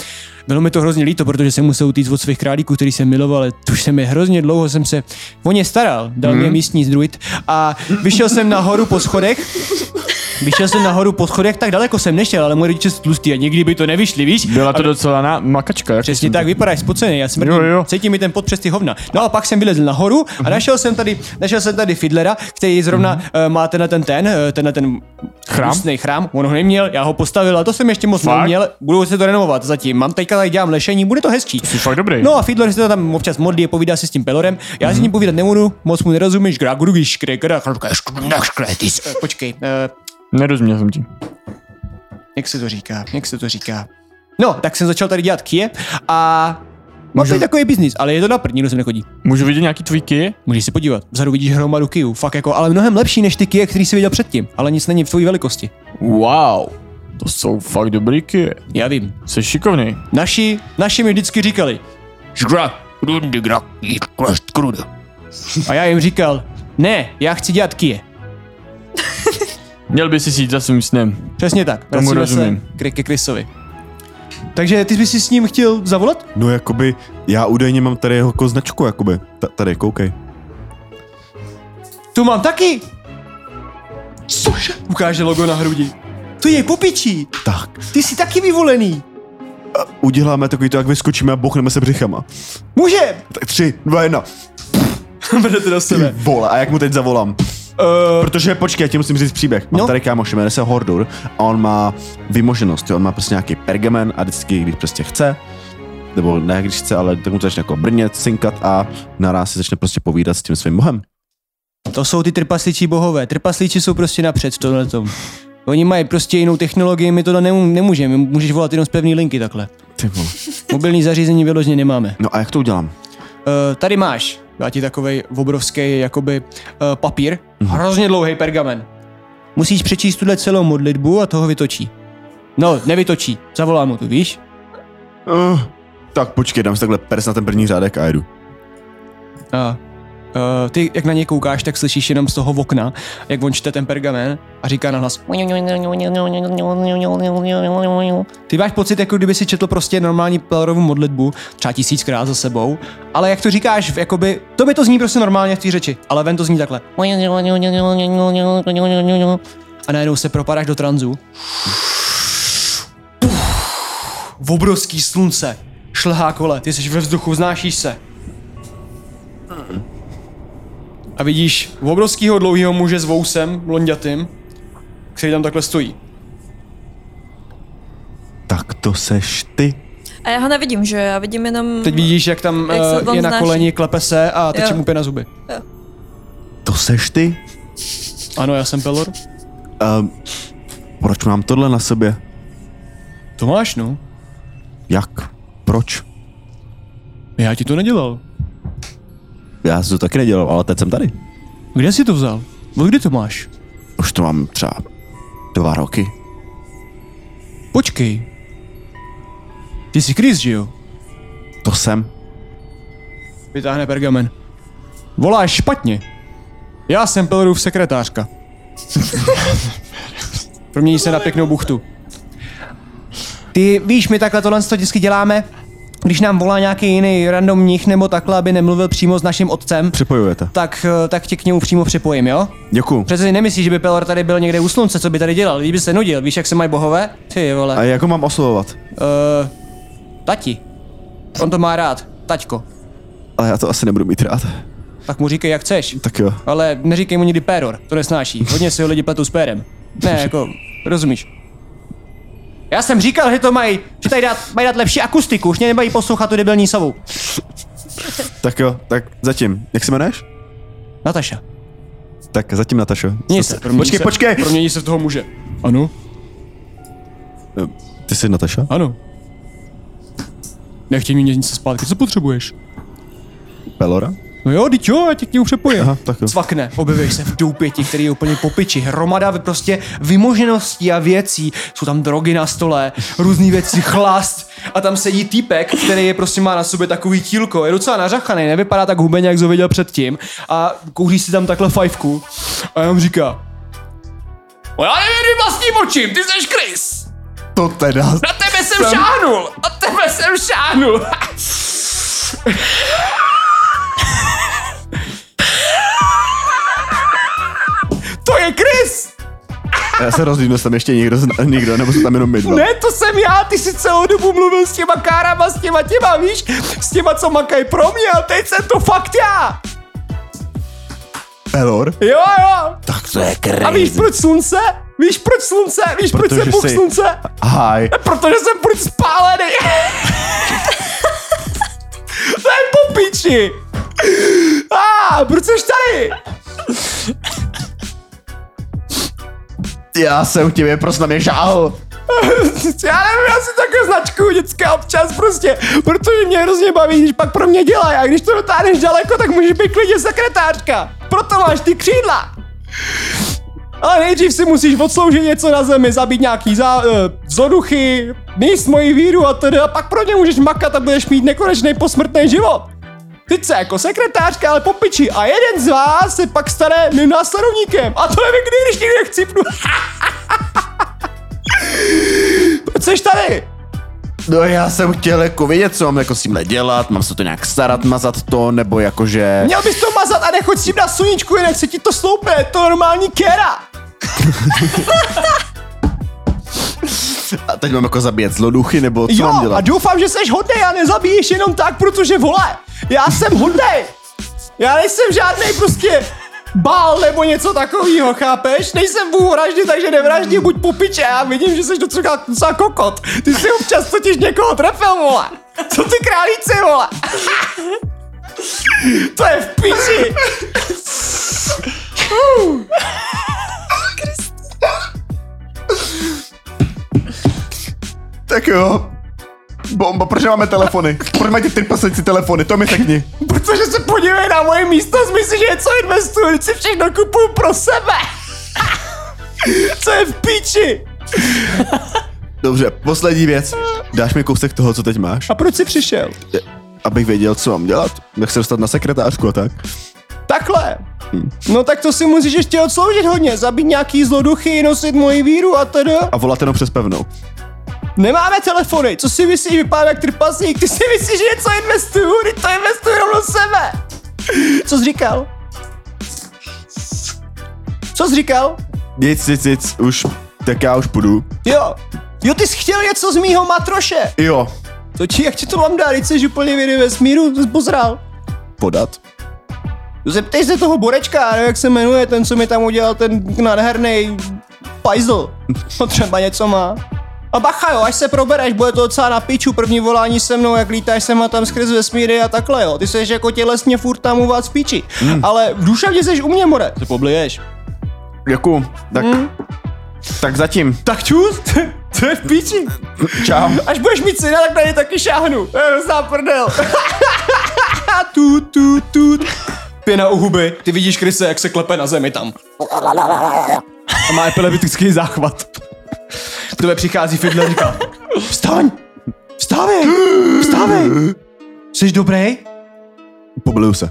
S8: bylo mi to hrozně líto, protože jsem musel utíct od svých králíků, který jsem miloval, ale tuž jsem je hrozně dlouho, jsem se o ně staral, dal mě místní zdruid a vyšel jsem nahoru po schodech Vyšel jsem nahoru po schodech, tak daleko jsem nešel, ale moje rodiče jsou tlustý a nikdy by to nevyšli, víš?
S4: Byla to
S8: Ale
S4: docela na makačka. jak
S8: Přesně
S4: jsem
S8: tak,
S4: to-
S8: vypadáš spocený, já smrdím,
S4: Jo, jo.
S8: cítím mi ten pod přes ty hovna. No a pak jsem vylezl nahoru a našel jsem tady, našel jsem tady Fidlera, který zrovna uh, má tenhle ten ten, eh, tenhle ten
S4: Chrám?
S8: ústnej chrám, on ho neměl, já ho postavil a to jsem ještě moc
S4: Fakt?
S8: neměl, budu se to renovovat zatím, mám teďka tady dělám lešení, bude to hezčí.
S4: Jsi fakt dobrý.
S8: No a Fiddler se to tam občas modlí a povídá si s tím Pelorem. Já si s ním povídat nebudu, moc mu nerozumíš. Gra, grugi, škre, gra, Eh, Počkej, eh,
S4: Nerozuměl jsem ti.
S8: jak se to říká, jak se to říká. No, tak jsem začal tady dělat kije a mám
S4: Můžu-
S8: tady takový biznis, ale je to na prd, nikdo sem nechodí.
S4: Můžu vidět nějaký tvůj ky?
S8: Můžeš se podívat, vzadu vidíš hromadu kijů, fakt jako, ale mnohem lepší než ty kije, který jsi viděl předtím, ale nic není v tvojí velikosti.
S4: Wow. To jsou fakt dobrý ky.
S8: Já vím.
S4: Jsi šikovný.
S8: Naši, naši mi vždycky říkali. A já jim říkal, ne, já chci dělat kije.
S4: Měl by si jít za svým snem.
S8: Přesně tak. Vracíme
S4: rozumím.
S8: se k- ke Chrisovi. Takže ty bys si s ním chtěl zavolat?
S3: No jakoby, já údajně mám tady jeho koznačku, jakoby. Ta, tady, koukej.
S8: Tu mám taky! Cože? Ukáže logo na hrudi. To je popičí!
S3: Tak,
S8: Ty jsi taky vyvolený!
S3: uděláme takový to, jak vyskočíme a bochneme se břichama.
S8: Může!
S3: Tak tři, dva, jedna.
S8: Vrnete do
S3: Ty vole, a jak mu teď zavolám?
S8: Uh,
S3: Protože počkej, já ti musím říct příběh. Mám
S8: No.
S3: no. tady kámoše, jmenuje se Hordur a on má vymoženost, jo? on má prostě nějaký pergamen a vždycky, když prostě chce, nebo ne, když chce, ale tak mu to začne jako brnět, synkat a naraz si začne prostě povídat s tím svým bohem.
S8: to jsou ty trpasličí bohové. Trpasliči jsou prostě napřed v tomhle tom. Oni mají prostě jinou technologii, my to nemů- nemůžeme. Můžeš volat jenom z pevné linky takhle.
S3: Ty vole.
S8: Mobilní zařízení vyloženě nemáme.
S3: No a jak to udělám?
S8: Eh, tady máš, dá ti takovej obrovský jakoby eh, papír, hrozně dlouhý pergamen. Musíš přečíst tuhle celou modlitbu a toho vytočí. No, nevytočí, zavolá mu tu, víš?
S3: Uh, tak počkej, dám si takhle pers na ten první řádek a jedu.
S8: A Uh, ty, jak na něj koukáš, tak slyšíš jenom z toho okna, jak on čte ten pergamen a říká na hlas. Ty máš pocit, jako kdyby si četl prostě normální Pellerovu modlitbu, třeba tisíckrát za sebou, ale jak to říkáš, v- jakoby, to by to zní prostě normálně v té řeči, ale ven to zní takhle. A najednou se propadáš do tranzu. V obrovský slunce šlehá kole, ty jsi ve vzduchu, vznášíš se. A vidíš obrovského dlouhého muže s vousem, blondětým, který tam takhle stojí.
S3: Tak to seš ty.
S5: A já ho nevidím, že? Já vidím jenom...
S8: Teď vidíš, jak tam
S5: Jak se
S8: eh,
S5: tam
S8: je na
S5: vznáší.
S8: koleni, klepe se a teče
S5: Jo.
S8: mu na zuby.
S3: To seš ty?
S8: Ano, já jsem Pelor.
S3: Um, proč mám tohle na sobě?
S8: To máš, no.
S3: Jak? Proč?
S8: Já ti to nedělal.
S3: Já jsem to taky nedělal, ale teď jsem tady.
S8: Kde jsi to vzal? Od kdy to máš?
S3: Už to mám třeba dva roky.
S8: Počkej. Ty jsi Chris, že jo?
S3: To jsem.
S8: Vytáhne pergamen. Voláš špatně. Já jsem Pelorův sekretářka. Promění se na pěknou buchtu. Ty víš, my takhle tohle to vždycky děláme, když nám volá nějaký jiný randomních nebo takhle, aby nemluvil přímo s naším otcem,
S3: Připojujete.
S8: tak, eh, tak tě k němu přímo připojím, jo?
S3: Děkuju.
S8: Přece si nemyslíš, že by Pelor tady byl někde u slunce, co by tady dělal, kdyby se nudil, víš, jak se mají bohové? Ty vole.
S3: A jako mám oslovovat?
S8: Uh, tati. On to má rád. Taťko.
S3: Ale já to asi nebudu mít rád.
S8: Tak mu říkej, jak chceš.
S3: Tak jo.
S8: Ale neříkej mu nikdy péror, to nesnáší. Hodně si ho lidi pletou s pérem. Ne, jako, rozumíš. Já jsem říkal, že to mají, že tady dát, mají dát lepší akustiku, už mě nemají poslouchat tu debilní sovu.
S3: Tak jo, tak zatím. Jak se jmenuješ?
S8: Nataša.
S3: Tak zatím Natašo.
S8: Nic.
S3: Co se-
S8: Promění
S3: Počkej,
S8: se-
S3: počkej!
S8: Promění se v toho muže. Ano,
S3: Ty jsi Nataša?
S8: ano. Nechtěj mi nic zpátky, co potřebuješ?
S3: Pelora?
S8: No jo, teď jo, já tě k němu přepojím.
S3: Aha, tak jo.
S8: Cvakne, objevíš se v doupěti, který je úplně po piči. Hromada prostě vymožeností a věcí. Jsou tam drogy na stole, různé věci, chlást. A tam sedí týpek, který je prostě má na sobě takový tílko. Je docela nařachaný, nevypadá tak hubeně, jak jsi ho viděl předtím. A kouří si tam takhle fajfku. A jenom říká,
S1: No já nevěřím vlastním očím, ty seš Chris.
S3: To teda.
S1: Na tebe jsem, šáhnul, na tebe jsem šáhnul.
S8: to je Chris!
S3: Já se rozlídnu, jestli tam ještě někdo, zna- někdo nebo jsou tam jenom my dva.
S8: Ne, to jsem já, ty si celou dobu mluvil s těma kárama, s těma těma, víš? S těma, co makají pro mě, a teď jsem to fakt já!
S3: Pelor?
S8: Jo, jo!
S3: Tak to je
S8: A víš
S3: crazy.
S8: proč slunce? Víš proč slunce? Víš proč
S3: Protože
S8: jsem bůh
S3: jsi-
S8: slunce?
S3: Hi.
S8: Protože jsem buď spálený. to je po piči. A ah, proč jsi tady?
S3: Já jsem tě prostě na mě žáhl.
S8: Já nevím, já si takhle značku dětská občas prostě, protože mě hrozně baví, když pak pro mě dělají a když to dotáhneš daleko, tak můžeš být klidně sekretářka. Proto máš ty křídla. Ale nejdřív si musíš odsloužit něco na zemi, zabít nějaký zá, uh, vzoduchy, míst moji víru a tedy a pak pro ně můžeš makat a budeš mít nekonečný posmrtný život. Teď se jako sekretářka, ale po piči. A jeden z vás se pak stane mým následovníkem. A to nevím kdy, když někde chcípnu. Proč jsi tady?
S3: No já jsem chtěl jako vědět, co mám jako s tímhle dělat, mám se to nějak starat, mazat to, nebo jakože...
S8: Měl bys to mazat a nechoď s tím na sluníčku, jinak se ti to sloupne, je to normální kera.
S3: A teď mám jako zabíjet zloduchy, nebo co mám
S8: Jo,
S3: dělat?
S8: a doufám, že jsi hodnej a nezabíjíš jenom tak, protože vole, já jsem hodnej. Já nejsem žádný prostě bál nebo něco takového, chápeš? Nejsem vůl vraždy, takže nevraždím, buď po piče, já vidím, že jsi docela, docela kokot. Ty jsi občas totiž někoho trefil, vole. Co ty králíci, vole? to je v piči.
S3: Tak jo. Bomba, proč máme telefony? Proč mají ty trpaslíci telefony? To mi řekni.
S8: Protože se podívej na moje místo, myslím, že něco investuju, teď si všechno kupuju pro sebe. Co je v píči?
S3: Dobře, poslední věc. Dáš mi kousek toho, co teď máš?
S8: A proč jsi přišel?
S3: Abych věděl, co mám dělat. Jak se dostat na sekretářku a tak.
S8: takhle. No tak to si musíš ještě odsloužit hodně, zabít nějaký zloduchy, nosit moji víru a tedy.
S3: A volat jenom přes pevnou.
S8: Nemáme telefony, co si myslíš, vypadám jak trpasník, ty si myslíš, že něco investuju, ty to investuju rovnou sebe. Co jsi říkal? Co jsi říkal?
S3: Nic, nic, nic, už, tak já už půjdu.
S8: Jo, jo, ty jsi chtěl něco z mýho matroše.
S3: Jo,
S8: To ti, jak ti to mám dát, když jsi úplně vědy vesmíru, to jsi pozrál. No
S3: podat.
S8: Zeptej se toho borečka, nebo jak se jmenuje, ten, co mi tam udělal ten nádherný pajzl. No třeba něco má. A bacha jo, až se probereš, bude to docela na piču, první volání se mnou, jak lítáš sem a tam skrz vesmíry a takhle jo. Ty jsi jako tělesně furt tam u vás v píči. Mm. Ale v duševně jsi u mě, more. Ty pobliješ.
S3: Děkuju, tak, mm.
S8: Hmm?
S3: tak zatím,
S8: Tak čus, to je v píči.
S3: čau.
S8: Až budeš mít syna, tak na ně taky šáhnu. Eh, Za prdel. tu, tu, tu. Pěna u huby. Ty vidíš Kryse, jak se klepe na zemi tam. A má epileptický záchvat. K tebe přichází Fidler a říká, vstaň, vstávej, vstávej. Jsi dobrý?
S3: Pobliju se.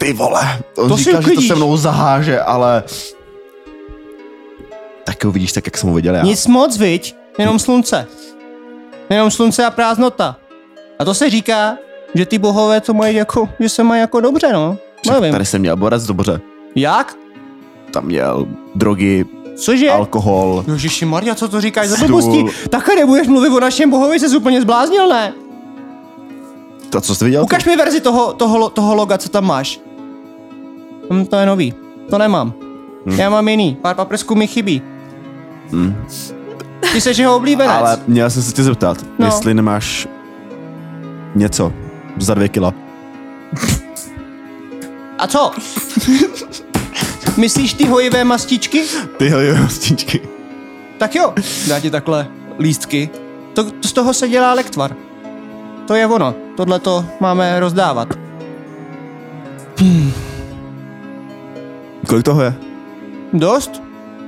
S3: Ty vole, on
S8: To
S3: to
S8: si
S3: říkal, že to
S8: uklidíš.
S3: se mnou zaháže, ale... Tak ho vidíš tak, jak jsem ho viděl já.
S8: Nic moc, viď? Jenom slunce. Jenom slunce a prázdnota. A to se říká, že ty bohové to mají jako, že se mají jako dobře, no.
S3: Však
S8: Nevím.
S3: Tady jsem měl borec, dobře.
S8: Jak?
S3: Tam měl drogy,
S8: Cože?
S3: alkohol.
S8: Ježiši Maria, co to říkáš za
S3: Stůl.
S8: blbosti? Takhle nebudeš mluvit o našem bohovi, jsi úplně zbláznil, ne?
S3: No To co jsi viděl? ty?
S8: Ukaž mi verzi toho, toho, lo- toho loga, co tam máš. Hm, to je nový. To nemám.
S3: Hm.
S8: Já mám jiný. Pár paprsků mi chybí. Ty jsi jeho oblíbenec.
S3: Ale měl jsem se tě zeptat,
S8: No.
S3: no. jestli nemáš něco za dvě kila.
S8: A co? Myslíš ty hojivé mastičky?
S3: Ty jo, hostičky.
S8: Tak jo. Dá ti takhle lístky. To, to, z toho se dělá lektvar. To je ono. Tohle to máme rozdávat.
S3: Kolik toho je?
S8: Dost?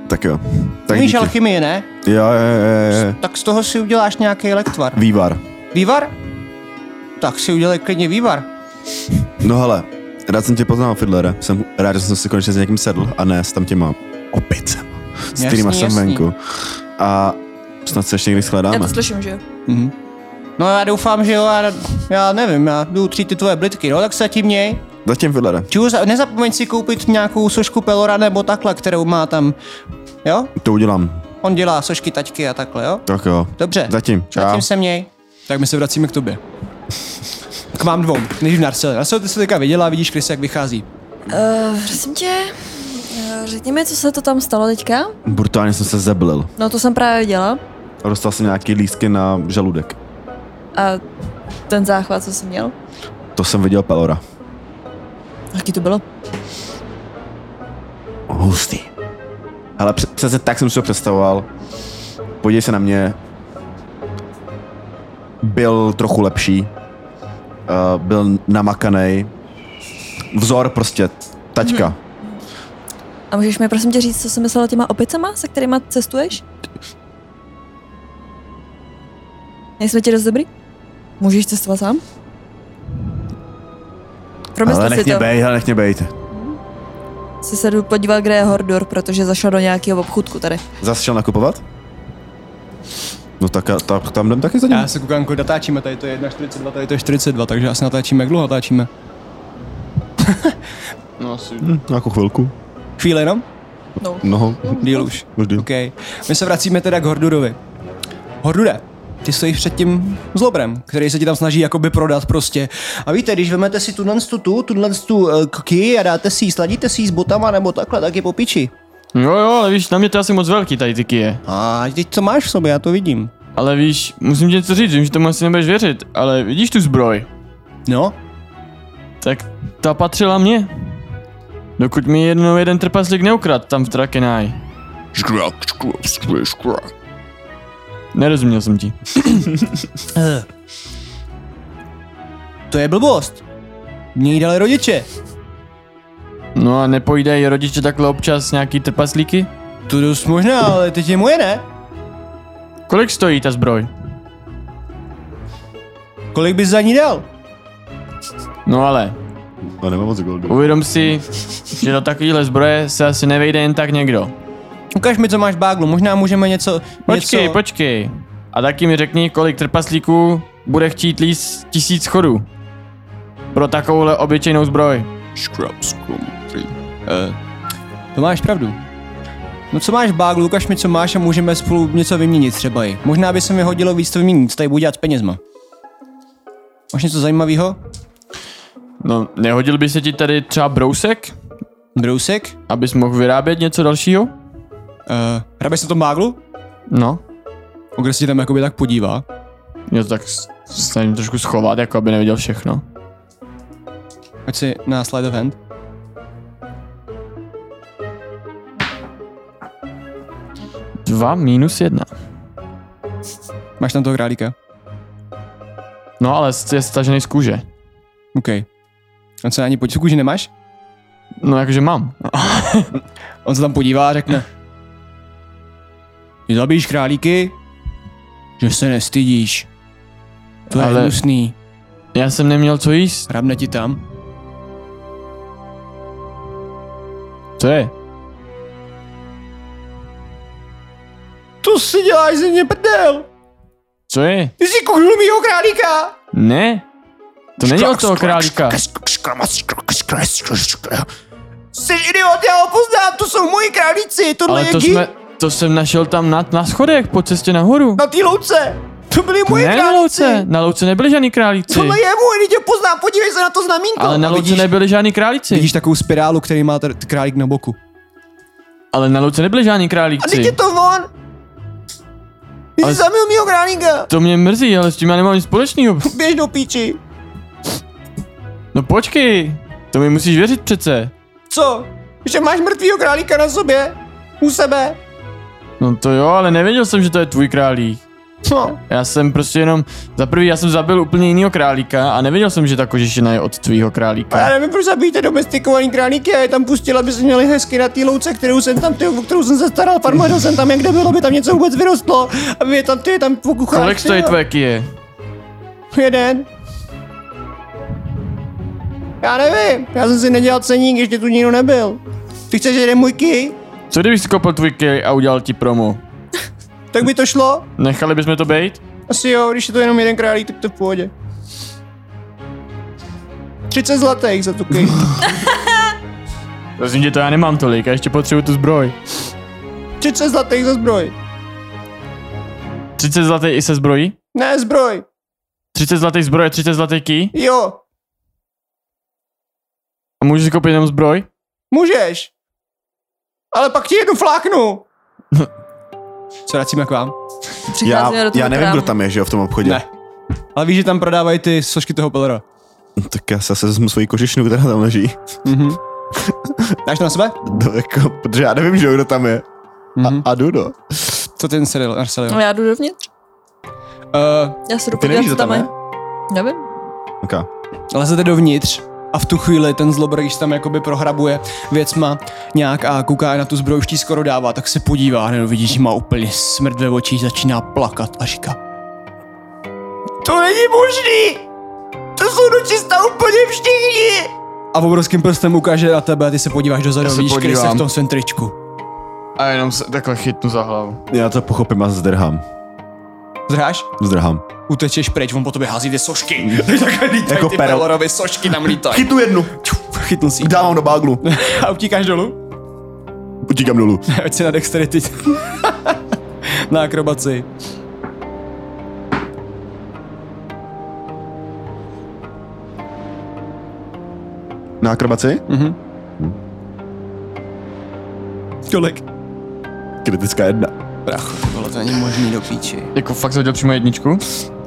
S3: Tak jo. Tak
S8: Víš
S3: díky.
S8: alchymii, ne?
S3: Jo, jo, jo, jo, jo.
S8: Tak z toho si uděláš nějaký lektvar.
S3: Vývar.
S8: Vývar? Tak si udělej klidně vývar.
S3: No hele, rád jsem tě poznal, Fiddlere. Jsem rád, že jsem se konečně s někým sedl a ne s tam těma opicema, s
S8: Jasný,
S3: kterýma jsem
S8: jasný.
S3: venku. A snad se ještě někdy
S5: Já
S3: shledáme.
S5: to slyším, že jo?
S8: No já doufám, že jo, já, já nevím, já jdu tři ty tvoje blitky, no tak se tím měj.
S3: Zatím, Fiddlere.
S8: Čus, a nezapomeň si koupit nějakou sošku Pelora nebo takhle, kterou má tam, jo?
S3: To udělám.
S8: On dělá sošky taťky a takhle, jo?
S3: Tak jo.
S8: Dobře.
S3: Zatím. Čau.
S8: Zatím se měj. Tak my se vracíme k tobě. K vám dvou, než v Narcele. Narcele, ty se teďka viděla, vidíš Kryse, jak vychází.
S5: Uh, prosím tě, eh, řekni mi, co se to tam stalo teďka?
S3: Brutálně jsem se zeblil.
S5: No to jsem právě dělala.
S3: A dostal jsem nějaký lístky na žaludek.
S5: A ten záchvat, co jsem měl?
S3: To jsem viděl Pelora.
S5: Jaký to bylo?
S3: Hustý. Ale pře- přesně tak jsem si to představoval. Podívej se na mě. Byl trochu lepší. Uh, byl namakaný. Vzor prostě. Taťka.
S5: Mhm. A můžeš mi prosím tě říct, co jsi myslela těma opicema, se kterými cestuješ? Nejsme ti dost dobrý? Můžeš cestovat sám?
S3: Ale
S5: Promysl si
S3: nech mě
S5: to.
S3: bejt, ale nech mě bejt.
S5: Si se jdu podívat, kde je Hordor, protože zašel do nějakého obchůdku tady.
S3: Zas šel nakupovat? No tak, a- tak tam jdem taky za ním.
S8: Já se koukám, kolik natáčíme, tady to je 1.42, tady to je 42, takže asi natáčíme, jak dlouho natáčíme?
S4: No asi.
S3: Hm, nějakou chvilku.
S8: Chvíli jenom?
S3: Mnoho.
S8: Díl už.
S3: Už jdu.
S8: OK. My se vracíme teda k Hordurovi. Hordure, ty stojíš před tím zlobrem, který se ti tam snaží jakoby prodat prostě. A víte, když vemete si tuhle tu, tu, tuhle tu eh, kky a dáte si ji, sladíte si ji s botama nebo takhle, tak je po piči.
S4: Jo, jo, ale víš, na mě to je asi moc velký tady ty kije.
S8: A teď co máš v sobě, já to vidím.
S4: Ale víš, musím ti něco říct, vím, že tomu asi nebudeš věřit, ale vidíš tu zbroj?
S8: No,
S4: Tak ta patřila mně. Dokud mi jednou jeden trpaslík neukrad tam v Trakenaj. Nerozuměl jsem ti.
S8: to je blbost. Mě jí dali rodiče.
S4: No a nepojídají rodiče takhle občas nějaký trpaslíky?
S8: To dost možná, ale teď je moje, ne?
S4: Kolik stojí ta zbroj?
S8: Kolik bys za ní dal?
S4: No ale,
S3: A nemám moc goldu.
S4: Uvědom si, že do takovéhle zbroje se asi nevejde jen tak někdo.
S8: Ukaž mi, co máš v báglu, možná můžeme něco...
S4: Počkej,
S8: něco...
S4: počkej. A taky mi řekni, kolik trpaslíků bude chtít líst tisíc schodů. Pro takovouhle obyčejnou zbroj.
S8: To máš pravdu. No co máš v báglu, ukaž mi, co máš a můžeme spolu něco vyměnit třeba i. Možná by se mi hodilo víc to vyměnit, co tady budu dělat s penězma. Máš něco zajímavého?
S4: No, nehodil by se ti tady třeba brousek,
S8: Brousek?
S4: abys mohl vyrábět něco dalšího?
S8: Uh, hrabeš se v tom báglu?
S4: No,
S8: O kdo se ti tam jakoby tak podívá?
S4: já to tak s- snažím trošku schovat, jako aby neviděl všechno.
S8: Ať si na slide of hand.
S4: Dva minus jedna.
S8: Máš tam toho králíka.
S4: No ale s- je stažený z kůže.
S8: OK. On se na ní podívá, že nemáš?
S4: No jakože mám.
S8: On se tam podívá a řekne. Ty zabíjíš králíky? Že se nestydíš. To je
S4: Ale-
S8: Ale... hnusný.
S4: Já jsem neměl co jíst.
S8: Hrabne ti tam.
S4: Co je?
S8: To si děláš ze mě prdel!
S4: Co je?
S8: Ty jsi kuchnul mýho králíka!
S4: Ne. To není od toho králíka.
S8: Jsi idiot, já ho poznám, to jsou moji králíci, tohle
S4: Ale
S8: je
S4: to,
S8: Gil
S4: jsme, to jsem našel tam na, na schodech po cestě nahoru.
S8: na té louce. To byly moje
S4: ne na
S8: králíci.
S4: louce, na louce nebyli žádný králíci.
S8: Tohle je můj, teď tě poznám, podívej se na to znamínko.
S4: Ale na
S8: A
S4: louce
S8: vidíš,
S4: nebyli žádný králíci.
S8: vidíš takovou spirálu, který má ten králík na boku.
S4: Ale na louce nebyli žádný
S8: A teď
S4: králíci.
S8: je to on. Ty
S4: Ale-
S8: jsi zamil mýho králíka.
S4: To mě mrzí, ale s tím já nemám nic společného.
S8: Běž do píči.
S4: No počkej, to mi musíš věřit přece.
S8: Co? Že máš mrtvýho králíka na sobě? U sebe?
S4: No to jo, ale nevěděl jsem, že to je tvůj králík.
S8: No.
S4: Já jsem prostě jenom, za prvý já jsem zabil úplně jinýho králíka a nevěděl jsem, že ta kožešina je od tvýho
S8: A já
S4: králíka.
S8: nevím, proč zabijíte domestikovaný králíky a je tam pustil, aby se měli hezky na té louce, kterou jsem tam, ty, o kterou jsem se staral, farmařil jsem tam, jak kde bylo, aby tam něco vůbec vyrostlo, aby je tam, ty, je tam pokuchal.
S4: Kolik stojí tvoje kije?
S8: Jeden. Já nevím, já jsem si nedělal ceník, ještě tu nikdo nebyl. Ty chceš jeden můj ký?
S4: Co kdybych si koupil tvůj kij a udělal ti promo?
S8: Tak by to šlo?
S4: Nechali bychom to být?
S8: Asi jo, když je to jenom jeden králík, tak to v pohodě. 30 zlatých za tu kej.
S4: Rozumím, že to já nemám tolik, já ještě potřebuju tu zbroj.
S8: 30 zlatých za zbroj.
S4: 30 zlatý i se zbrojí?
S8: Ne, zbroj.
S4: 30 zlatých zbroje, 30 zlatý ký?
S8: Jo,
S4: A můžu si koupit jenom zbroj?
S8: můžeš. Ale pak ti jednu fláknu. Co vracíme k vám?
S3: Já,
S5: Přicházíme do toho
S3: já nevím,
S5: krámu.
S3: kdo tam je, že jo, v tom obchodě.
S8: Ne. Ale víš, že tam prodávají ty složky toho pelora.
S3: Tak já se zase vezmu svoji kožešinu, která tam leží.
S8: Dáš to na sebe?
S3: To jako, protože já nevím, že jo, kdo tam je.
S8: Mhm.
S3: A, a jdu, no.
S8: Co ten seriál, Arcelio?
S5: No já jdu dovnitř.
S8: Uh,
S5: Já se jdu
S3: Ty
S5: podívat,
S3: nevíš, kdo
S5: co tam
S3: tam
S5: je.
S3: je?
S5: Nevím.
S3: Okay.
S8: lezete dovnitř a v tu chvíli ten zlobr, tam jakoby prohrabuje věcma nějak a kouká na tu zbroj, už ti skoro dává, tak se podívá a najednou vidí, že má úplně smrt ve očích, začíná plakat a říká To není možný! To jsou dočista úplně všichni! A obrovským prstem ukáže na tebe a ty se podíváš dozadu,
S4: Já se
S8: vidíš Krise
S4: podívám.
S8: v tom svém tričku.
S4: A jenom se takhle chytnu za hlavu.
S3: Já to pochopím a zdrhám.
S8: Zráš?
S3: Zdrhám.
S8: Utečeš pryč, on po tobě hází ty sošky. Takhle lítají
S3: Jako
S8: ty
S3: pero.
S8: Pelorovi sošky tam lítají.
S3: Chytnu jednu.
S8: Chytnul si ji.
S3: Dávám do báglu.
S8: A utíkáš dolů?
S3: Utíkám dolů.
S8: Hoď si na dexterity. na akrobaci.
S3: Na akrobaci?
S8: Kolik?
S3: Kritická jedna.
S8: Prachu, to bylo to není možný do píči.
S4: Jako fakt jsem hodil přímo jedničku?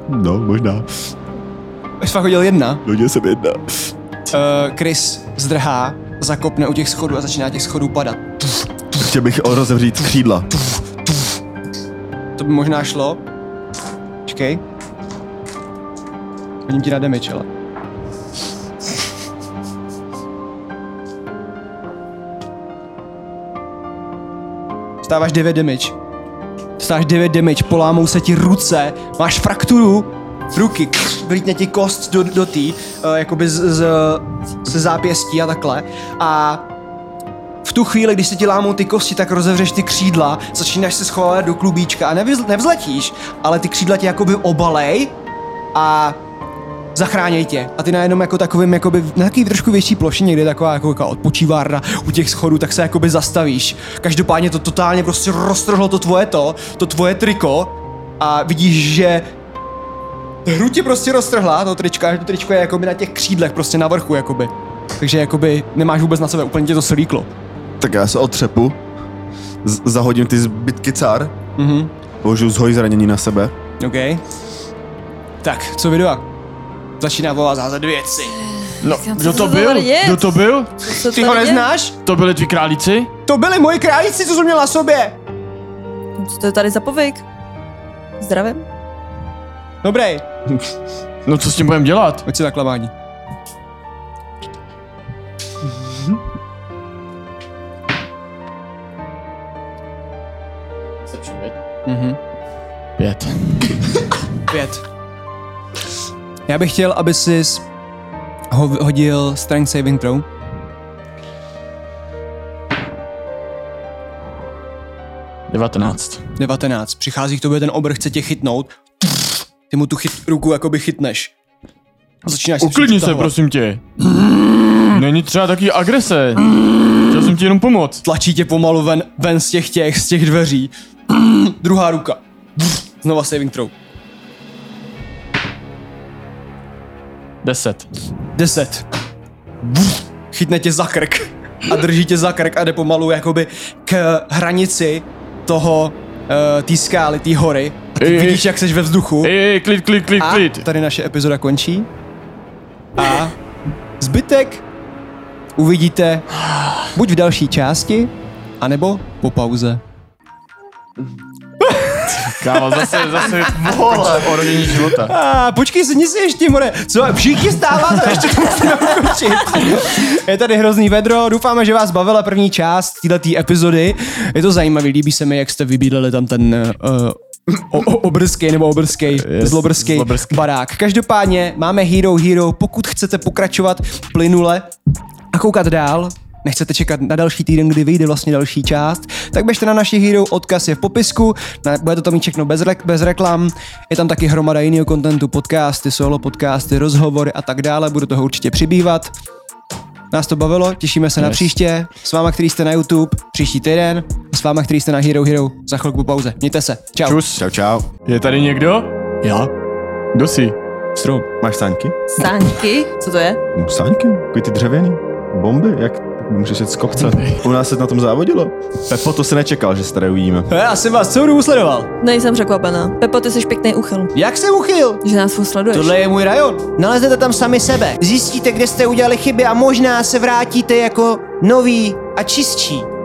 S3: No, možná.
S8: Jsi fakt hodil jedna.
S3: Hodil jsem jedna.
S8: Uh, Chris zdrhá, zakopne u těch schodů a začíná těch schodů padat.
S3: Chtěl bych rozevřít křídla.
S8: To by možná šlo. Počkej. Hodím ti na damage, ale. Stáváš 9 damage. Stáváš 9 damage, polámou se ti ruce, máš frakturu ruky, kš, vlítne ti kost do, do tý, uh, jakoby eh, z, z, z, se zápěstí a takhle. A v tu chvíli, když se ti lámou ty kosti, tak rozevřeš ty křídla, začínáš se schovávat do klubíčka a nevzl- nevzletíš, ale ty křídla tě jakoby obalej a zachráněj tě. A ty najednou jako takovým, jakoby, na takový trošku větší ploši, někde taková jako, jako odpočívárna u těch schodů, tak se jakoby zastavíš. Každopádně to totálně prostě roztrhlo to tvoje to, to tvoje triko a vidíš, že hru ti prostě roztrhla, to tričko, a to tričko je jakoby na těch křídlech, prostě na vrchu jakoby. Takže jakoby nemáš vůbec na sebe, úplně tě to slíklo.
S3: Tak já se otřepu, z- zahodím ty zbytky car,
S8: Mhm,
S3: použiju zhoj zranění na sebe.
S8: OK. Tak, co videa? Začíná volá zázet věci.
S4: No,
S5: Říkám,
S4: kdo
S5: co
S4: to
S5: to za
S4: byl?
S5: věc?
S4: Kdo to byl?
S5: Co
S8: Ty
S5: tady
S8: ho
S5: je?
S8: neznáš?
S4: To byli tví králíci?
S8: To byli moji králíci, co jsem měl na sobě.
S5: Co to je tady za povyk? Zdravím.
S8: Dobrý,
S4: No co s tím budeme dělat?
S8: pojď si na klamání. Mhm.
S4: Pět.
S8: Pět. Já bych chtěl, aby jsi ho hodil strength saving throw.
S4: Devatenáct.
S8: 19. Přichází k tobě ten obr, chce tě chytnout. Ty mu tu chyt, ruku jakoby chytneš. A začínáš
S4: Uklidni se,
S8: přitahovat.
S4: prosím tě. Není třeba taky agrese. Chtěl jsem ti jenom pomoct.
S8: Tlačí tě pomalu ven, ven z těch těch, z těch dveří. Druhá ruka. Znova saving throw.
S4: Deset.
S8: 10. Chytne tě za krk a drží tě za krk a jde pomalu jakoby k hranici toho uh, té skály, té hory. A ty
S4: Ej, ej.
S8: vidíš, jak jsi ve vzduchu.
S4: Ej, ej, klid, klid, klid,
S8: A
S4: klid.
S8: tady naše epizoda končí. A zbytek uvidíte buď v další části, anebo po pauze.
S4: Kámo, zase, zase, vole, o rodění života.
S8: A počkej, sedni si ještě, more. Co, všichni stáváte, ještě to musíme ukončit. Je tady hrozný vedro, doufáme, že vás bavila první část této epizody. Je to zajímavý, líbí se mi, jak jste vybídali tam ten uh, o, o, obrskej nebo obrskej, yes, zlobrskej,
S4: zlobrskej.
S8: barák. Každopádně máme Hero Hero, pokud chcete pokračovat plynule a koukat dál, nechcete čekat na další týden, kdy vyjde vlastně další část, tak běžte na naši Hero, odkaz je v popisku, na, bude to tam mít všechno bez, rek, bez reklam, je tam taky hromada jiného kontentu, podcasty, solo podcasty, rozhovory a tak dále, budu toho určitě přibývat. Nás to bavilo, těšíme se yes. na příště, s váma, který jste na YouTube, příští týden, a s váma, který jste na Hero Hero, za chvilku po pauze. Mějte se, čau.
S4: Čus.
S3: Čau, čau.
S4: Je tady někdo? Já. Kdo jsi?
S8: Strom.
S3: Máš sáňky?
S5: Sáňky? Co to je?
S3: No, Sáňky, takový ty dřevěný. Bomby, jak můžeš jít z kopce. U nás se na tom závodilo. Pepo, to se nečekal, že se tady uvidíme.
S8: Eh, Já jsem vás celou dobu sledoval.
S5: Nejsem překvapená. Pepo, ty jsi pěkný uchyl,
S8: Jak se uchyl?
S5: že nás furt sleduješ.
S8: Tohle je můj rajon. Naleznete tam sami sebe. Zjistíte, kde jste udělali chyby a možná se vrátíte jako nový a čistší.